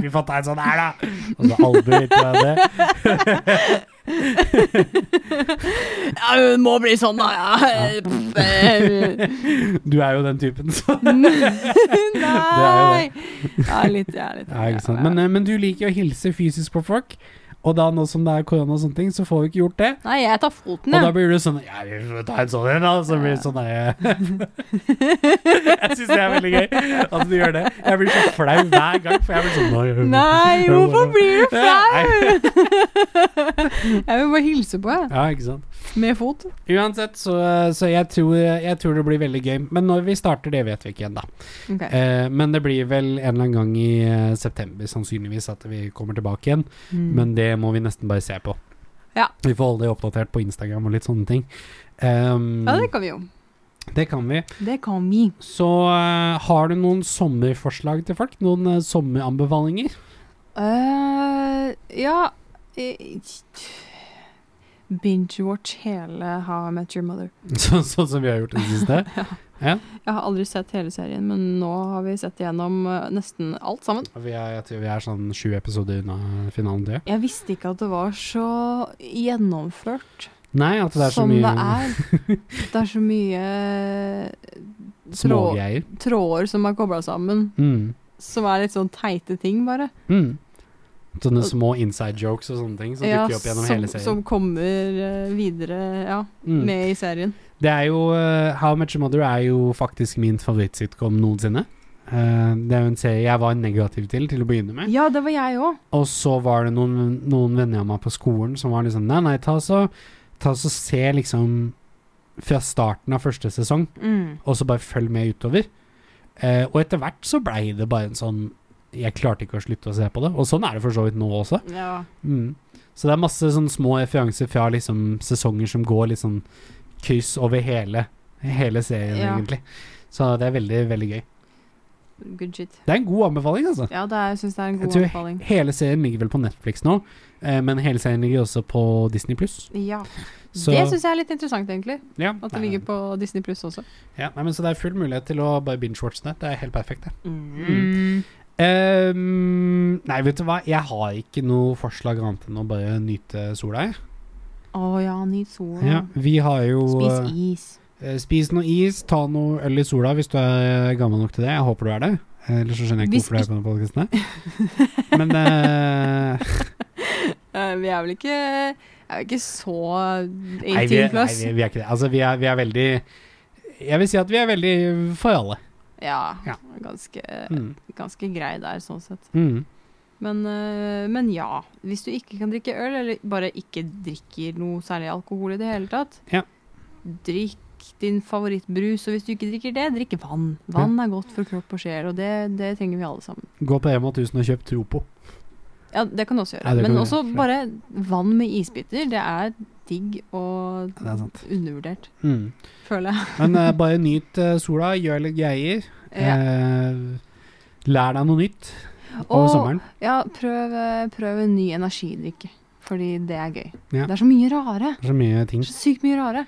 [SPEAKER 2] Vi får ta en sånn her, da! Og så aldri vet jeg det.
[SPEAKER 3] Ja, det må bli sånn, da! Ja. Pff, eh,
[SPEAKER 2] Du er jo den typen, så
[SPEAKER 3] Nei! Ja, litt, ja, litt.
[SPEAKER 2] ja, ikke sant? Men, eh, men du liker jo å hilse fysisk på folk, og da nå som det er korona og sånne ting, så får vi ikke gjort det.
[SPEAKER 3] Nei, jeg tar foten,
[SPEAKER 2] Og da
[SPEAKER 3] jeg.
[SPEAKER 2] blir du sånn Ja, vi får ta en sånn en, da. Så blir det sånn der, Jeg syns det er veldig gøy at du gjør det. Jeg blir så flau hver gang, for jeg blir sånn «Nei, jeg-
[SPEAKER 3] Nei,
[SPEAKER 2] jeg må
[SPEAKER 3] hvorfor
[SPEAKER 2] bare-»
[SPEAKER 3] blir du
[SPEAKER 2] Nei.
[SPEAKER 3] flau? Jeg vil bare hilse på, jeg.
[SPEAKER 2] Ja, ikke sant.
[SPEAKER 3] Med fot.
[SPEAKER 2] Uansett, så, så jeg, tror, jeg tror det blir veldig gøy. Men når vi starter, det vet vi ikke ennå.
[SPEAKER 3] Ok.
[SPEAKER 2] Eh, men det blir vel en eller annen gang i eh, september sannsynligvis at vi kommer tilbake igjen.
[SPEAKER 3] Mm.
[SPEAKER 2] Men det må vi nesten bare se på.
[SPEAKER 3] Ja.
[SPEAKER 2] Vi får holde det oppdatert på Instagram og litt sånne ting. Ehm,
[SPEAKER 3] Ja, det kan vi jo.
[SPEAKER 2] det kan vi.
[SPEAKER 3] Det kan vi.
[SPEAKER 2] Så eh, har du noen sommerforslag til folk? Noen eh, sommeranbefalinger?
[SPEAKER 3] eh ja eh, Binge-watch hele How I Met Your Mother.
[SPEAKER 2] Så, sånn som vi har gjort i det siste?
[SPEAKER 3] Jeg har aldri sett hele serien, men nå har vi sett gjennom eh, nesten alt sammen.
[SPEAKER 2] Vi er, jeg tror vi er sånn sju episoder unna finalen til.
[SPEAKER 3] Jeg visste ikke at det var så gjennomført
[SPEAKER 2] Nei, at det er så
[SPEAKER 3] som
[SPEAKER 2] mye
[SPEAKER 3] det er. Det er så mye trå
[SPEAKER 2] smågreier.
[SPEAKER 3] tråder som er kobla sammen,
[SPEAKER 2] Mm.
[SPEAKER 3] som er litt sånn teite ting, bare.
[SPEAKER 2] Mm. Sånne små inside jokes og sånne ting som
[SPEAKER 3] Ja,
[SPEAKER 2] dukker opp gjennom
[SPEAKER 3] som,
[SPEAKER 2] hele serien.
[SPEAKER 3] som kommer eh, videre ja,
[SPEAKER 2] Mm.
[SPEAKER 3] med i serien.
[SPEAKER 2] Det er jo eh, How Much Mother er jo faktisk min favorittsitcom noensinne. Eh, det er jo en serie jeg var negativ til til å begynne med.
[SPEAKER 3] Ja, det var jeg òg.
[SPEAKER 2] Og så var det noen, noen venner av meg på skolen som var liksom Nei, nei, ta så, ta så se liksom fra starten av første sesong,
[SPEAKER 3] Mm.
[SPEAKER 2] og så bare følg med utover. Eh, og etter hvert så blei det bare en sånn Jeg klarte ikke å slutte å se på det. Og sånn er det for så vidt nå også.
[SPEAKER 3] Ja.
[SPEAKER 2] Mm. Så det er masse sånn små referanser fra liksom sesonger som går litt sånn kryss over hele, hele serien,
[SPEAKER 3] Ja.
[SPEAKER 2] egentlig. Så det er veldig, veldig gøy.
[SPEAKER 3] Good shit.
[SPEAKER 2] Det er en god anbefaling, altså.
[SPEAKER 3] Ja, det er, jeg syns det er en
[SPEAKER 2] Jeg
[SPEAKER 3] god
[SPEAKER 2] tror-
[SPEAKER 3] anbefaling.
[SPEAKER 2] Hele serien ligger vel på Netflix nå, eh, men hele serien ligger også på Disney pluss.
[SPEAKER 3] Ja.
[SPEAKER 2] Så-
[SPEAKER 3] Det syns jeg er litt interessant, egentlig.
[SPEAKER 2] Ja.
[SPEAKER 3] At det ligger på Disney pluss også.
[SPEAKER 2] ja, nei, men Så det er full mulighet til å bare binge-watche det. Det er helt perfekt, det.
[SPEAKER 3] Mm.
[SPEAKER 2] Ehm, nei, vet du hva, jeg har ikke noe forslag annet enn å bare nyt sola, jeg.
[SPEAKER 3] Å ja, nyt sola.
[SPEAKER 2] Ja, vi har jo eh,
[SPEAKER 3] Spis is.
[SPEAKER 2] Eh, Spis noe is, ta noe øl i sola hvis du er gammel nok til det. Jeg håper du er det. Ellers så skjønner jeg ikke
[SPEAKER 3] Hvis
[SPEAKER 2] hvorfor du er på denne podkasten. Men eh,
[SPEAKER 3] Eh, vi er vel ikke Er jo ikke så
[SPEAKER 2] nei, vi,
[SPEAKER 3] 18
[SPEAKER 2] nei
[SPEAKER 3] pluss.
[SPEAKER 2] vi, vi er ikke det. Altså, vi er, vi er veldig Jeg vil si at vi er veldig for alle.
[SPEAKER 3] Ja.
[SPEAKER 2] Ja.
[SPEAKER 3] Ganske,
[SPEAKER 2] Mm.
[SPEAKER 3] ganske grei der, sånn sett.
[SPEAKER 2] Mm.
[SPEAKER 3] Men, eh, men ja. Hvis du ikke kan drikke øl, eller bare ikke drikker noe særlig alkohol i det hele tatt,
[SPEAKER 2] Ja.
[SPEAKER 3] drikk din favorittbrus. Og hvis du ikke drikker det, drikk vann. Vann er godt for kropp og sjel, og det, det trenger vi alle sammen.
[SPEAKER 2] Gå på Rema 1000 og kjøp Tropo.
[SPEAKER 3] Ja, det kan du også gjøre.
[SPEAKER 2] Ja, det kan
[SPEAKER 3] Men
[SPEAKER 2] du
[SPEAKER 3] også
[SPEAKER 2] gjøre.
[SPEAKER 3] bare vann med isbiter. Det er digg og
[SPEAKER 2] Ja, det er sant.
[SPEAKER 3] undervurdert,
[SPEAKER 2] Mm.
[SPEAKER 3] føler jeg.
[SPEAKER 2] Men eh, bare nyt eh, sola, gjør litt greier.
[SPEAKER 3] Ja.
[SPEAKER 2] Eh, lær deg noe nytt over
[SPEAKER 3] Og-
[SPEAKER 2] sommeren.
[SPEAKER 3] Ja, prøv, eh, prøv en ny energidrikke, fordi det er gøy.
[SPEAKER 2] Ja. Mm.
[SPEAKER 3] Det er så mye rare.
[SPEAKER 2] Det er Så mye ting.
[SPEAKER 3] Så sykt mye rare.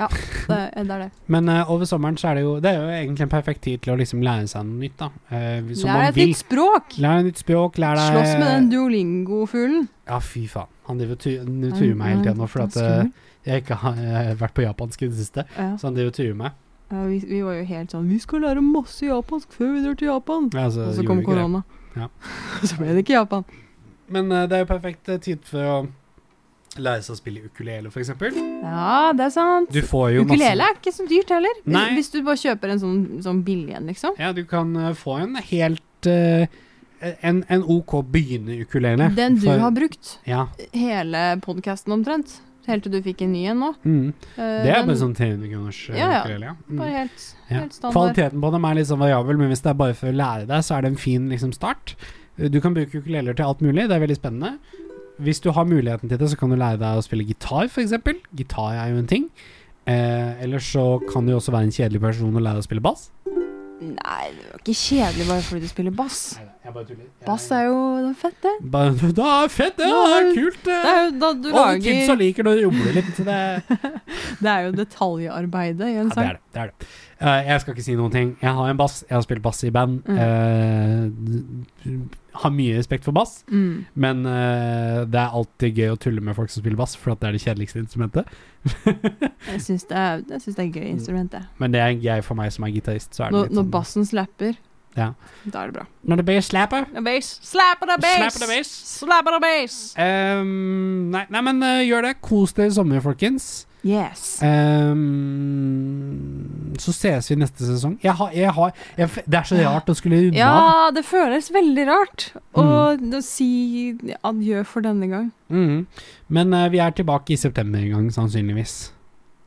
[SPEAKER 3] Ja, det, det er det.
[SPEAKER 2] Men eh, over sommeren så er det jo Det er jo egentlig en perfekt tid til å liksom lære seg noe nytt, da. Eh, som
[SPEAKER 3] Lær
[SPEAKER 2] man
[SPEAKER 3] deg et
[SPEAKER 2] vil.
[SPEAKER 3] nytt språk!
[SPEAKER 2] Lær deg nytt språk, lær deg
[SPEAKER 3] Slåss med den duolingo-fuglen.
[SPEAKER 2] Ja, fy faen. Han driver og tu- han truer meg hele tida nå for at eh,
[SPEAKER 3] Skummel.
[SPEAKER 2] jeg ikke har eh, vært på japansk i det siste.
[SPEAKER 3] Ja.
[SPEAKER 2] Så han driver og truer meg.
[SPEAKER 3] Ja, vi, vi var jo helt sånn Vi skal lære masse japansk før vi drar til Japan!
[SPEAKER 2] Ja, så
[SPEAKER 3] Og så
[SPEAKER 2] Altså, gjorde
[SPEAKER 3] kom
[SPEAKER 2] vi ikke det.
[SPEAKER 3] korona.
[SPEAKER 2] Ja.
[SPEAKER 3] så ble det ikke Japan.
[SPEAKER 2] Men eh, det er jo perfekt eh, tid for å lære seg å spille ukulele, for eksempel.
[SPEAKER 3] Ja, det er sant.
[SPEAKER 2] Du får jo
[SPEAKER 3] Ukulele er ikke så dyrt heller. Hvis,
[SPEAKER 2] Nei.
[SPEAKER 3] hvis du bare kjøper en sånn, sånn billig en, liksom.
[SPEAKER 2] masse Ja, du kan eh, få en helt eh, en, en OK begynne-ukulele.
[SPEAKER 3] Den du
[SPEAKER 2] For-
[SPEAKER 3] har brukt
[SPEAKER 2] Ja.
[SPEAKER 3] hele podkasten omtrent. Helt til du fikk en ny en nå.
[SPEAKER 2] Mm.
[SPEAKER 3] Eh,
[SPEAKER 2] Det er
[SPEAKER 3] den
[SPEAKER 2] bare sånn 300 kroners eh,
[SPEAKER 3] Ja, ja.
[SPEAKER 2] ukulele, ja. Mm.
[SPEAKER 3] Bare helt,
[SPEAKER 2] Ja.
[SPEAKER 3] helt standard.
[SPEAKER 2] Kvaliteten på dem er litt sånn variabel, men hvis det er bare for å lære deg, så er det en fin liksom, start. Du kan bruke ukuleler til alt mulig, det er veldig spennende. Hvis du har muligheten til det, så kan du lære deg å spille gitar, f.eks. Gitar er jo en ting. Eh, Eller så kan du jo også være en kjedelig person og lære deg å spille bass.
[SPEAKER 3] Nei, det var ikke kjedelig bare fordi du spiller bass.
[SPEAKER 2] Jeg bare tuller.
[SPEAKER 3] Bass er jo den fette.
[SPEAKER 2] Bare, Da er fett, det! Det er kult! eh. Det.
[SPEAKER 3] Det er jo da du
[SPEAKER 2] Alle kidsa
[SPEAKER 3] lager
[SPEAKER 2] liker når du jobler litt. så Det,
[SPEAKER 3] Det er jo detaljarbeidet i en
[SPEAKER 2] ja, det
[SPEAKER 3] sang.
[SPEAKER 2] er det. det, er det. Eh, jeg skal ikke si noen ting. Jeg har en bass. Jeg har spilt bass i band.
[SPEAKER 3] Mm.
[SPEAKER 2] Eh, d- d- har mye respekt for bass.
[SPEAKER 3] Mm.
[SPEAKER 2] Men eh, det er alltid gøy å tulle med folk som spiller bass, for at det er det kjedeligste instrumentet.
[SPEAKER 3] Jeg syns det, er- jeg syns det er et gøy instrument, det.
[SPEAKER 2] Men det er gøy for meg som er gitarist. Så er det
[SPEAKER 3] Når,
[SPEAKER 2] litt
[SPEAKER 3] når
[SPEAKER 2] sånn-
[SPEAKER 3] bassen slapper,
[SPEAKER 2] Ja.
[SPEAKER 3] da er det bra.
[SPEAKER 2] Når det blir slapper
[SPEAKER 3] A bass. Slap on a bass!
[SPEAKER 2] Slap on a bass.
[SPEAKER 3] Slap on a bass!
[SPEAKER 2] Ehm, nei, nei, men eh, gjør det. Kos dere i sommer, folkens.
[SPEAKER 3] Yes.
[SPEAKER 2] Ehm, så ses vi neste sesong. Jeg har, jeg har jeg, f- Det Mm. er så rart å skulle runde av.
[SPEAKER 3] Ja, det føles veldig rart å å si adjø for denne gang.
[SPEAKER 2] Mhm. Men eh, vi er tilbake i september en gang, sannsynligvis.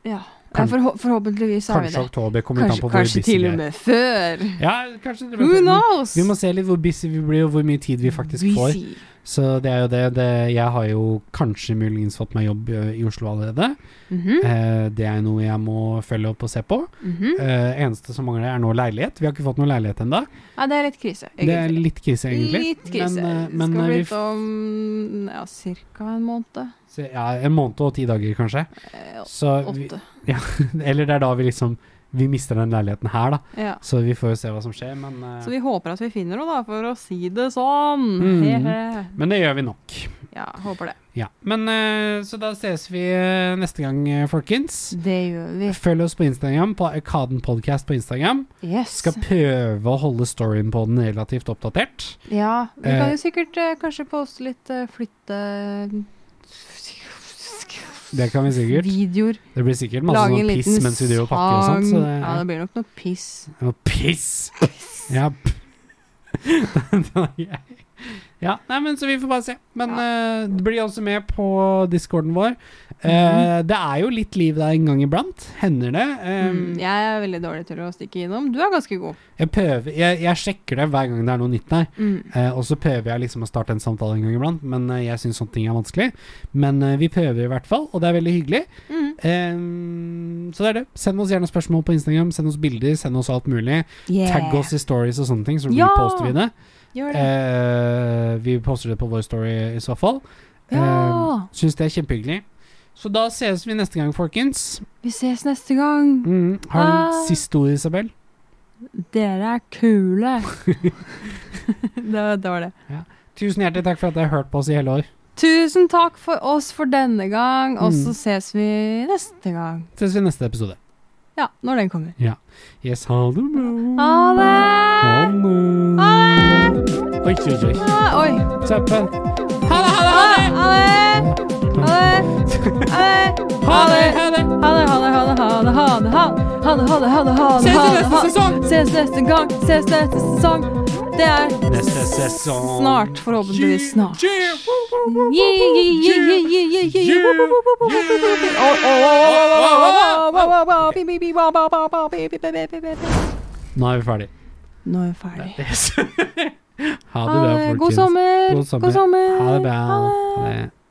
[SPEAKER 3] Ja.
[SPEAKER 2] Kan-
[SPEAKER 3] ja forhå- forhåpentligvis er vi
[SPEAKER 2] Kanskje
[SPEAKER 3] det.
[SPEAKER 2] oktober. Kommer litt an
[SPEAKER 3] Kanskje,
[SPEAKER 2] på hvor
[SPEAKER 3] kanskje
[SPEAKER 2] busy
[SPEAKER 3] til
[SPEAKER 2] vi
[SPEAKER 3] og
[SPEAKER 2] er.
[SPEAKER 3] med før.
[SPEAKER 2] Ja, kanskje til og
[SPEAKER 3] Who
[SPEAKER 2] med-
[SPEAKER 3] knows?
[SPEAKER 2] Vi må se litt hvor busy vi blir, og hvor mye tid vi faktisk får.
[SPEAKER 3] Busy.
[SPEAKER 2] Så det er jo det. det jeg har jo kanskje muligens fått meg jobb eh, i Oslo allerede.
[SPEAKER 3] Mhm,
[SPEAKER 2] Eh, det er noe jeg må følge opp og se på.
[SPEAKER 3] mhm.
[SPEAKER 2] Eh, eneste som mangler, er nå leilighet. Vi har ikke fått noen leilighet ennå.
[SPEAKER 3] Ja, det er litt krise.
[SPEAKER 2] Det er
[SPEAKER 3] egentlig.
[SPEAKER 2] litt krise, egentlig.
[SPEAKER 3] Litt krise.
[SPEAKER 2] Men, eh,
[SPEAKER 3] Det
[SPEAKER 2] men,
[SPEAKER 3] skal
[SPEAKER 2] eh,
[SPEAKER 3] bli
[SPEAKER 2] vi
[SPEAKER 3] ut om ja, ca. en måned.
[SPEAKER 2] Så, ja, en måned og ti dager, kanskje.
[SPEAKER 3] Eh,
[SPEAKER 2] Så vi,
[SPEAKER 3] Åtte.
[SPEAKER 2] eller det er da vi liksom Vi mister den leiligheten her, da.
[SPEAKER 3] Ja.
[SPEAKER 2] Så vi får jo se hva som skjer, men eh,
[SPEAKER 3] Så vi håper at vi finner noe, da, for å si det sånn.
[SPEAKER 2] Mm.
[SPEAKER 3] Hehe.
[SPEAKER 2] Men det gjør vi nok.
[SPEAKER 3] Ja, håper det.
[SPEAKER 2] Ja. Men eh, så da ses vi eh, neste gang, eh, folkens.
[SPEAKER 3] Det gjør vi.
[SPEAKER 2] Følg oss på Instagram, på Arkaden Podcast på Instagram.
[SPEAKER 3] Yes.
[SPEAKER 2] Skal prøve å holde storyen på den relativt oppdatert.
[SPEAKER 3] Ja, vi kan
[SPEAKER 2] Eh.
[SPEAKER 3] jo sikkert eh, kanskje poste litt eh, flytte...
[SPEAKER 2] Det kan vi sikkert.
[SPEAKER 3] Videoer.
[SPEAKER 2] Det blir sikkert masse
[SPEAKER 3] Lage en
[SPEAKER 2] sånn
[SPEAKER 3] liten
[SPEAKER 2] piss
[SPEAKER 3] sang.
[SPEAKER 2] mens vi driver og pakker og sånt. Så det,
[SPEAKER 3] Ja, det blir nok noe piss.
[SPEAKER 2] Ja, piss! Ja. p- ja, nei, men så vi får bare se. Men eh, du blir også med på discorden vår. Eh,
[SPEAKER 3] Mhm.
[SPEAKER 2] det er jo litt liv der en gang iblant. Hender det. Eh,
[SPEAKER 3] Mm, jeg er veldig dårlig til å stikke innom. Du er ganske god.
[SPEAKER 2] Jeg prøver jeg, jeg sjekker det hver gang det er noe nytt der.
[SPEAKER 3] Mm.
[SPEAKER 2] Eh, og så prøver jeg liksom å starte en samtale en gang iblant, men eh, jeg syns sånne ting er vanskelig. Men eh, vi prøver i hvert fall, og det er veldig hyggelig.
[SPEAKER 3] Mm.
[SPEAKER 2] Eh, så det er det. Send oss gjerne spørsmål på Instagram, send oss bilder, send oss alt mulig.
[SPEAKER 3] Yeah.
[SPEAKER 2] Tagg oss i stories og sånne ting, så
[SPEAKER 3] Ja!
[SPEAKER 2] reposter vi det.
[SPEAKER 3] Gjør det.
[SPEAKER 2] Eh, vi poster det på vår story i så fall. Eh,
[SPEAKER 3] Ja.
[SPEAKER 2] Syns det er kjempehyggelig. Så da ses vi neste gang, folkens.
[SPEAKER 3] Vi ses neste gang.
[SPEAKER 2] Mm. Har du
[SPEAKER 3] Ah.
[SPEAKER 2] en siste ord, Isabel?
[SPEAKER 3] Dere er kule. det, det var det.
[SPEAKER 2] Tusen hjertelig takk for at dere har hørt på oss i hele år.
[SPEAKER 3] Tusen takk for oss for denne gang, og
[SPEAKER 2] Mm.
[SPEAKER 3] så ses vi neste gang.
[SPEAKER 2] Ses vi i neste episode.
[SPEAKER 3] Ja, når den kommer.
[SPEAKER 2] Yes, ha det bra.
[SPEAKER 3] Ha det!
[SPEAKER 2] Ha det.
[SPEAKER 3] Ha det!
[SPEAKER 2] Oi, oi, oi.
[SPEAKER 3] Ah, Oi.
[SPEAKER 2] Søppel.
[SPEAKER 3] Ha det, ha det, ha det! Ha det! Ha det!
[SPEAKER 2] Ha det, ha det.
[SPEAKER 3] Ha det, ha det, ha det, ha det, ha det, ha det, ha det, ha det, ha det, ha det,
[SPEAKER 2] Ses i
[SPEAKER 3] ha det,
[SPEAKER 2] neste
[SPEAKER 3] ha det.
[SPEAKER 2] sesong.
[SPEAKER 3] Ses neste gang, ses neste sesong. Det er
[SPEAKER 2] Neste sesong.
[SPEAKER 3] snart, forhåpentligvis snart.
[SPEAKER 2] Yeah.
[SPEAKER 3] Yeah, yeah, yeah, yeah, yeah, yeah, yeah, yeah. Woo, woo, woo, woo, woo, woo, woo, woo, woo. Oh, oh, oh, oh, oh, oh, oh, oh, oh. Beep, beep, beep, wow, wow, wow, wow, beep, beep, beep, beep, beep.
[SPEAKER 2] Nå er vi ferdig.
[SPEAKER 3] Nå er vi ferdig.
[SPEAKER 2] Yes. ha det
[SPEAKER 3] Ha
[SPEAKER 2] bra,
[SPEAKER 3] det.
[SPEAKER 2] folkens.
[SPEAKER 3] God sommer.
[SPEAKER 2] God sommer.
[SPEAKER 3] God sommer.
[SPEAKER 2] Ha det bra.
[SPEAKER 3] Ha det.
[SPEAKER 2] Ha det.